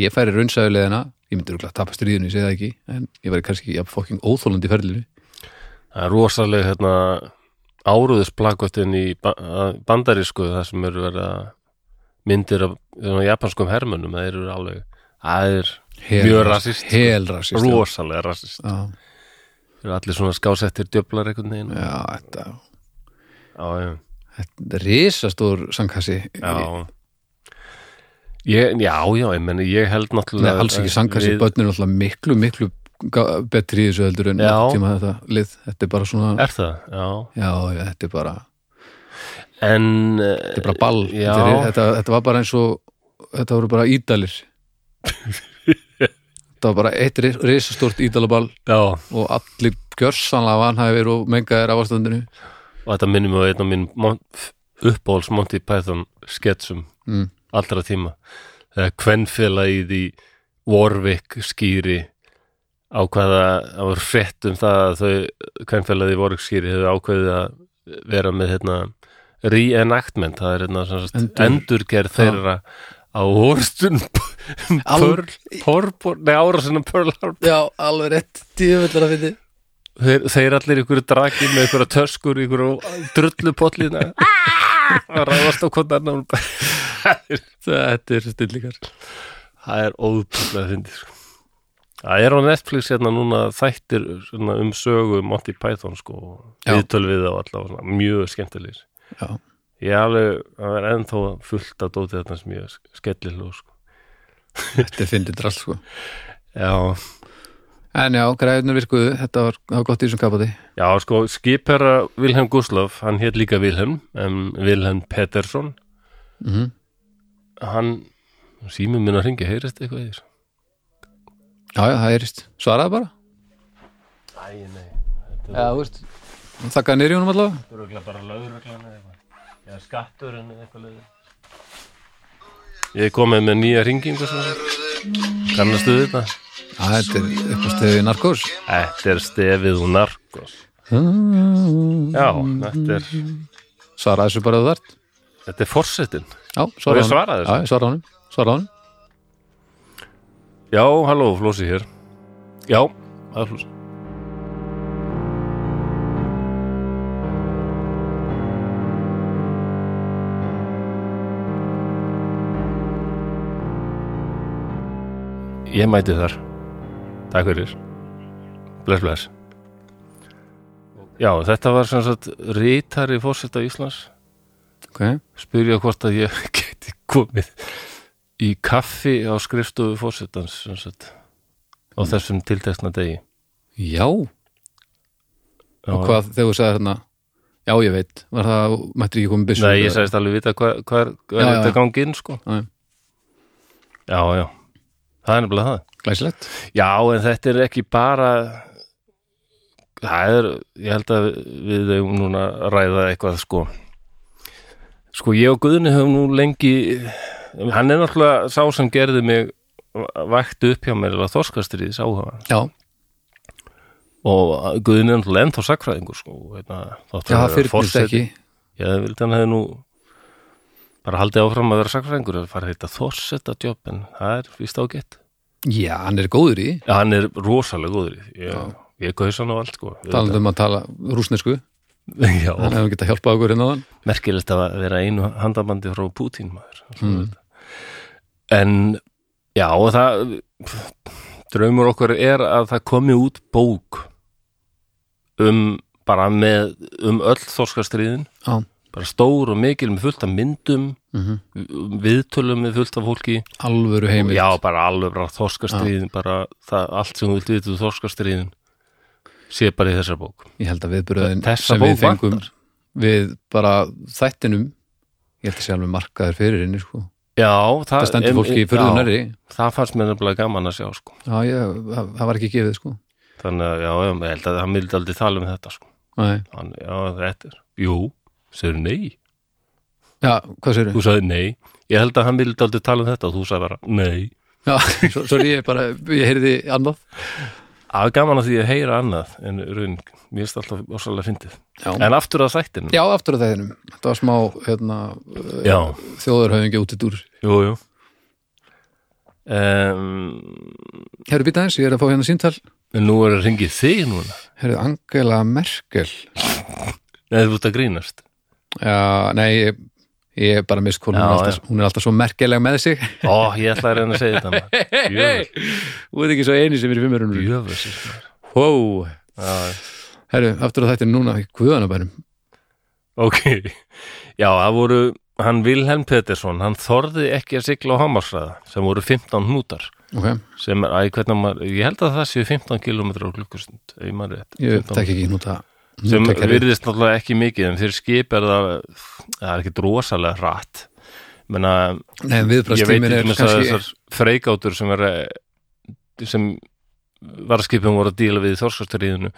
[SPEAKER 2] ég færi raunsaðulegina ég myndi rúkla að tapa stríðinu, ég segi það ekki en ég væri kannski ja, fokking óþólandi í ferlinu
[SPEAKER 1] Það er rosaleg hérna, áruðusplakottin í ba að bandarísku þar sem eru verið að myndir af svona, japanskum hermönnum það eru alveg, það er Mjög rasist, sko.
[SPEAKER 2] helrasist
[SPEAKER 1] rosalega rassist
[SPEAKER 2] já,
[SPEAKER 1] það eru allir svona skásettir djöflar einhvern veginn
[SPEAKER 2] já, þetta,
[SPEAKER 1] já, já,
[SPEAKER 2] þetta er risastór sankassi
[SPEAKER 1] já. Ég, já, já, ég meni, ég held
[SPEAKER 2] Nei,
[SPEAKER 1] náttúrulega
[SPEAKER 2] alls ekki sankassi,
[SPEAKER 1] við-
[SPEAKER 2] börn er alltaf miklu, miklu ga- betri í þessu heldur en
[SPEAKER 1] Já.
[SPEAKER 2] nokkurn tíma þetta lið, þetta er bara svona
[SPEAKER 1] Er það? Já,
[SPEAKER 2] Já, já, þetta er bara,
[SPEAKER 1] en eh,
[SPEAKER 2] þetta er bara ball
[SPEAKER 1] Já.
[SPEAKER 2] þetta, er, þetta, þetta var bara eins og þetta voru bara ídalir þetta var bara eitt ris- risastórt ídalaball
[SPEAKER 1] já,
[SPEAKER 2] og allir gjörsanlega vanhæfir og mengaðir af ástandinu
[SPEAKER 1] og þetta minnum við einn af mínum mon- uppáhalds Monty Python sketsum
[SPEAKER 2] Mm.
[SPEAKER 1] allra tíma þegar kvenfélagið í Warwick skýri á hvaða, það var frétt um það að þau kvenfélagið í Warwick skýri hefur ákveðið að vera með hérna reenactment, það er hérna sem sagt,
[SPEAKER 2] Endur-
[SPEAKER 1] endurgerð þeirra á orstun Pearl, Pearl, nei árasunum Pearl Harbor
[SPEAKER 2] Já, alveg rétt, djöfullar að finna
[SPEAKER 1] þeir, þeir allir ykkur draki með ykkur töskur, ykkur drullupollina að ráðast á konan þetta er stillingar það er ótrúlega fyndið sko. það er á Netflix hérna núna þættir svona, um sögu Monty Python sko,
[SPEAKER 2] Já.
[SPEAKER 1] viðtöl við á allavega svona, mjög skemmtilegir
[SPEAKER 2] Já.
[SPEAKER 1] ég er alveg, það er ennþá fullt af dótið þarna sem ég skellir hlú sko.
[SPEAKER 2] Þetta er fyndið drall sko
[SPEAKER 1] já,
[SPEAKER 2] En já, græðunar virkuðu, þetta var, það var gott í þessum kapati
[SPEAKER 1] Já, sko, skipherra Vilhelm Gustloff, hann hétt líka Vilhelm, um, Vilhelm Pettersson.
[SPEAKER 2] Mhm.
[SPEAKER 1] Hann, símum minn að ringi, heyrist eitthvað í þér?
[SPEAKER 2] Já, já, það er rist, svaraði bara
[SPEAKER 1] Æ, nei,
[SPEAKER 2] Já, þú veist Þakkaði nýri honum allavega
[SPEAKER 1] þú eru bara lögreglan eða eitthvað. Já, skatturinn eða eitthvað leiðið. Ég er komið með nýja ringingu sem það. Kannastu við þetta?
[SPEAKER 2] Já, þetta er eitthvað stöðið narkós
[SPEAKER 1] Þetta er stefið og narkos. Já, þetta er,
[SPEAKER 2] Svaraði þessu bara að þú þart
[SPEAKER 1] þetta er forsetin.
[SPEAKER 2] Já,
[SPEAKER 1] Og
[SPEAKER 2] svaraði
[SPEAKER 1] ég svaraði þessu?
[SPEAKER 2] Já, ég svaraði honum, svaraði honum
[SPEAKER 1] Já, halló, Flósi hér. Já, það er Flósi. Ég mæti þar. Takk fyrir. Bless, bless. Já, þetta var sem sagt rítari fórseta Íslands
[SPEAKER 2] Ok, já,
[SPEAKER 1] spyrja hvort að ég geti komið í kaffi á skrifstofu fórsetans sem sagt, á
[SPEAKER 2] Mm.
[SPEAKER 1] þessum tiltekna degi
[SPEAKER 2] og hvað þegar þú sagði hérna Já, ég veit, var það, mættir ekki komið byssu
[SPEAKER 1] Nei, ég sagðist alveg vita hvað, hvað er, hvað er
[SPEAKER 2] Já, já,
[SPEAKER 1] þetta
[SPEAKER 2] já.
[SPEAKER 1] gangi inn sko
[SPEAKER 2] Já, já.
[SPEAKER 1] Já, já, það er nefnilega það
[SPEAKER 2] Glæsilegt
[SPEAKER 1] Já, en þetta er ekki bara það er, ég held að við eigum núna að ræða eitthvað sko sko ég og Guðni höfum nú lengi hann er náttúrulega sá sem gerði mig vakti upp hjá mér eða þorskastrið sá hann
[SPEAKER 2] Já,
[SPEAKER 1] og Guðni er náttúrulega ennþá sakfræðingur sko veitna,
[SPEAKER 2] já það fyrnist ekki
[SPEAKER 1] ég vildi hann hefði nú bara haldið áfram að vera sakfræðingur að fara að heita þorsetta jobb en það er víst ágætt
[SPEAKER 2] Já, hann er góður í,
[SPEAKER 1] Já, hann er rosalega góður í því. Ég, ég kaus hann á allt, sko.
[SPEAKER 2] talandi um að tala rúsnesku,
[SPEAKER 1] Já,
[SPEAKER 2] hann hefði getað hjálpað okkur hérna á hann
[SPEAKER 1] merkilegt að vera einu handabandi frá Putin, maður. Mm. En, já, og það, draumur okkur er að það komi út bók um bara með um öll þorskastriðin
[SPEAKER 2] já,
[SPEAKER 1] bara stór og mikil með fullt af myndum viðtölum með fullt af fólki
[SPEAKER 2] alvöru heimild
[SPEAKER 1] já, bara alveg bara þorskastriðin bara það, allt sem þú vilt vita um þorskastriðin sé bara í þessar bók
[SPEAKER 2] ég held að viðbröðin
[SPEAKER 1] Þessa
[SPEAKER 2] sem við
[SPEAKER 1] bók
[SPEAKER 2] fengum
[SPEAKER 1] vantar.
[SPEAKER 2] við bara þættinum ég held að sé alveg markaður fyrir henni sko.
[SPEAKER 1] já, það,
[SPEAKER 2] það stendur fólki í fyrðu
[SPEAKER 1] Ah, já,
[SPEAKER 2] nærri
[SPEAKER 1] það fannst mér nefnilega gaman að sjá sko.
[SPEAKER 2] já, ég, það, það var ekki gefið sko.
[SPEAKER 1] þannig að, já, já, ég held að hann vildi aldrei tala um þetta sko.
[SPEAKER 2] Nei.
[SPEAKER 1] hann, já, þetta er, jú, segir nei
[SPEAKER 2] já, hvað sér
[SPEAKER 1] þú sagði nei, ég held að hann vildi aldrei tala um þetta og þú sagði bara nei
[SPEAKER 2] já, svo, svo ég bara, ég heyrði annað
[SPEAKER 1] Það er gaman að því að heyra annað en raun, mér finnst alltaf ósalega fyndið.
[SPEAKER 2] Já.
[SPEAKER 1] En aftur að sættinu.
[SPEAKER 2] já, aftur að þættinum, þetta var smá hérna,
[SPEAKER 1] Já,
[SPEAKER 2] þjóðurhauðingi út í dúr
[SPEAKER 1] jú, jú. Um,
[SPEAKER 2] herru býta eins, ég er að fá hérna síntal
[SPEAKER 1] en nú er að ringið þig núna.
[SPEAKER 2] herru Angela Merkel
[SPEAKER 1] Nei, þú ert að grínast.
[SPEAKER 2] já, nei, ég, ég er bara mist hún, er
[SPEAKER 1] Já,
[SPEAKER 2] alltaf- hún er alltaf svo merkelega með sig
[SPEAKER 1] Ó, ég ætla að reyna að segja þetta. maður.
[SPEAKER 2] hún er ekki svo eini sem er í fimmurunum
[SPEAKER 1] Jöfus, jöfus. maður.
[SPEAKER 2] wow.
[SPEAKER 1] Já,
[SPEAKER 2] herru, aftur að þættinum núna í guðanabænum
[SPEAKER 1] ok. Já, það voru, hann Vilhelm Pettersson, hann þorði ekki að sigla á Hamarsræða sem voru 15 hnútar.
[SPEAKER 2] ok,
[SPEAKER 1] Sem er, æ, hvernig maður, ég held að það séu 15 km á klukkustund, ef maður rétt.
[SPEAKER 2] ég
[SPEAKER 1] 15
[SPEAKER 2] tek ekki núta
[SPEAKER 1] sem
[SPEAKER 2] núta kerfið.
[SPEAKER 1] virðist náttúrulega ekki mikið en fyrir skip er það það er ekkit rosalega hratt menna,
[SPEAKER 2] Nei,
[SPEAKER 1] ég veit
[SPEAKER 2] viðbrastímin
[SPEAKER 1] til
[SPEAKER 2] er
[SPEAKER 1] dæmis að
[SPEAKER 2] kannski
[SPEAKER 1] þessar freikátur sem er eh, sem varskipum voru að díla við í þorskastriðinu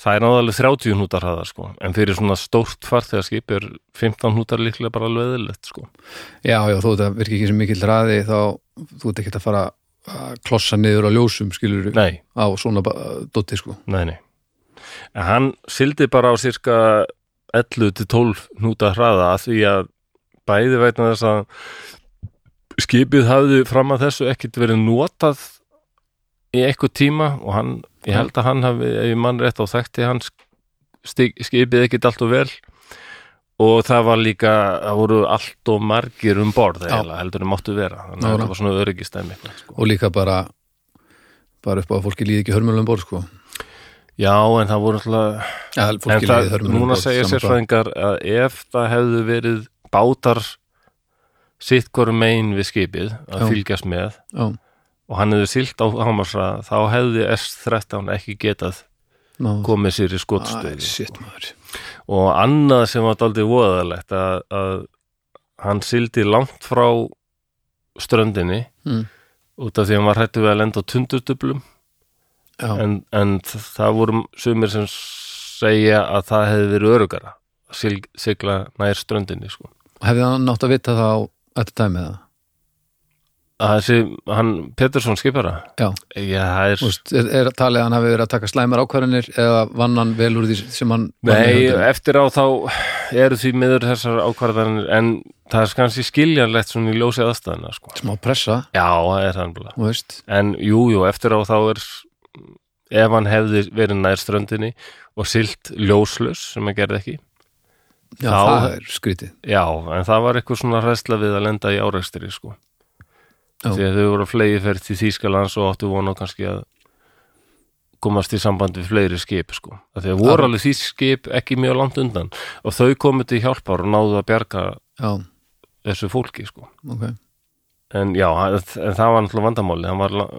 [SPEAKER 1] það er náðalega 30 hnútar hraða sko. en fyrir svona stórt farþegarskip er 15 hnútar líklega bara alveg eðilegt sko.
[SPEAKER 2] Já, já, þó þetta virkir ekki sem mikill ræði þá þú ert ekki að fara að klossa niður á ljósum, skilur
[SPEAKER 1] nei,
[SPEAKER 2] á svona ba- dotti, sko
[SPEAKER 1] nei, nei en hann sildi bara á cirka 11 til 12 hnúta hraða að því að bæði vegna þess að skipið hafði fram að þessu ekkit verið notað í eitthvað tíma og hann, ég held að hann hafi, ef ég mann rétt á þekkti hann stig, skipið ekkit allt og vel og það var líka, það voru allt og margir um borð eiginlega, heldur en máttu vera þannig að
[SPEAKER 2] Nákvæmlega.
[SPEAKER 1] þetta var svona öryggistæmi sko.
[SPEAKER 2] og líka bara bara upp á að fólki líði ekki hörmjölum borð, sko
[SPEAKER 1] Já, en það voru alltaf
[SPEAKER 2] Já,
[SPEAKER 1] En
[SPEAKER 2] fólki líði
[SPEAKER 1] það,
[SPEAKER 2] hörmjölum
[SPEAKER 1] núna
[SPEAKER 2] borð
[SPEAKER 1] segja
[SPEAKER 2] sama hvað.
[SPEAKER 1] sérfræðingar að ef það hefðu verið bátar sitt hvorum megin við skipið að
[SPEAKER 2] Já.
[SPEAKER 1] fylgjast með
[SPEAKER 2] Já,
[SPEAKER 1] og hann hefði silt á Hamarsra þá hefði S-13 ekki getað
[SPEAKER 2] ná
[SPEAKER 1] komið sér í
[SPEAKER 2] Æ,
[SPEAKER 1] skotstöði
[SPEAKER 2] Shit, maður
[SPEAKER 1] og annað sem var daldið voðalegt að, að hann sildi langt frá ströndinni
[SPEAKER 2] Mm.
[SPEAKER 1] út af því að hann var hrættu við að lenda á tundurdublum
[SPEAKER 2] Já,
[SPEAKER 1] en, en þ- það voru sumir sem segja að það hefði verið örugara að sil- sigla nær ströndinni sko.
[SPEAKER 2] hefði hann nátt að vita það á þetta dæmið það?
[SPEAKER 1] að þessi, hann Pettersson skipara
[SPEAKER 2] Já,
[SPEAKER 1] já, það er,
[SPEAKER 2] þú veist, er, er talið að hann hafi verið að taka slæmar ákvarðanir eða vann hann vel úr því sem hann var með
[SPEAKER 1] nei,
[SPEAKER 2] höndum?
[SPEAKER 1] eftir á þá eru því miður þessar ákvarðanir en það er kannski skiljanlegt svona í ljósið aðstæðina sko.
[SPEAKER 2] smá pressa,
[SPEAKER 1] já, það er þannig
[SPEAKER 2] þú veist
[SPEAKER 1] en jú, jú, eftir á þá er ef hann hefði verið nær ströndinni og silt ljóslaus sem hann gerði ekki
[SPEAKER 2] Já,
[SPEAKER 1] Þá-
[SPEAKER 2] það er skrítið
[SPEAKER 1] Já, en það var eitthvað svona hræsla við að lenda í árekstri sko.
[SPEAKER 2] Já.
[SPEAKER 1] því að þau voru að flegi ferð til Þýskalands og áttu vona kannski að komast í samband við fleiri skip sko. Af því að voru
[SPEAKER 2] Já.
[SPEAKER 1] alveg því skip ekki mjög langt undan og þau komu til hjálpar og náðu að bjarga
[SPEAKER 2] Já,
[SPEAKER 1] þessu fólki sko.
[SPEAKER 2] ok
[SPEAKER 1] en já, hann- en það var náttúrulega vandamáli hann var, la-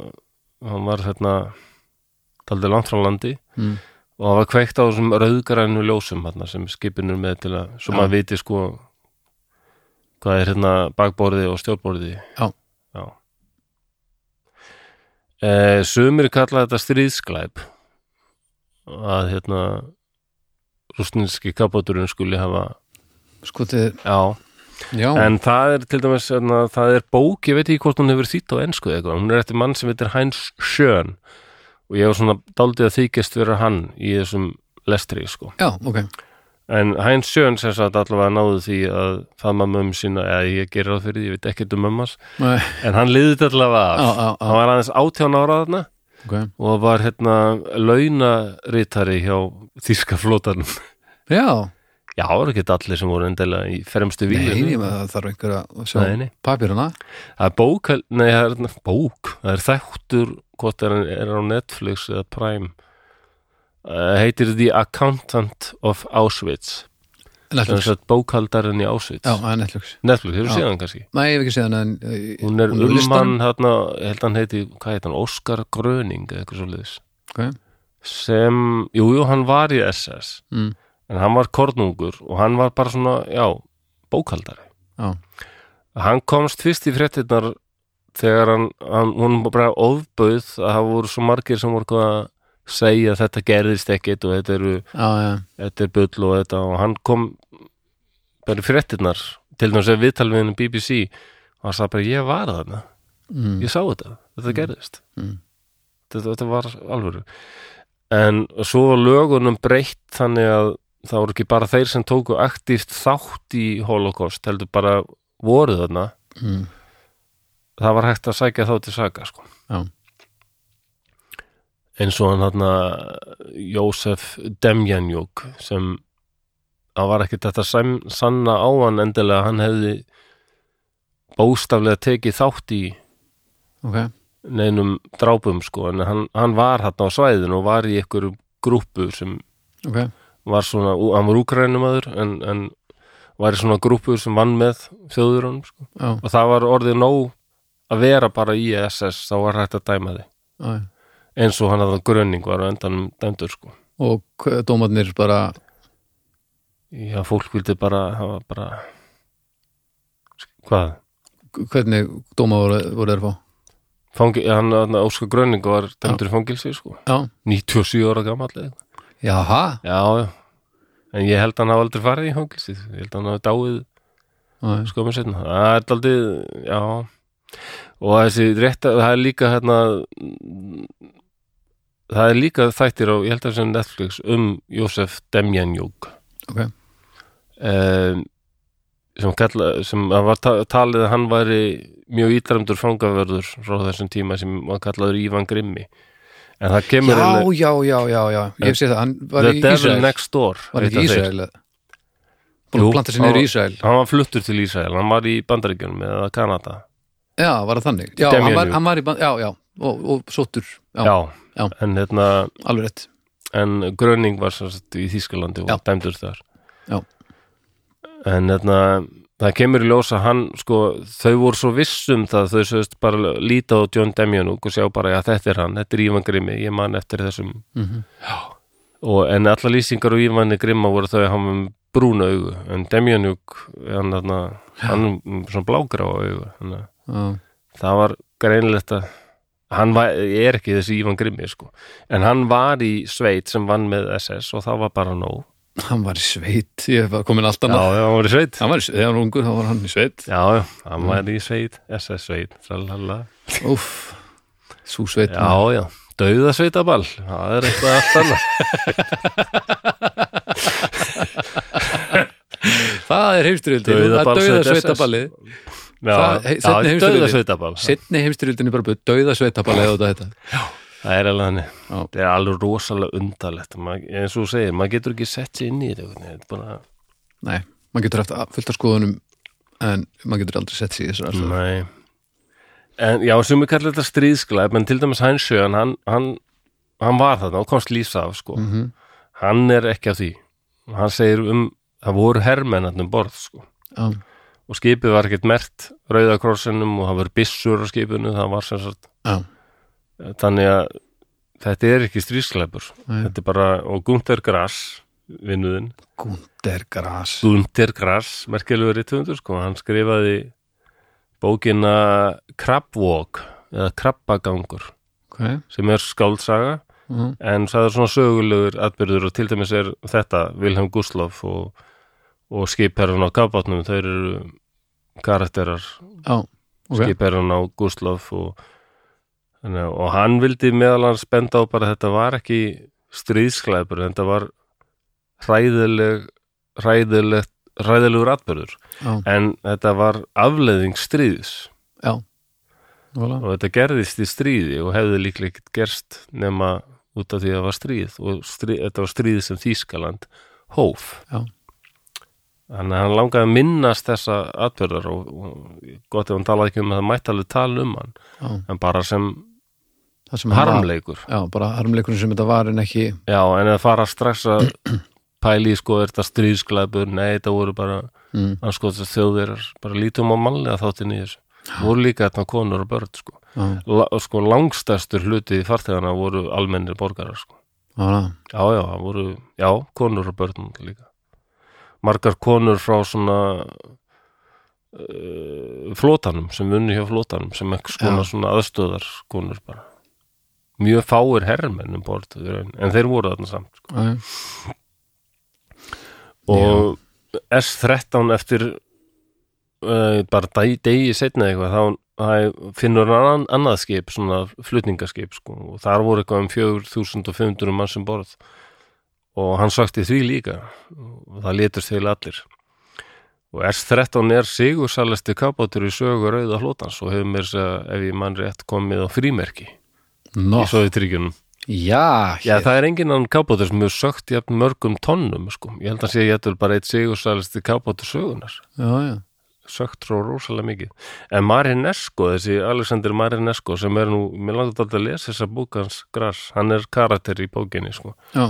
[SPEAKER 1] hann var hérna taldið langt frá landi
[SPEAKER 2] mm.
[SPEAKER 1] og það var kveikt á þessum rauðgrænu ljósum hérna, sem skipinu með til að svo
[SPEAKER 2] Já.
[SPEAKER 1] maður viti sko hvað er hérna bakborði og stjórnborði
[SPEAKER 2] Já.
[SPEAKER 1] Já. Eh, sumir kalla þetta stríðsklæp að hérna rústninski kapáturinn skuli hafa
[SPEAKER 2] Skotið,
[SPEAKER 1] já,
[SPEAKER 2] já,
[SPEAKER 1] en það er til dæmis hérna, það er bók, ég veit ekki hvort hún hefur þýtt á ensku eða eitthvað, hún er eftir mann sem heitir Heinz Schön og ég var svona daldið að þykjast vera hann í þessum lestri sko
[SPEAKER 2] já, ok
[SPEAKER 1] En Heinz Sjön sem sagt allavega náðu því að faðma mömmu sína, eða ég gerir ráð fyrir því, ég veit ekkert um mömmas,
[SPEAKER 2] Nei,
[SPEAKER 1] en hann liði þetta allavega af.
[SPEAKER 2] á, á, á,
[SPEAKER 1] Hann var aðeins 18 ára þarna
[SPEAKER 2] ok
[SPEAKER 1] og var hérna launarítari hjá þýska flótanum.
[SPEAKER 2] Já,
[SPEAKER 1] Já, það voru ekki allir sem voru endilega í fremstu
[SPEAKER 2] nei,
[SPEAKER 1] vílinu.
[SPEAKER 2] ég með það þarf einhver að sjá
[SPEAKER 1] Nei, nei.
[SPEAKER 2] papírana
[SPEAKER 1] Það er bók, nei, það er hérna- bók, það er þættur, hvort er, hann- er á Netflix eða Prime, uh, heitir The Accountant of Auschwitz
[SPEAKER 2] Netflix,
[SPEAKER 1] þannig að bókaldarinn í Auschwitz
[SPEAKER 2] já, það er Netflix
[SPEAKER 1] Netflix, hefur
[SPEAKER 2] Já.
[SPEAKER 1] séð hann kannski
[SPEAKER 2] Nei, ég hef ekki séð hann en eh,
[SPEAKER 1] hún er
[SPEAKER 2] á
[SPEAKER 1] um hann
[SPEAKER 2] listanum.
[SPEAKER 1] hérna, ég held að hann heiti, hvað heit hann, Óskar Gröning eða eitthvað svoleiðis
[SPEAKER 2] Ok.
[SPEAKER 1] sem, jú, jú, hann var í SS
[SPEAKER 2] Mm.
[SPEAKER 1] en hann var kornungur og hann var bara svona, já, bókaldari
[SPEAKER 2] Já.
[SPEAKER 1] hann komst fyrst í fréttinnar þegar hann, hann hún bara ofbauð að það voru svo margir sem voru eitthvað að segja að þetta gerðist ekkit og þetta eru
[SPEAKER 2] Já, já,
[SPEAKER 1] þetta er bull og þetta og hann kom bara í fréttinnar til þess að viðtal við henni BBC og hann sagði bara ég var þarna
[SPEAKER 2] mm.
[SPEAKER 1] ég sá þetta, þetta gerðist
[SPEAKER 2] Mm.
[SPEAKER 1] þetta, þetta var alvöru en svo var lögunum breytt þannig að það voru ekki bara þeir sem tóku aktíft þátt í holocaust, heldur bara voru þarna
[SPEAKER 2] Mm.
[SPEAKER 1] það var hægt að sækja þá til saga sko.
[SPEAKER 2] Já.
[SPEAKER 1] eins og hann þarna Jósef Demjanjók sem það var ekkit þetta sem, sanna á hann endilega hann hefði bóstaflega tekið þátt í
[SPEAKER 2] ok
[SPEAKER 1] neinum drápum sko en hann, hann var hann á svæðinu og var í einhverju grúppu sem
[SPEAKER 2] Ok,
[SPEAKER 1] var svona, hann var úkrænumæður en, en var í svona grúppu sem vann með þjóðurunum sko.
[SPEAKER 2] já, já,
[SPEAKER 1] og það var orðið nóg að vera bara í SS þá var hægt að dæma þig
[SPEAKER 2] já.
[SPEAKER 1] eins og hann að gröning var á endanum dæmdur sko
[SPEAKER 2] Og hve- dómarnir bara
[SPEAKER 1] já, fólk vildi bara hafa bara hvað?
[SPEAKER 2] Hvernig dóma voru, voru þeir að fá?
[SPEAKER 1] Fangi, hann, hann Óskar Gröning var dæmdur í fangilsi sko
[SPEAKER 2] Já,
[SPEAKER 1] 97 ára gamall eða eitthvað.
[SPEAKER 2] jaha
[SPEAKER 1] já, já en ég held að hann hafa aldrei farið í fangilsi ég held að hann hafa dáið
[SPEAKER 2] já,
[SPEAKER 1] sko með setna það er aldrei, já og þessi rétt að það er líka hérna mm, það er líka þættir á, ég held að sem Netflix um Jósef Demjanjók
[SPEAKER 2] Ok.
[SPEAKER 1] um, sem kalla sem það var ta- talið að hann væri mjög ítræmdur fangavörður frá þessum tíma sem var kallaður Ívan Grimmi en það kemur
[SPEAKER 2] já,
[SPEAKER 1] eiginlega-
[SPEAKER 2] já, já, já, já Ég hef séð það, hann var
[SPEAKER 1] The
[SPEAKER 2] í
[SPEAKER 1] Devil
[SPEAKER 2] Ísrael
[SPEAKER 1] Next Door
[SPEAKER 2] Var ekki
[SPEAKER 1] heita
[SPEAKER 2] í
[SPEAKER 1] þeir.
[SPEAKER 2] Ísrael eða? Búin
[SPEAKER 1] Jú,
[SPEAKER 2] að planta sér niður
[SPEAKER 1] hann-
[SPEAKER 2] í Ísrael
[SPEAKER 1] hann var fluttur til Ísrael, hann var í Bandaríkjunum eða Kanada
[SPEAKER 2] Já, var það þannig Já,
[SPEAKER 1] Damien
[SPEAKER 2] hann var,
[SPEAKER 1] Jú.
[SPEAKER 2] hann var í band, já, já Og, og sóttur, já,
[SPEAKER 1] já,
[SPEAKER 2] Já.
[SPEAKER 1] en hérna
[SPEAKER 2] alveg rétt
[SPEAKER 1] en Gröning var svo sett í Þýskalandi og
[SPEAKER 2] Já.
[SPEAKER 1] dæmdur þar
[SPEAKER 2] Já.
[SPEAKER 1] en þarna það kemur í ljós að hann sko þau voru svo viss um það þau sögust bara líta á John Demjanúk og sjá bara að þetta er hann, þetta er Ívan Grimmi ég man eftir þessum
[SPEAKER 2] mm
[SPEAKER 1] og, en alla lýsingar og Ívani Grimma voru þau að hafa með brúna augu en Demjanúk hann, þarna, hann um svona blágrá augu þannig að
[SPEAKER 2] já,
[SPEAKER 1] það var greinilegt að hann var, er ekki þessi Ívan Grimmi sko. en hann var í sveit sem vann með SS og það var bara nóg
[SPEAKER 2] Hann var í sveit, ég var komin allt annað
[SPEAKER 1] já, hann var í sveit já,
[SPEAKER 2] Hann var í sveit, þegar hann var ungur, þá var hann í sveit
[SPEAKER 1] já, hann var í sveit, SS sveit tralala.
[SPEAKER 2] Úff, sú sveit
[SPEAKER 1] já, já, dauða sveitaball það er eitthvað allt annað
[SPEAKER 2] Það er heimstyrjöldin,
[SPEAKER 1] Dauðaball
[SPEAKER 2] það dauða
[SPEAKER 1] sveita
[SPEAKER 2] sveitaballi
[SPEAKER 1] já,
[SPEAKER 2] Það- hei,
[SPEAKER 1] já,
[SPEAKER 2] seinni heimsstyrjöldin.
[SPEAKER 1] dauða sveitaball
[SPEAKER 2] Setni heimstyrjöldin er bara búið dauða sveitaballi eða þetta
[SPEAKER 1] það er alveg þannig
[SPEAKER 2] Já.
[SPEAKER 1] það er alveg rosalega undalegt maður, eins og þú segir, maður getur ekki sett sér inn í þetta einhvern veginn, þetta er bara,
[SPEAKER 2] Nei, maður getur haft að- fullt af skoðunum en maður getur aldrei sett sig í þessar aðstæður.
[SPEAKER 1] Nei En já, sem við kallar þetta stríðsklæp en til dæmis Hænsjöðan, hann, hann hann var þarna og komst lísa af sko.
[SPEAKER 2] Mhm.
[SPEAKER 1] hann er ekki af því hann segir um, það voru hermennarnum borð sko.
[SPEAKER 2] Já,
[SPEAKER 1] og skipið var ekkert mert rauðakrossinum og það voru byssur á skipinu það var sem sagt, eh,
[SPEAKER 2] já,
[SPEAKER 1] þannig að þetta er ekki stríðsklæpur
[SPEAKER 2] Nei.
[SPEAKER 1] þetta er bara, og Gunther Grass vinnuðin,
[SPEAKER 2] Gunder Gras
[SPEAKER 1] Gunther Grass merkjulegu rítuðundur, sko, hann skrifaði bókina Crab Walk eða krabbagangur
[SPEAKER 2] okay.
[SPEAKER 1] sem er skáldsaga
[SPEAKER 2] Mhm.
[SPEAKER 1] en það er svona sögulegur atbyrður og til dæmis er þetta Vilhelm Gustloff og, og skipherran á kafbátnum, þau eru karakterar,
[SPEAKER 2] Já, ok
[SPEAKER 1] okay. skipherran á Gustloff og, þannig að- og hann vildi meðal hans benda á bara að þetta var ekki stríðsklæpur þetta var hræðileg hræðilegt hræðilegur atbyrður
[SPEAKER 2] Já,
[SPEAKER 1] en þetta var afleðing stríðs
[SPEAKER 2] já Nóla.
[SPEAKER 1] og þetta gerðist í stríði og hefði líklega ekkert gerst nema út af því að það var stríð og stríð, þetta var stríð sem Þýskaland hóf
[SPEAKER 2] Já.
[SPEAKER 1] þannig að hann langaði að minnast þessa atbyrðar og, og gott ef hann talaði ekki um að það mætti alveg tala um hann
[SPEAKER 2] Já,
[SPEAKER 1] en bara sem
[SPEAKER 2] Það sem hann var-
[SPEAKER 1] harmleikur
[SPEAKER 2] Já, bara harmleikurinn sem þetta var en ekki
[SPEAKER 1] já, en að fara strax að pæli, sko, er þetta stríðsklæpur nei, þetta voru bara
[SPEAKER 2] mm,
[SPEAKER 1] anskoðast þjóðverjar, bara lítum á mannlega þáttin í þessu voru líka þarna konur og börn sko,
[SPEAKER 2] já,
[SPEAKER 1] La, sko langstærstur hluti í farþegana voru almennir borgarar sko.
[SPEAKER 2] já, já,
[SPEAKER 1] já, já, það voru, já, konur og börn líka margar konur frá svona uh, flótanum sem unni hjá flótanum sem ekki skona svona aðstöðar konur bara mjög fáir herrmenn um borð í raun, en þeir voru þarna samt sko.
[SPEAKER 2] já,
[SPEAKER 1] og S13 eftir uh, bara dæ, degi setna eitthvað þá þá finnur hann annan, annað skip svona flutningaskip sko og þar voru eitthvað um 4500 mann sem um borð og hann sagti því líka og það létust þeir allir og S13 er sigursælasti kapátur í sögu rauða hlótans og hefur mér þess að ef ég mann rétt komið á frímerki
[SPEAKER 2] Nó,
[SPEAKER 1] í Sovjetríkjunum
[SPEAKER 2] já,
[SPEAKER 1] Já,
[SPEAKER 2] hér.
[SPEAKER 1] það er enginn annan kábátur sem hefur sögt jafn mörgum tonnum, sko. Ég held að sé ég ætlur bara eitt sigursælisti kábátur sögunar.
[SPEAKER 2] já, já,
[SPEAKER 1] Sögt frá rosalega mikið. En Marinesco, þessi Alexander Marinesco sem er nú, mér langt alltaf að lesa þessa bók hans gras, hann er karakter í bókinni, sko.
[SPEAKER 2] já,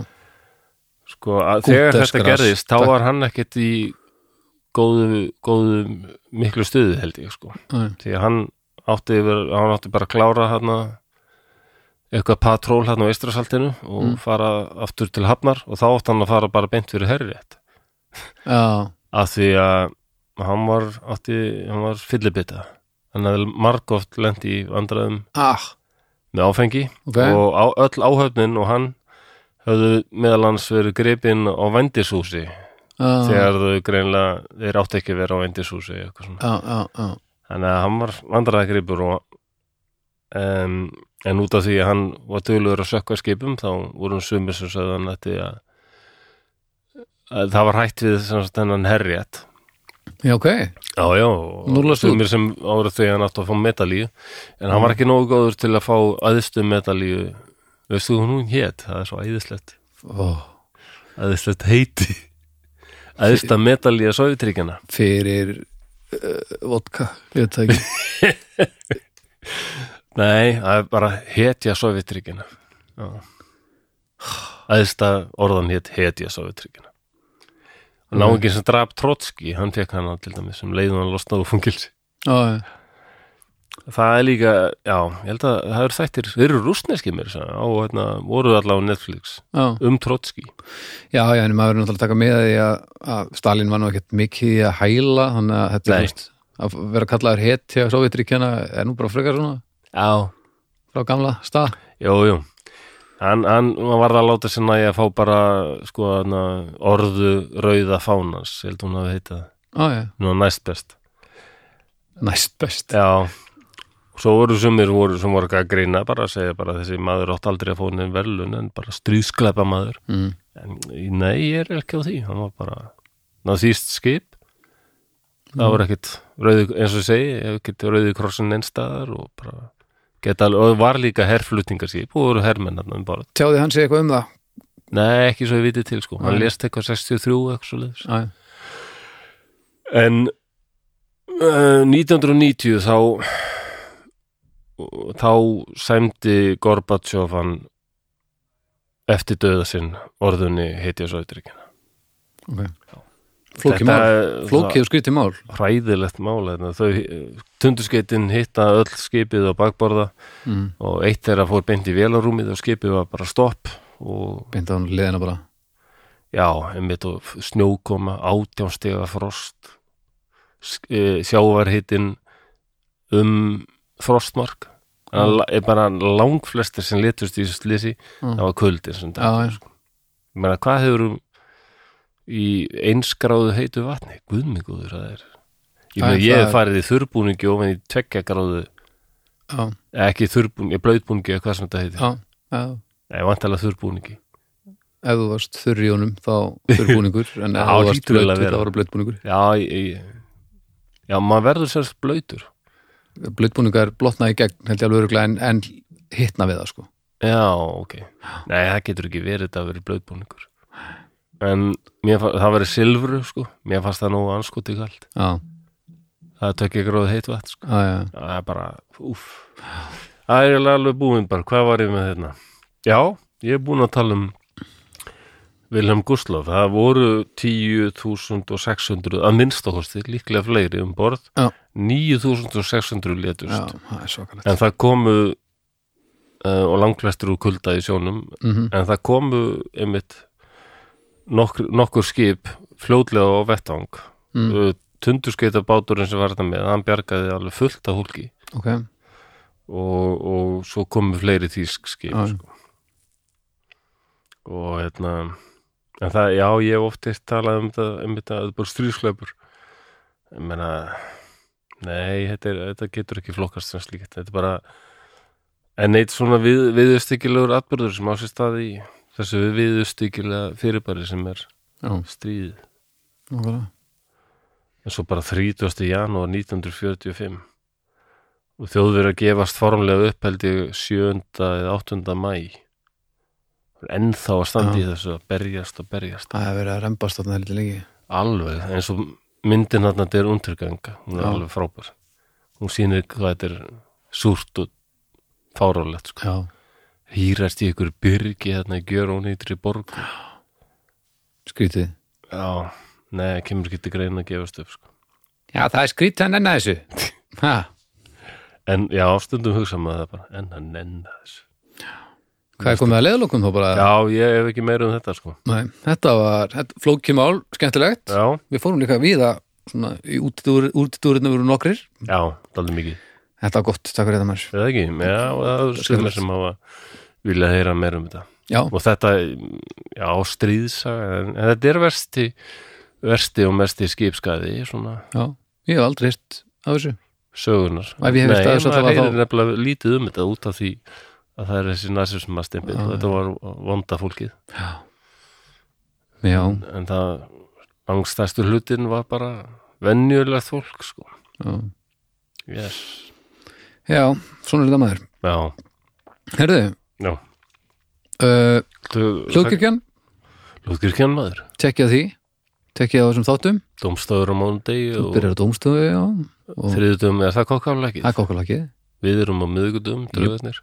[SPEAKER 1] Sko, að
[SPEAKER 2] Gutes
[SPEAKER 1] þegar þetta
[SPEAKER 2] Gras,
[SPEAKER 1] gerðist, þá
[SPEAKER 2] takk.
[SPEAKER 1] var hann ekkert í góðu, góðu miklu stuði, held ég, sko.
[SPEAKER 2] já,
[SPEAKER 1] Því að hann átti, yfir, hann átti bara að klára hann eitthvað patról hann á Eistrasaltinu og fara aftur til Hafnar og þá átti hann að fara bara beint fyrir herrið
[SPEAKER 2] já,
[SPEAKER 1] af því að hann var, átti, hann var fyllibita hann hefði margóft lent í vandræðum
[SPEAKER 2] ah,
[SPEAKER 1] með áfengi
[SPEAKER 2] ok,
[SPEAKER 1] og á, öll áhöfnin og hann höfðu meðal hans verið gripinn á vendishúsi
[SPEAKER 2] já,
[SPEAKER 1] þegar þau greinlega, þeir átti ekki að vera á vendishúsi eitthvað svona
[SPEAKER 2] já, já, já,
[SPEAKER 1] þannig að hann var vandræðagripur og um, en út af því að hann var dögulegur að sökka skipum þá voru hann sumir sem sagði hann þetta að, að það var hætt við sem sagt hennan herrétt
[SPEAKER 2] já, ok,
[SPEAKER 1] já, já, og
[SPEAKER 2] Nú last
[SPEAKER 1] sumir sem ára því að hann átti að fá medalíu en hann var ekki nógu góður til að fá aðistu medalíu veistu hún hún hét, það er svo æðislegt
[SPEAKER 2] ó,
[SPEAKER 1] æðislegt heiti aðista medalíu sovjetríkjana
[SPEAKER 2] fyrir uh, vodka, ég veit það ekki,
[SPEAKER 1] Nei, það er bara hetja sovjetryggjana Æðsta orðan hétt hetja sovjetryggjana og náungin sem draf Trotski hann fekk hana til dæmis sem leiðum hann losnaðu fungilsi
[SPEAKER 2] já, já,
[SPEAKER 1] það er líka, já, ég held að það eru þættir, þeir eru rústneski mér sagði, á, hérna, voru allavega á Netflix
[SPEAKER 2] já,
[SPEAKER 1] um Trotski
[SPEAKER 2] já, já, en maður er náttúrulega að taka með að því að, að Stalin var nú ekkert mikið í að hæla, þannig að þetta
[SPEAKER 1] Nei.
[SPEAKER 2] er veist, að vera kallaður hetja sovjetríkjana er nú bara frekar svona
[SPEAKER 1] Já,
[SPEAKER 2] frá gamla stað,
[SPEAKER 1] jú, jú hann, hann varð að láta sér næja að fá bara sko, hana, orðu rauða fánans, ég held hún hafi heitað
[SPEAKER 2] já, já,
[SPEAKER 1] nú næst best
[SPEAKER 2] næst best,
[SPEAKER 1] Já, svo voru sumir voru sem voru að grýna bara að segja bara þessi maður átt aldrei að fá henni verðlun en bara stríðsklepa maður
[SPEAKER 2] mm,
[SPEAKER 1] en nei, ég er ekki á því hann var bara nazíst skip það voru ekkit rauði, eins og ég segi, ekkit rauði krossin einstæðar og bara geta alveg, og var líka herrflutningarskip og voru herrmenn hann um bara,
[SPEAKER 2] tjáði hann sig eitthvað um það,
[SPEAKER 1] nei ekki svo ég viti til sko, hann
[SPEAKER 2] Nei.
[SPEAKER 1] lést eitthvað 63 eitthvað svo leiðis
[SPEAKER 2] já, já,
[SPEAKER 1] En uh, 1990 þá þá sæmdi Gorbatsjov hann eftir döða sinn orðunni heitja svo ytrykkina.
[SPEAKER 2] flókið mál, flókið og skrítið mál,
[SPEAKER 1] Hræðilegt mál. Þetta. Þau tunduskeitin hitta öll skipið á bakborða
[SPEAKER 2] mm,
[SPEAKER 1] og eitt þeirra fór beint í vélarúmið og skipið var bara stopp og
[SPEAKER 2] beint á hann leðina bara,
[SPEAKER 1] Já, einmitt og snjókoma, átjánstega frost, sk- eh, sjávarhitin um frostmark.
[SPEAKER 2] Mm.
[SPEAKER 1] Það er bara langflestir sem letust í þessu slisi,
[SPEAKER 2] Mm.
[SPEAKER 1] það var kuldin sem
[SPEAKER 2] Já, já.
[SPEAKER 1] dættur. Sko. Ég meina, hvað hefur um í einskráðu heitu vatni? Guðmigúður, það er. Ég,
[SPEAKER 2] Það er-
[SPEAKER 1] meina, ég
[SPEAKER 2] það
[SPEAKER 1] hef
[SPEAKER 2] er-
[SPEAKER 1] farið í þurrbúningi ofan í tveggjakráðu,
[SPEAKER 2] já,
[SPEAKER 1] ekki þurrbúningi, blöðbúningi eða hvað sem þetta heitir.
[SPEAKER 2] já, já,
[SPEAKER 1] Nei, vantalega þurrbúningi.
[SPEAKER 2] ef þú varst þurr í honum þá þurrbúningur en
[SPEAKER 1] Já,
[SPEAKER 2] ef þú varst
[SPEAKER 1] hlýtur vel að
[SPEAKER 2] blödd
[SPEAKER 1] vera.
[SPEAKER 2] þá var blöddbúningur
[SPEAKER 1] Já, ég, ég, já, maður verður sérst blöytur.
[SPEAKER 2] blöddbúningar blotna í gegn held ég alveg öruglega en, en hitna við það sko
[SPEAKER 1] Já, ok. Nei, það getur ekki verið þetta að vera blöðbúningur. En mér, fa- það verið silfru, sko. Mér fannst það nógu anskoti kalt.
[SPEAKER 2] já,
[SPEAKER 1] Það tökja gróð heitt vatn, sko.
[SPEAKER 2] já, já,
[SPEAKER 1] Það er bara, úff. Það er eiginlega alveg búinn bara, hvað var ég með hérna? Já, ég er búinn að tala um Vilhelm Gustloff, það voru 10.600 að minnstakosti, líklega fleiri um borð,
[SPEAKER 2] Já.
[SPEAKER 1] 9.600
[SPEAKER 2] já,
[SPEAKER 1] letust,
[SPEAKER 2] það er svakalegt
[SPEAKER 1] en það komu uh, og langflestur úr kulda í sjónum,
[SPEAKER 2] mm
[SPEAKER 1] en það komu einmitt nokkur, nokkur skip fljótlega á vettvang
[SPEAKER 2] Mm.
[SPEAKER 1] mm. tundurskeitabáturinn sem var þetta með, hann bjargaði alveg fullt af hólki
[SPEAKER 2] ok,
[SPEAKER 1] og, og svo komu fleiri þýsk skip
[SPEAKER 2] Já, já.
[SPEAKER 1] sko. og hérna en það, já, ég hef oft eitt talað um þetta, um þetta, þetta er bara stríðsleipur ég meina nei, þetta, er, þetta getur ekki flokkast sem slíkt, þetta er bara en eitt svona við, viðustíkilegur atbyrður sem á sér staði í þessu viðustíkilega fyrirbæri sem er
[SPEAKER 2] já,
[SPEAKER 1] stríð
[SPEAKER 2] nákvæmlega
[SPEAKER 1] en svo bara 30. janúar 1945 og þjóðverið að gefast formlega upp held ég 7. eða 8. mæ ennþá að standa í þessu að berjast og berjast
[SPEAKER 2] það hefur verið að rembast þarna lítið lengi
[SPEAKER 1] alveg eins og myndin hann þetta er undirganga hún er
[SPEAKER 2] Já.
[SPEAKER 1] alveg frábær hún sýnir hvað þetta er súrt og fárálegt sko.
[SPEAKER 2] já,
[SPEAKER 1] hýrast í ykkur byrgi þarna í gjör og nýtri borg
[SPEAKER 2] skrítið
[SPEAKER 1] já, nei, kemur ekki til greina að gefast upp sko.
[SPEAKER 2] já, það er skrítið að nenna þessu ha,
[SPEAKER 1] en já, stundum hugsa maður það bara en að nenna þessu
[SPEAKER 2] hvað er komið að leiðlokum þá bara
[SPEAKER 1] Já, ég hef ekki meira um þetta sko
[SPEAKER 2] Nei, þetta var þetta, flókið mál, skemmtilegt
[SPEAKER 1] Já,
[SPEAKER 2] við fórum líka viða svona, í útidúrinu voru nokkrir
[SPEAKER 1] já, daldi mikið
[SPEAKER 2] þetta var gott, takk fyrir þetta maður
[SPEAKER 1] Eða ekki, já, og það er sumir
[SPEAKER 2] Skemmtilegt.
[SPEAKER 1] sem hafa viljað heyra meira um þetta
[SPEAKER 2] já,
[SPEAKER 1] og þetta, já, stríðsaga en, en þetta er versti versti og mesti skipskaði svona
[SPEAKER 2] já, ég hef aldrei hýrt af þessu
[SPEAKER 1] sögunar
[SPEAKER 2] Ef ég hef heyrt aðeins
[SPEAKER 1] maður
[SPEAKER 2] að það var
[SPEAKER 1] heyrir
[SPEAKER 2] þá-
[SPEAKER 1] nefnilega lítið um þetta út af því að það er þessi næsir sem að stimpið og þetta var vonda fólkið
[SPEAKER 2] já,
[SPEAKER 1] en það, angstæstu hlutin var bara venjulegt fólk sko,
[SPEAKER 2] já,
[SPEAKER 1] yes
[SPEAKER 2] já svona er þetta maður
[SPEAKER 1] Já,
[SPEAKER 2] herðu,
[SPEAKER 1] já
[SPEAKER 2] uh,
[SPEAKER 1] Þú-
[SPEAKER 2] hljóðkirkjan,
[SPEAKER 1] Lúðkirkjan maður
[SPEAKER 2] tekja því tekja á þessum þáttum,
[SPEAKER 1] Dómstafur á mánudegi
[SPEAKER 2] þú
[SPEAKER 1] og
[SPEAKER 2] byrjar á dómstöðu já, og
[SPEAKER 1] þriðutum er það kokkála ekki
[SPEAKER 2] það er okkur lakið
[SPEAKER 1] Við erum á miðgutum, dröðnir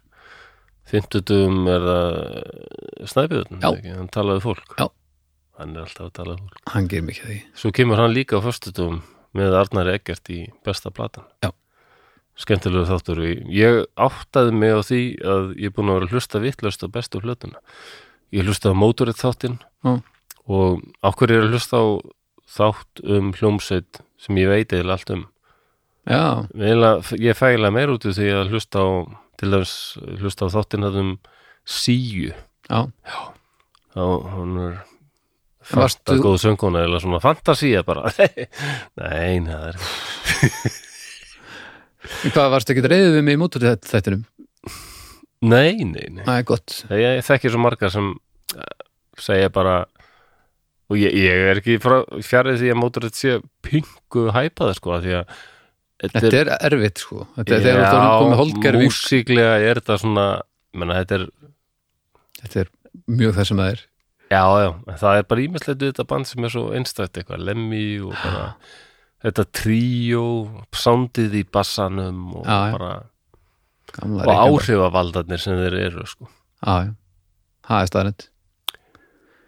[SPEAKER 1] Fymtutum er það snæpiðutn,
[SPEAKER 2] Já.
[SPEAKER 1] ekki, hann talaði fólk
[SPEAKER 2] Já.
[SPEAKER 1] Hann er alltaf að tala við fólk
[SPEAKER 2] hann gerir mikið af því,
[SPEAKER 1] Svo kemur hann líka á föstutum með Arnari Eggert í besta platan
[SPEAKER 2] Já.
[SPEAKER 1] Skemmtilega þáttur Ég áttaði mig á því að ég er búin að vera að hlusta vitlaust á bestu hlutuna Ég hlusta á mótorið þáttinn
[SPEAKER 2] Já.
[SPEAKER 1] og okkur er að hlusta á þátt um hljómsveit sem ég veit eða allt um
[SPEAKER 2] já,
[SPEAKER 1] Eila, ég fæla meir út úr því að hlusta á til dæmis hlusta á þáttinn þarna um síu
[SPEAKER 2] já
[SPEAKER 1] þá hún er
[SPEAKER 2] En varstu-
[SPEAKER 1] fasta góð sönguna eða svona fantasía bara nei, nei, það er
[SPEAKER 2] En hvað varst ekki reyðið við mig í mútur þættinum?
[SPEAKER 1] nei, nei, nei.
[SPEAKER 2] Það er gott
[SPEAKER 1] Ég, ég þekki svo marga sem eh, segja bara og ég, ég er ekki frá, fjarið því að mótur þetta sé pingu hæpaði sko af því að
[SPEAKER 2] Þetta er erfitt sko Þetta er þegar þú erum komið holgervík
[SPEAKER 1] músíklega er þetta svona menna, þetta er
[SPEAKER 2] Þetta er mjög það sem það er
[SPEAKER 1] Já, já, en það er bara ímestlegt við þetta band sem er svo einstætt eitthvað, Lemmy og bara þetta tríó, soundið í bassanum og
[SPEAKER 2] Já, já.
[SPEAKER 1] bara
[SPEAKER 2] Gamla
[SPEAKER 1] og
[SPEAKER 2] Reykjavík.
[SPEAKER 1] áhrifavaldarnir sem þeir eru sko.
[SPEAKER 2] Já, já. Það er staðrænt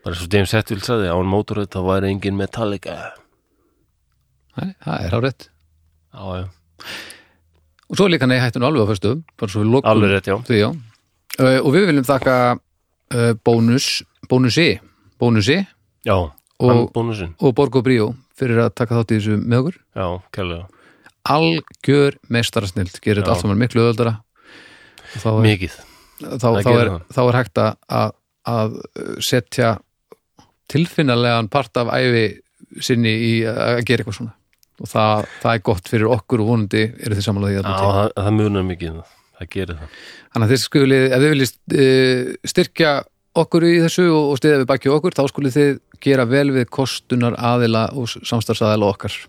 [SPEAKER 1] Bara svo James Hetfield sagði, án mótoröð þá væri engin Metallica.
[SPEAKER 2] Það er hárétt
[SPEAKER 1] Já, já,
[SPEAKER 2] Og svo er líka nei hættun alveg á fyrstu Bara svo við lokum
[SPEAKER 1] alveg rétt, já.
[SPEAKER 2] því já uh, Og við viljum þakka uh, bónus Bónusi Bónusi
[SPEAKER 1] Já,
[SPEAKER 2] Og-
[SPEAKER 1] hann bónusinn.
[SPEAKER 2] og Borgo Bríó Fyrir að taka þátt í þessu með okkur
[SPEAKER 1] Já, kærlega.
[SPEAKER 2] Algjör meistarasnild
[SPEAKER 1] Já.
[SPEAKER 2] Gerir þetta allt saman miklu öðaldara
[SPEAKER 1] Mikið.
[SPEAKER 2] þá,
[SPEAKER 1] Það
[SPEAKER 2] þá,
[SPEAKER 1] gerir
[SPEAKER 2] er,
[SPEAKER 1] það.
[SPEAKER 2] þá er hægt að- að, að setja tilfinnarlegan part af æfi sinni í að gera eitthvað svona og það, það er gott fyrir okkur og vonandi eru þið samanlega því
[SPEAKER 1] Já,
[SPEAKER 2] að það
[SPEAKER 1] það, það munar mikið. um það. Það gerir það.
[SPEAKER 2] þannig að þið skulið, ef þið viljið eh, styrkja okkur í þessu og, og stiða við baki okkur, þá skulið þið gera vel við kostunar aðila og samstarfsaðila okkar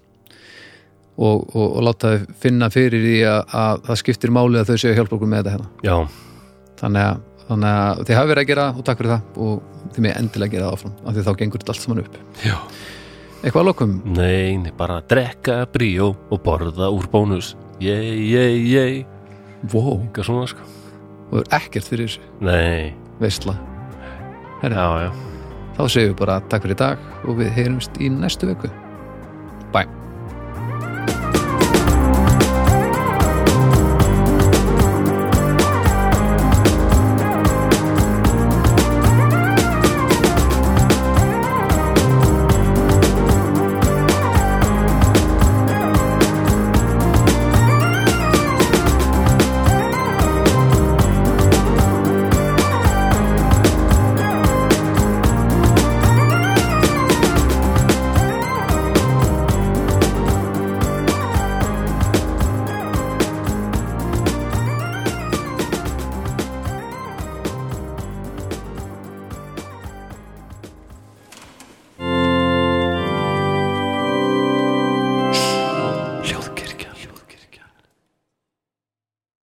[SPEAKER 2] og, og, og láta þið finna fyrir því að, að það skiptir máli að þau séu að hjálpa okkur með þetta hérna
[SPEAKER 1] Já,
[SPEAKER 2] þannig að, þannig að þið hafi verið að gera og takk fyrir það og þið með endilega gera það áfram af því þá gengur þetta allt saman upp
[SPEAKER 1] já.
[SPEAKER 2] eitthvað að lokum,
[SPEAKER 1] Nei, nei, bara drekka bríó og borða úr bónus. Jei, jei, jei.
[SPEAKER 2] wow
[SPEAKER 1] Eitthvað svona, sko.
[SPEAKER 2] og er ekkert fyrir þessu
[SPEAKER 1] Nei,
[SPEAKER 2] veistla
[SPEAKER 1] já, já
[SPEAKER 2] þá segjum við bara takk fyrir í dag og við heyrumst í næstu viku